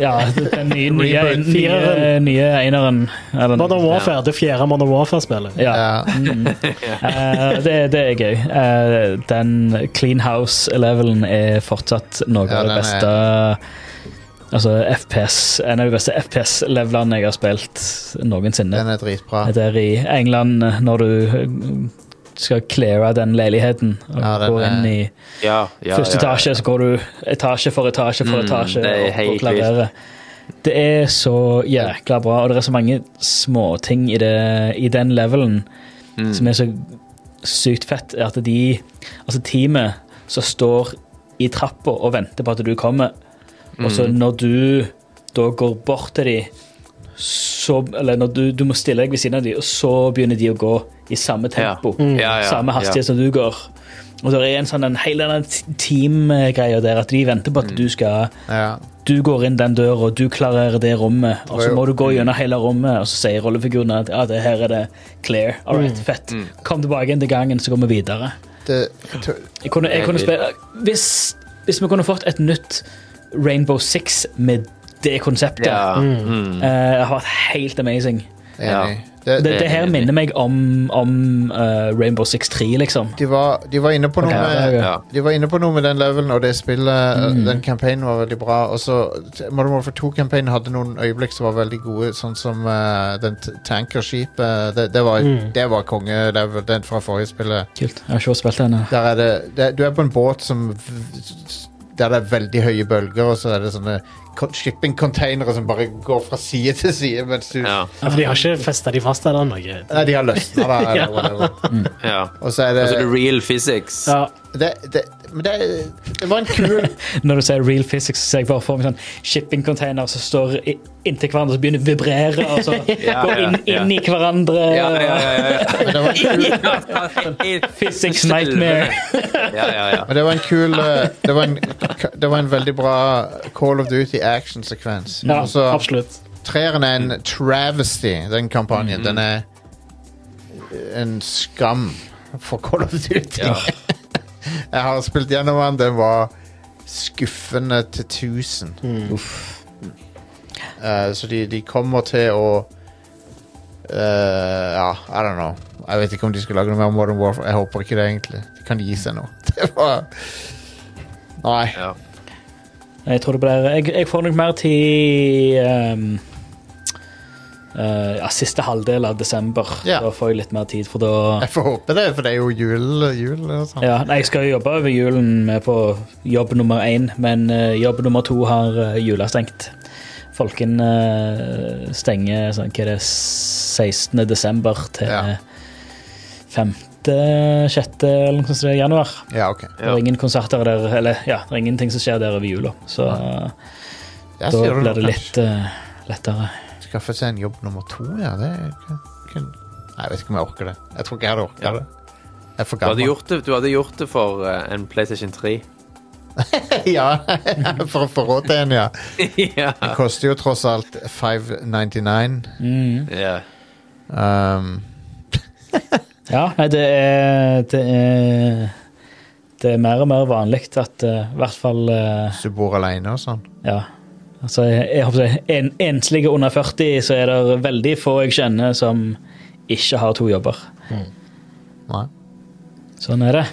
S6: ja, den nye, nye,
S1: Rebirth.
S6: nye, nye eineren. Eller-
S2: Modern Warfare, det fjerde Modern Warfare-spillet.
S6: Ja.
S1: ja.
S6: Mm. Eh, det, det er gøy. Eh, den Clean House-levelen er fortsatt noe
S1: Ja,
S6: av det
S1: den
S6: beste Altså FPS En av de beste FPS-levelene jeg har spilt noensinne.
S1: Den er dritbra.
S6: Det er i England, når du eh, skal cleare den leiligheten og
S1: Ja, den
S6: går
S1: er-
S6: inn i
S4: Ja, ja,
S6: første
S4: ja, ja.
S6: etasje, så går du etasje for etasje for
S4: Mm,
S6: etasje
S4: det er
S6: og- og
S4: helt
S6: klarerer. Det er så jækla bra, og det er så mange småting i, det- i den levelen
S4: Mm.
S6: som er så sykt fett, er at de Altså teamet som står i trappa og venter på at du kommer, Og
S4: Mm.
S6: så når du da går bort til dem, så Eller når du, du må stille deg ved siden av dem, og så begynner de å gå i samme tempo.
S4: Mm. Ja, ja,
S6: samme hastighet
S4: ja.
S6: som du går. Og det er en sånn en hel annen teamgreie der, at de venter på at
S4: Mm.
S6: du skal
S1: Ja.
S6: du går inn den døra, og du klarerer det rommet, og så
S1: jo-
S6: må du
S4: Mm.
S6: gå gjennom hele rommet, og så sier rollefiguren at ja, det her er det clear. All right, fett.
S4: Mm.
S6: Kom tilbake inn til gangen, så går vi videre.
S1: Det, to-
S6: Jeg kunne, jeg kunne spille, hvis, hvis vi kunne fått et nytt Rainbow Six med det konseptet,
S4: Ja. Mm.
S6: eh, det har vært helt amazing.
S1: enig.
S6: Det,
S1: Det,
S6: det her minner meg om, om eh, Rainbow Six 3, liksom.
S1: de, var, de var inne på noe
S6: Ok,
S1: med
S6: ja,
S4: ja.
S1: De var inne på noe med den levelen og det spillet. Den campaignen var veldig bra. Og så Modern Warfare 2-campaignen hadde noen øyeblikk som var veldig gode, sånn som eh, den t- tankerskipet. det, det var, det var kongelevel, den fra forrige spillet.
S6: Kult. Jeg har ikke spilt det ennå.
S1: Der er det, det Du er på en båt som v- der det er veldig høye bølger, og så er det sånne kon- shipping-containere som bare går fra side til side mens du
S4: Ja.
S2: Ja, for de har ikke festa de fast eller noe.
S1: Nei, de har løsna, da, eller whatever.
S4: ja.
S6: Eh,
S1: Og så er det,
S4: Altså the real physics.
S2: Ja,
S1: det, det, men det, det var en kul
S6: Når du sier real physics, så ser jeg bare for meg sånn shipping-container som står i- inntil hverandre og så begynner å vibrere, og så
S4: Ja,
S6: går inn,
S4: ja, ja.
S6: inn i hverandre.
S4: Ja, ja, ja, ja,
S1: men det var en kul
S4: ja.
S6: Physics nightmare.
S4: Ja, ja, ja.
S1: Men det var en kul eh, det, var en, det var en veldig bra Call of Duty action-sekvens.
S2: ja
S1: Og så
S2: absolutt.
S1: Treeren er en travesty, den kampanjen. Den er en skam for Call of Duty.
S4: Ja.
S1: Jeg har spilt gjennom den. Den var skuffende til 1000.
S6: Mm.
S1: Eh, så de, de kommer til å eh, Ja, I don't know. Jeg vet ikke om de skal lage noe mer Modern Warfare. Jeg håper ikke det, egentlig. De kan gi seg nå. Det var Nei.
S4: Ja.
S6: Jeg tror det blir Jeg, jeg får nok mer til ehm, eh, ja, siste halvdel av desember.
S1: Ja.
S6: Da får jeg litt mer tid, for da
S1: Jeg får håpe det, for det er jo jul, jul og sånn.
S6: ja, nei, Jeg skal jo jobbe over julen med på jobb nummer én, men eh, jobb nummer to har eh, jula stengt. Folken eh, stenger sånn, hva er det, 16. desember til
S1: Ja.
S6: 5. 6. eller noe sånt som det er, januar.
S1: Ja, ok.
S6: Det er ingen konserter der, eller ja, det er ingenting som skjer der over jula. Så eh,
S1: Der
S6: da
S1: ser du
S6: blir det
S1: noe,
S6: litt eh, lettere.
S1: kanskje. Skaffe seg en jobb nummer to, ja. Det er kun, kun... Nei, jeg vet ikke om jeg orker det. Jeg tror ikke jeg hadde orket
S4: Ja.
S1: det. Jeg er for
S4: Du hadde
S1: gammel.
S4: gjort det, du hadde gjort det for eh, en PlayStation 3.
S1: ja, for å få råd til en, ja.
S4: ja.
S1: Det koster jo tross alt 599.
S6: Mm.
S4: ja.
S1: Um,
S6: Ja, nei, det er Det er, det er mer og mer vanlig at eh, i hvert fall eh,
S1: hvis du bor alene og sånn.
S6: Ja. Altså, jeg, jeg håper å si, en, Enslige under 40, så er det veldig få jeg kjenner som ikke har to jobber.
S1: Nei.
S6: Sånn er det.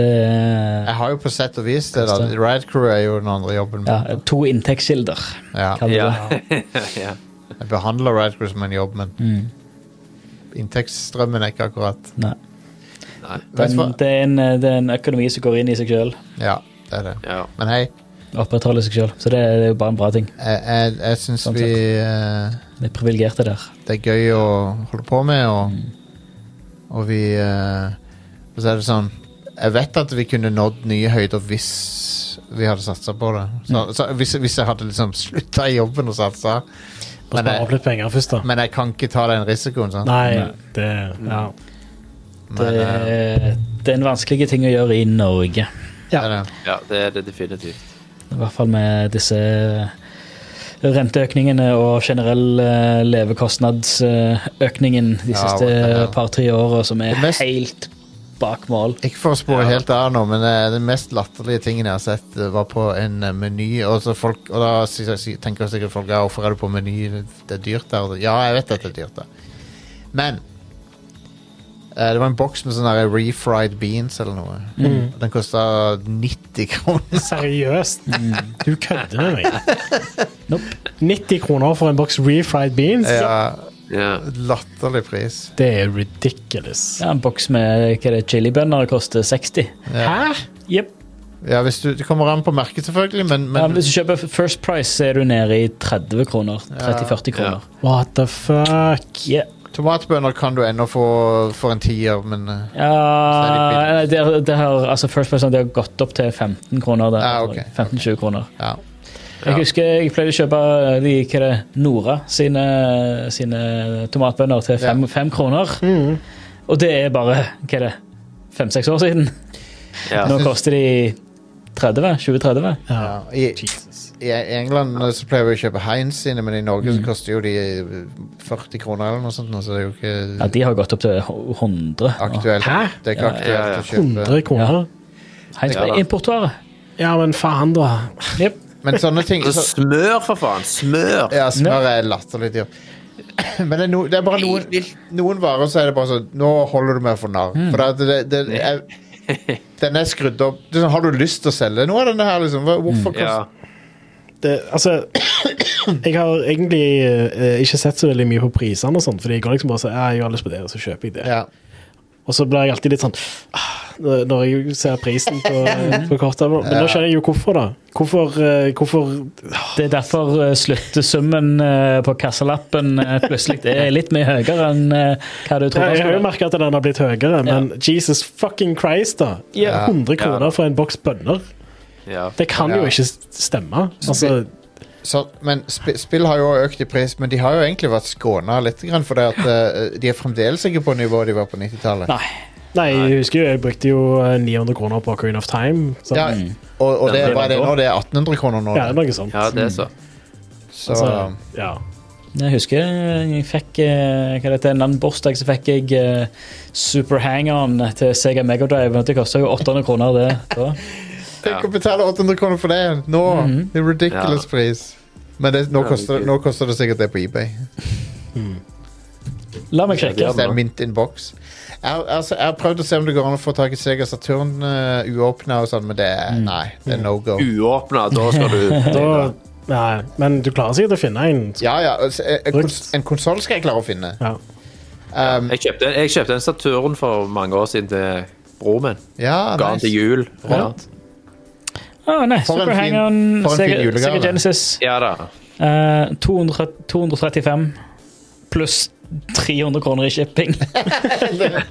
S6: Det er
S1: Jeg har jo på sett og vis det, da. Ride Crew er jo den andre jobben
S6: ja,
S1: min.
S6: to inntektskilder.
S1: Ja.
S6: kaller
S4: ja.
S6: vi det.
S4: ja.
S1: Jeg behandler Ride Crew som en jobb, men
S4: Mm.
S1: inntektsstrømmen er ikke akkurat
S6: Nei.
S1: Vet du hva?
S6: Men det er, en, det er en økonomi som går inn i seg sjøl.
S1: Ja, det er det.
S4: Ja.
S1: Men hei,
S6: Opprettholder seg sjøl. Så det er jo bare en bra ting.
S1: jeg, jeg, jeg syns
S6: Sånn
S1: vi eh,
S6: Vi er privilegerte der.
S1: det er gøy å holde på med, og, og vi eh, Så er det sånn Jeg vet at vi kunne nådd nye høyder hvis vi hadde satsa på det. Så, så hvis, hvis jeg hadde liksom slutta i jobben og satsa.
S2: Må
S1: Men
S2: spare
S1: jeg,
S2: opp litt penger først, da.
S1: men jeg kan ikke ta den risikoen. Sant?
S2: Nei, det Ja.
S1: Men, eh,
S6: Det, er- det er en vanskelig ting å gjøre i Norge.
S1: det er det.
S4: ja, det er det definitivt.
S6: I hvert fall med disse eh, renteøkningene og generell eh, levekostnadsøkningen de
S1: Ja,
S6: siste
S1: ja.
S6: par-tre åra, som er
S1: Det mest-
S6: helt bak mål.
S1: Ikke for å spore helt av nå, men eh, den mest latterlige tingen jeg har sett, eh, var på en eh, meny. Og, så folk, og da sy- sy- tenker sikkert folk ja, hvorfor er du på meny, det er dyrt der. Ja, jeg vet at det er dyrt der. Men eh, det var en boks med sånne der refried beans eller noe. Den kosta 90 kroner.
S2: Seriøst? Du kødder med meg.
S6: Nope.
S2: 90 kroner for en boks refried beans?
S1: Ja,
S4: Ja.
S1: latterlig pris.
S2: Det er ridiculous.
S6: Ja, en boks med hva er det, chilibønner koster 60.
S2: Hæ?
S6: Yep.
S1: Ja, hvis du, Det kommer an på merket, selvfølgelig, men,
S6: Ja,
S1: men
S6: hvis du kjøper First Price, så er du nede i 30 kroner. 30-40 kroner.
S2: What the fuck?
S6: Yeah.
S1: tomatbønner kan du ennå få for en tier, men eh,
S6: Ja, det, det har, altså First Price det har gått opp til 15 kroner. der.
S1: Ah, ok.
S6: 15-20 kroner.
S1: ja.
S6: Jeg husker jeg pleide å kjøpe eh, de, hva er det, Nora sine, sine tomatbønner til fem, fem kroner.
S2: Mm.
S6: Og det er bare hva er det, fem-seks år siden.
S4: Ja.
S6: Nå koster de 30, 20-30.
S1: Ja, i, I England eh, så pleier vi å kjøpe Heinz sine, men i Norge
S4: Mm.
S1: så koster jo de eh, 40 kroner eller noe sånt, nå, så det er jo
S6: Ja,
S1: ikke
S6: de har gått opp til 100.
S1: aktuelt.
S2: Hæ?
S1: Det er ikke
S4: Ja, ja, ja.
S1: aktuelt å
S2: 100
S1: kjøpe.
S2: kroner?
S6: Heinz
S4: Ja, da.
S6: er importvare.
S2: Ja, men faen, da.
S1: Men sånne ting
S4: Altså,
S1: så,
S4: smør, for faen! Smør!
S1: Ja, smør er latterlig dyrt. Men det er, no, det er bare noen, noen varer så er det bare sånn Nå holder du meg for narr.
S4: Mm.
S1: For det, det, det, er- den er skrudd opp det er sånn, Har du lyst til å selge noe av denne her, liksom? Hva- Hvorfor
S4: Mm. Ja.
S1: kost-
S2: det, altså, jeg har egentlig eh, ikke sett så veldig mye på prisene og sånt, fordi jeg går liksom bare og sier ja, jeg har lyst på det, og så kjøper jeg det.
S1: Ja.
S2: Og så blir jeg alltid litt sånn «Ah», når når jeg ser prisen på, på kortet. Men nå skjønner jeg jo hvorfor, da. Hvorfor, eh, hvorfor
S6: Det er derfor eh, sluttsummen eh, på kassalappen eh, plutselig er litt mye høyere enn eh, hva du
S2: Ja,
S6: trodde.
S2: Jeg har jo merka at den har blitt høyere, men Jesus fucking Christ, da.
S6: Ja.
S2: 100 kroner
S4: Ja.
S2: for en boks bønner.
S4: Ja.
S2: Det kan
S1: Ja.
S2: jo ikke stemme. Altså,
S1: Så, men sp spill har jo økt i pris, men de har jo egentlig vært skåna litt, grann, for at, eh, de er fremdeles ikke på nivået de var på 90-tallet.
S6: Nei.
S2: nei, jeg husker jo, jeg brukte jo eh, 900 kroner på Ocarina of Time. Så,
S1: Ja,
S2: ja,
S1: og, og det,
S4: Ja, det
S1: hva er det
S4: var
S1: nå? Det er 1800 kroner nå?
S2: det er noe sånt.
S4: ja, det er så.
S1: Så,
S2: Altså, ja.
S6: Jeg husker jeg fikk eh, hva det heter, en annen bursdag så fikk jeg eh, Super Hang-On til Sega Megadrive. Det kosta jo 800 kroner, det. da.
S1: Tenk å betale 800 kroner for det nå! Det er ridiculous
S4: Ja.
S1: pris. Men det, nå,
S4: Ja,
S1: koster,
S4: det er
S1: nå koster det sikkert det på eBay.
S6: La meg sjekke.
S4: Ja,
S1: Hvis det
S4: bra.
S1: er mint in box. Jeg, altså, jeg har prøvd å se om det går an å få tak i Sega Saturn uh, uåpna, og sånn, men det er nei. Det er no go.
S4: Mm. Uåpna, da skal du
S2: Da, nei, men du klarer sikkert å finne en.
S1: Ja, ja, altså, en, kons en konsoll skal jeg klare å finne.
S2: Ja.
S1: Um,
S4: jeg kjøpte, jeg kjøpte en Saturn for mange år siden til broren min.
S1: ja,
S4: Ga den til
S1: nice.
S4: jul. Ja,
S6: Ah, nei,
S1: For en
S6: Super
S1: fin-
S6: Hang-On,
S1: for en fin
S6: Sega,
S1: julegave.
S6: Sega Genesis.
S4: ja da.
S6: Eh, 200, 235 pluss 300 kroner i shipping.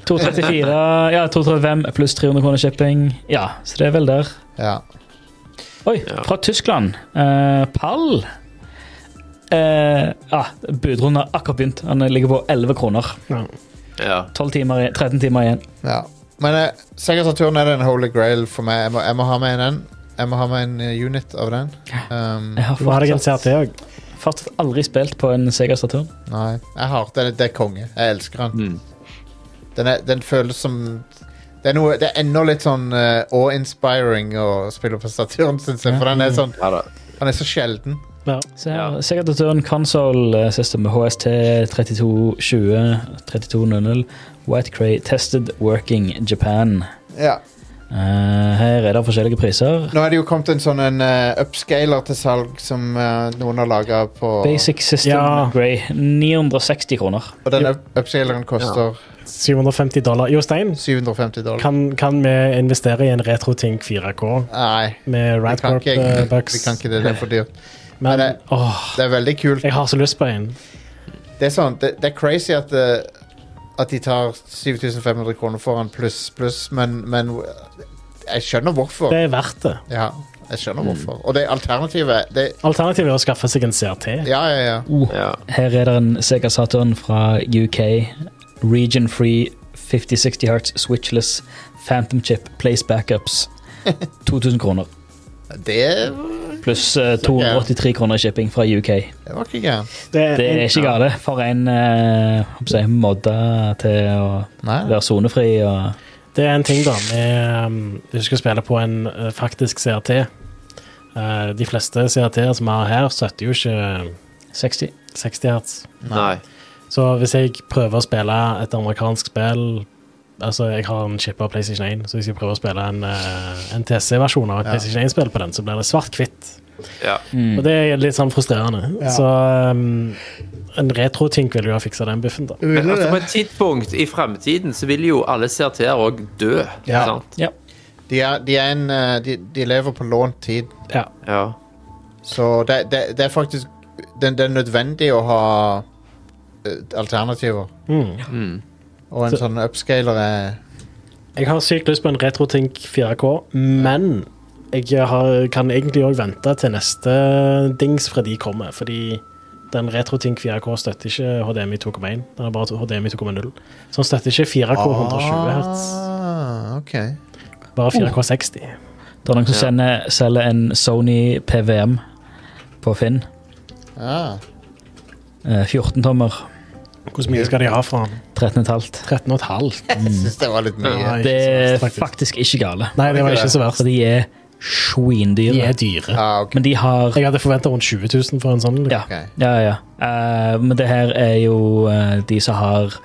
S6: 234, ja, 235 pluss 300 kroner i shipping. Ja, så det er vel der.
S1: Ja.
S6: Oi,
S4: Ja.
S6: fra Tyskland. Eh, pall. Eh, ja, Budrunden har akkurat begynt. Han ligger på 11 kroner.
S4: Ja.
S6: 12 timer, i- 13 timer igjen.
S1: Ja. Men eh, Sega Saturn er den holy grail for meg. Jeg må, jeg må ha med en den. Jeg må ha med en eh, unit av den. Um,
S6: Jeg har
S2: Nå hadde jeg en CRT
S6: fortsatt,
S2: òg.
S6: fortsatt aldri spilt på en Sega Saturn.
S1: nei, jeg har den. Det er konge. Jeg elsker den. Den, er, den føles som det er, noe, det er ennå litt sånn eh, awe-inspiring å spille på Saturn, syns jeg. For den er sånn,
S4: ja da.
S1: han er så sjelden.
S6: Så her, Sega Saturn Console eh, System med HST 3220 3200 White Cray Tested Working Japan.
S1: Ja.
S6: Eh, her er det forskjellige priser.
S1: Nå er det jo kommet en sånn en, eh, upscaler til salg som eh, noen har laga på
S6: Basic System
S2: Ja.
S6: Grey 960 kroner.
S1: Og den up- upscaleren koster
S2: 750 dollar. Jo, Stein,
S1: 750 dollar.
S2: kan, kan vi investere i en RetroTink 4K
S1: Nei,
S2: med
S1: vi kan,
S2: Radcorp
S1: ikke,
S2: eh,
S1: egentlig. vi
S2: Bucks?
S1: kan ikke det. Det er for dyrt.
S2: Men
S1: Nei, det-
S2: åh,
S1: Det er veldig kult.
S2: jeg har så lyst på en.
S1: Det er sånn, det, det er crazy at, eh, at de tar 7500 kroner for en pluss, pluss, men, men jeg skjønner hvorfor.
S2: Det er verdt det.
S1: Ja, jeg skjønner hvorfor. Og det alternativet det,
S2: Alternativet er å skaffe seg en CRT.
S1: Ja, ja, ja.
S4: Ja.
S6: Her er det en Sega Saturn fra UK. Region Free 5060 Hertz Switchless Phantom Chip Place Backups. 2000 kroner.
S1: Det,
S6: Pluss eh, 283 kroner i shipping fra UK.
S1: det var ikke gærent.
S2: Det er,
S6: Det er ikke gale for en eh, hva skal jeg si, modda til å
S2: Ah.
S1: Nei.
S6: være sonefri. Og...
S2: det er en ting, da. Med, um, hvis du skal spille på en uh, faktisk CRT uh, De fleste CRT-er som vi har her, støtter jo ikke
S6: 60.
S2: 60 hertz.
S4: Nei.
S2: Så hvis jeg prøver å spille et amerikansk spill Altså, jeg har en chip av PlayStation 1, så hvis jeg prøver å spille en, uh, en TC-versjon av et PlayStation 1-spill på den, så blir det svart-hvitt.
S4: Ja.
S2: Og det er litt sånn frustrerende. Så um, en retro-tink vil jo ha fiksa den biffen, da.
S4: Men altså, på et tidspunkt i fremtiden så vil jo alle CRT-er òg dø.
S1: Ja.
S4: Sant?
S6: Ja.
S1: De, er, de, er en, eh, de, de lever på lånt tid,
S2: Ja.
S4: Ja.
S1: så det, det, det er faktisk det, det er nødvendig å ha eh, alternativer. Og en sånn upscaler er
S2: Jeg har sykt lyst på en RetroTink 4K, men jeg har, kan egentlig òg vente til neste dings fra de kommer, fordi den RetroTink 4K støtter ikke HDMI 2,1. Den har bare HDMI 2,0. Så den støtter ikke 4K 120 hertz,
S1: Ah, OK.
S2: bare 4K 60.
S6: Det er noen som sender, selger en Sony PVM på Finn.
S1: Ah.
S6: Eh, 14 tommer,
S2: Hvor mye skal de ha fra den?
S6: 13,5.
S2: 13,5?
S1: Jeg syns det var litt mye.
S2: Nei,
S6: Det
S2: ikke så
S6: er
S2: verst, faktisk.
S6: faktisk ikke gale.
S2: Nei, det var ikke så verst.
S6: For de er svindyre.
S2: De er dyre.
S1: Ah, ok.
S6: Men de har
S2: Jeg hadde forventa rundt 20 000 for en sånn.
S6: Ja,
S1: Ok.
S6: ja, ja. ja. Eh, men det her er jo eh, de som har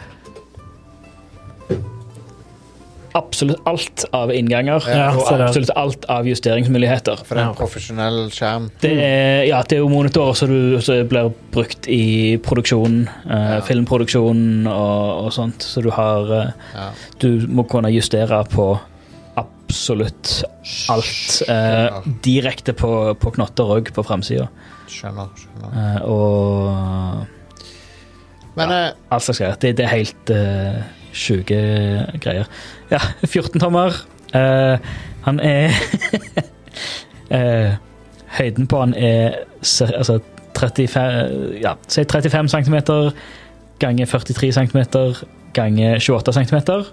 S6: absolutt alt av innganger
S2: Ja,
S6: og
S2: så det er-
S6: absolutt alt av justeringsmuligheter.
S1: For det er
S2: Ja.
S1: en profesjonell skjerm.
S6: Det er, ja, det er jo monitorer som du- som blir brukt i produksjonen, eh, filmproduksjonen og, og sånt, så du har eh,
S1: Ja.
S6: Du må kunne justere på absolutt alt. eh, direkte på, på knotter òg, på framsida.
S1: Skjønner. skjønner.
S6: Eh, og
S1: Men eh,
S6: Alt slags greier. Det, det er helt uh, sjuke greier. Ja, 14-tommer. Eh, han er eh, Høyden på han er ser- altså 35 Ja, si 35 cm ganger 43 cm ganger 28 cm. Så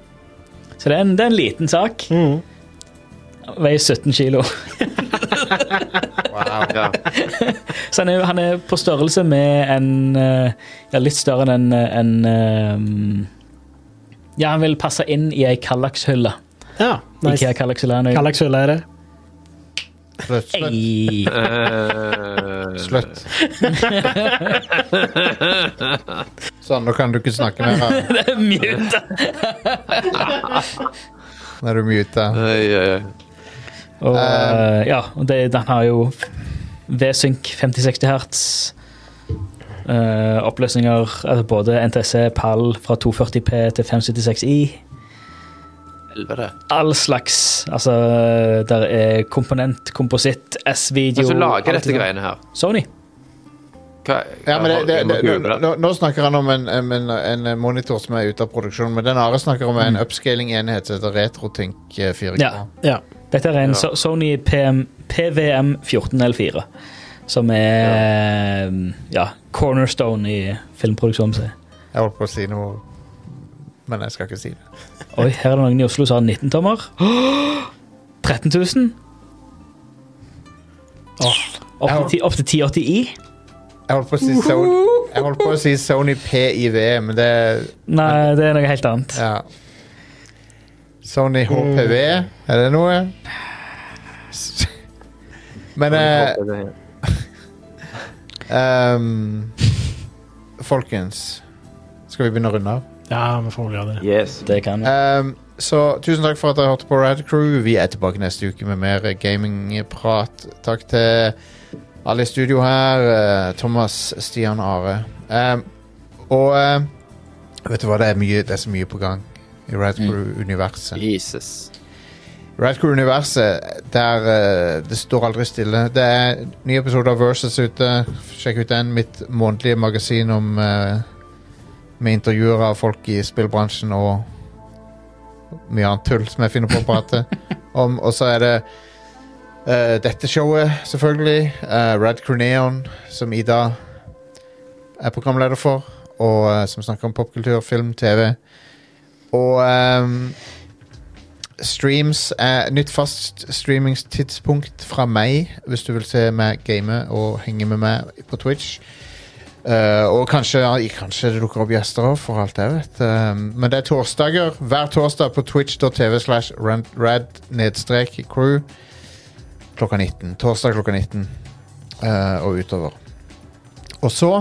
S6: det er en, det er en liten sak.
S2: Mhm.
S6: Veier 17 kilo.
S1: wow.
S4: Ja.
S6: Så han er, han er på størrelse med en eh, Ja, litt større enn en, en eh, Ja, han vil passe inn i ei Kallax-hylle.
S2: Ja,
S6: Ikea
S2: nice.
S6: Kallax-hylle. Han er jo-
S2: Kallax-hylle er det.
S1: Slutt. Slutt.
S6: Ei.
S4: Eh,
S1: slutt. sånn, nå kan du ikke snakke mer. her.
S6: Det er mute.
S1: Nå er du muta.
S4: Oi, oi, oi.
S6: Og, eh, ja, og det, den har jo V-sync 50-60 hertz. eh, oppløsninger altså både NTC, PAL fra 240P til 576i.
S4: Helvete.
S6: All slags. Altså, der er komponent, kompositt, S-video
S4: Men så Altså, lager
S6: alt
S4: dette
S6: det der.
S4: greiene her.
S6: Sony.
S4: Hva,
S1: Ja, men det, det,
S4: jeg må
S1: det,
S4: google
S1: nå, nå- nå snakker han om en, en, en eh, monitor som er ute av produksjon, men den Are snakker om er en upscaling-enhet som heter RetroTink eh, 4K.
S6: Mm. Ja.
S2: Ja.
S6: Dette er en
S4: Ja.
S6: So- Sony PM, PVM 14L4, som er ja. cornerstone i filmproduksjonen sin.
S1: Jeg holdt på å si noe, men jeg skal ikke si det.
S6: Oi, her er det noen i Oslo som har 19 tommer. 13 000. Opp til ti- opp til 1080i.
S1: Jeg holdt på å si Sony, jeg holdt på å si Sony PIV, men det
S6: Nei, det er noe helt annet.
S1: Ja. Sony HPV, er det noe? S- Men eh, ehm, Folkens, skal vi begynne å runde av?
S2: ja, vi får vel gjøre det.
S4: Yes.
S6: Det kan
S1: Ehm, så tusen takk for at dere hørte på Rad Crew. Vi er tilbake neste uke med mer gamingprat. Takk til alle i studio her. eh, Thomas, Stian, Are. Ehm, og eh, vet du hva, det er, mye, det er så mye på gang i Rad Crew-universet.
S4: Jesus.
S1: Rad Crew-universet, der eh, det står aldri stille. Det er nye episoder av Versus ute. Sjekk ut den. Mitt månedlige magasin om eh, med intervjuer av folk i spillbransjen og mye annet tull som jeg finner på å prate om. Og så er det eh, dette showet, selvfølgelig. eh, Rad Crew Neon, som Ida er programleder for. Og eh, som snakker om popkultur, film, TV. Og ehm, streams er nytt fast streamingstidspunkt fra meg hvis du vil se meg game og henge med meg på Twitch. Eh, og kanskje, ja, kanskje det dukker opp gjester òg, for alt jeg vet. Eh, men det er torsdager. Hver torsdag på twitch.tv slash rad- rad nedstrek crew klokka 19. Torsdag klokka 19 eh, og utover. Og så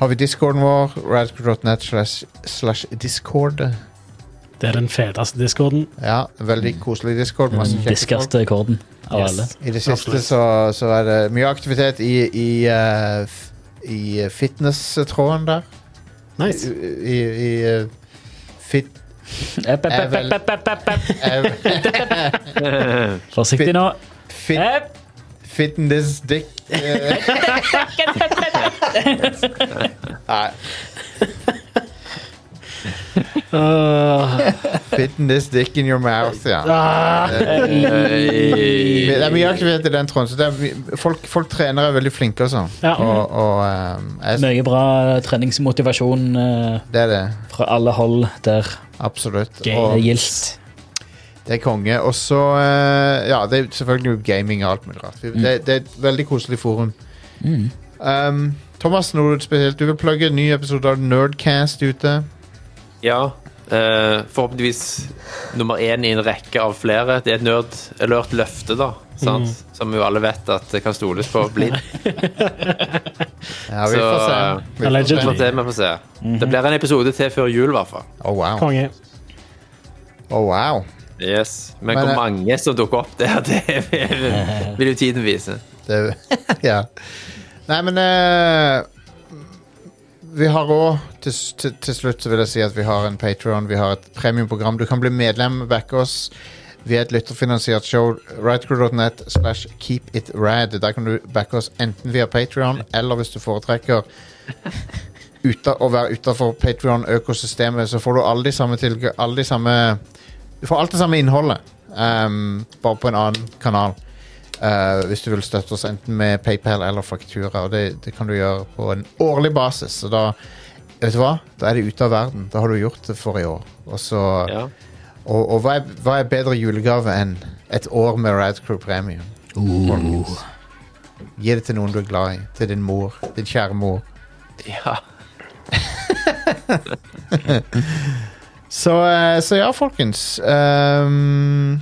S1: har vi discorden vår, radcrew.net slash- slash discord.
S2: Det er den feteste discorden.
S1: Ja, veldig koselig discord. Masse
S6: Den
S1: kjekke folk.
S6: diskeste rekorden av
S2: Yes.
S6: alle.
S1: I det siste
S2: Absolutt.
S1: så, så er det mye aktivitet i, i, eh, f- i fitness-tråden der.
S2: Nice.
S1: I, i eh, fit...
S6: Epp, epp,
S1: Er
S6: epp,
S1: vel-
S6: epp, epp, epp, epp.
S1: eh,
S6: Forsiktig nå. Eh,
S1: fit
S6: Epp.
S1: fitness dick... eh. Nei. Fitting this dick in your mouth, ja. Det
S4: Eh,
S1: er mye aktivitet i den tråden. Så det er, my- folk, folk trener er veldig flinke og sånn.
S2: Ja.
S1: Og, og ehm, jeg,
S6: Mye bra treningsmotivasjon eh,
S1: det er det.
S6: fra alle hold der.
S1: Absolutt.
S6: Det er
S1: Og
S6: gildt.
S1: det er konge. Og så eh, Ja, det er selvfølgelig jo gaming og alt mulig rart. Vi- Det, det er et veldig koselig forum.
S2: Mm.
S1: Um, Thomas Norud spesielt, du vil plugge en ny episode av Nerdcast ute.
S4: Ja. eh, forhåpentligvis nummer én i en rekke av flere. Det er et nerd alert løfte, da. Sant? Som jo alle vet at det kan stoles på blind.
S1: Ja, vi
S4: Så,
S1: får
S4: eh,
S1: se. Vi får
S2: allegedly.
S4: Vi får
S1: se.
S4: se, vi får se. Det blir en episode til før jul, i hvert fall.
S1: Oh, wow.
S2: Konge.
S1: Oh, wow.
S4: Yes. Men,
S1: Men,
S4: hvor
S1: eh,
S4: mange som dukker opp der, det vil- vil jo tiden vise.
S1: Det, ja. Nei, men eh, Vi har òg til, s- til, til slutt så vil jeg si at vi har en Patreon Vi har et premiumprogram. Du kan bli medlem, backe oss. Vi er et lytterfinansiert show. Rightcrew.net slash keep it rad. Der kan du backe oss enten via Patreon eller hvis du foretrekker uta, å være utafor Patreon-økosystemet, så får du alle de samme tilg- alle de samme Du får alt det samme innholdet, ehm, bare på en annen kanal. Eh, hvis du vil støtte oss enten med PayPal eller faktura. Og det, det kan du gjøre på en årlig basis. Så da vet du hva? Da er det ute av verden. Da har du gjort det for i år. Og, så,
S4: Ja.
S1: og, og hva, er, hva er bedre julegave enn et år med Radcrew Premium? folkens? Gi det til noen du er glad i. Til din mor. Din kjære mor.
S4: ja.
S1: Så, eh, så ja, folkens. ehm,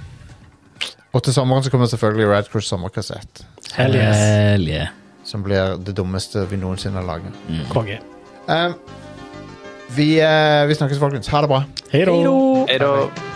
S1: og til sommeren så kommer selvfølgelig Radcrew sommerkassett.
S2: Hell yes.
S6: Hell yeah.
S1: Som blir det dummeste vi noensinne har laget.
S2: Konge.
S1: Um, vi, eh, vi snakkes, folkens. Ha det bra.
S2: Hei da.
S4: Er det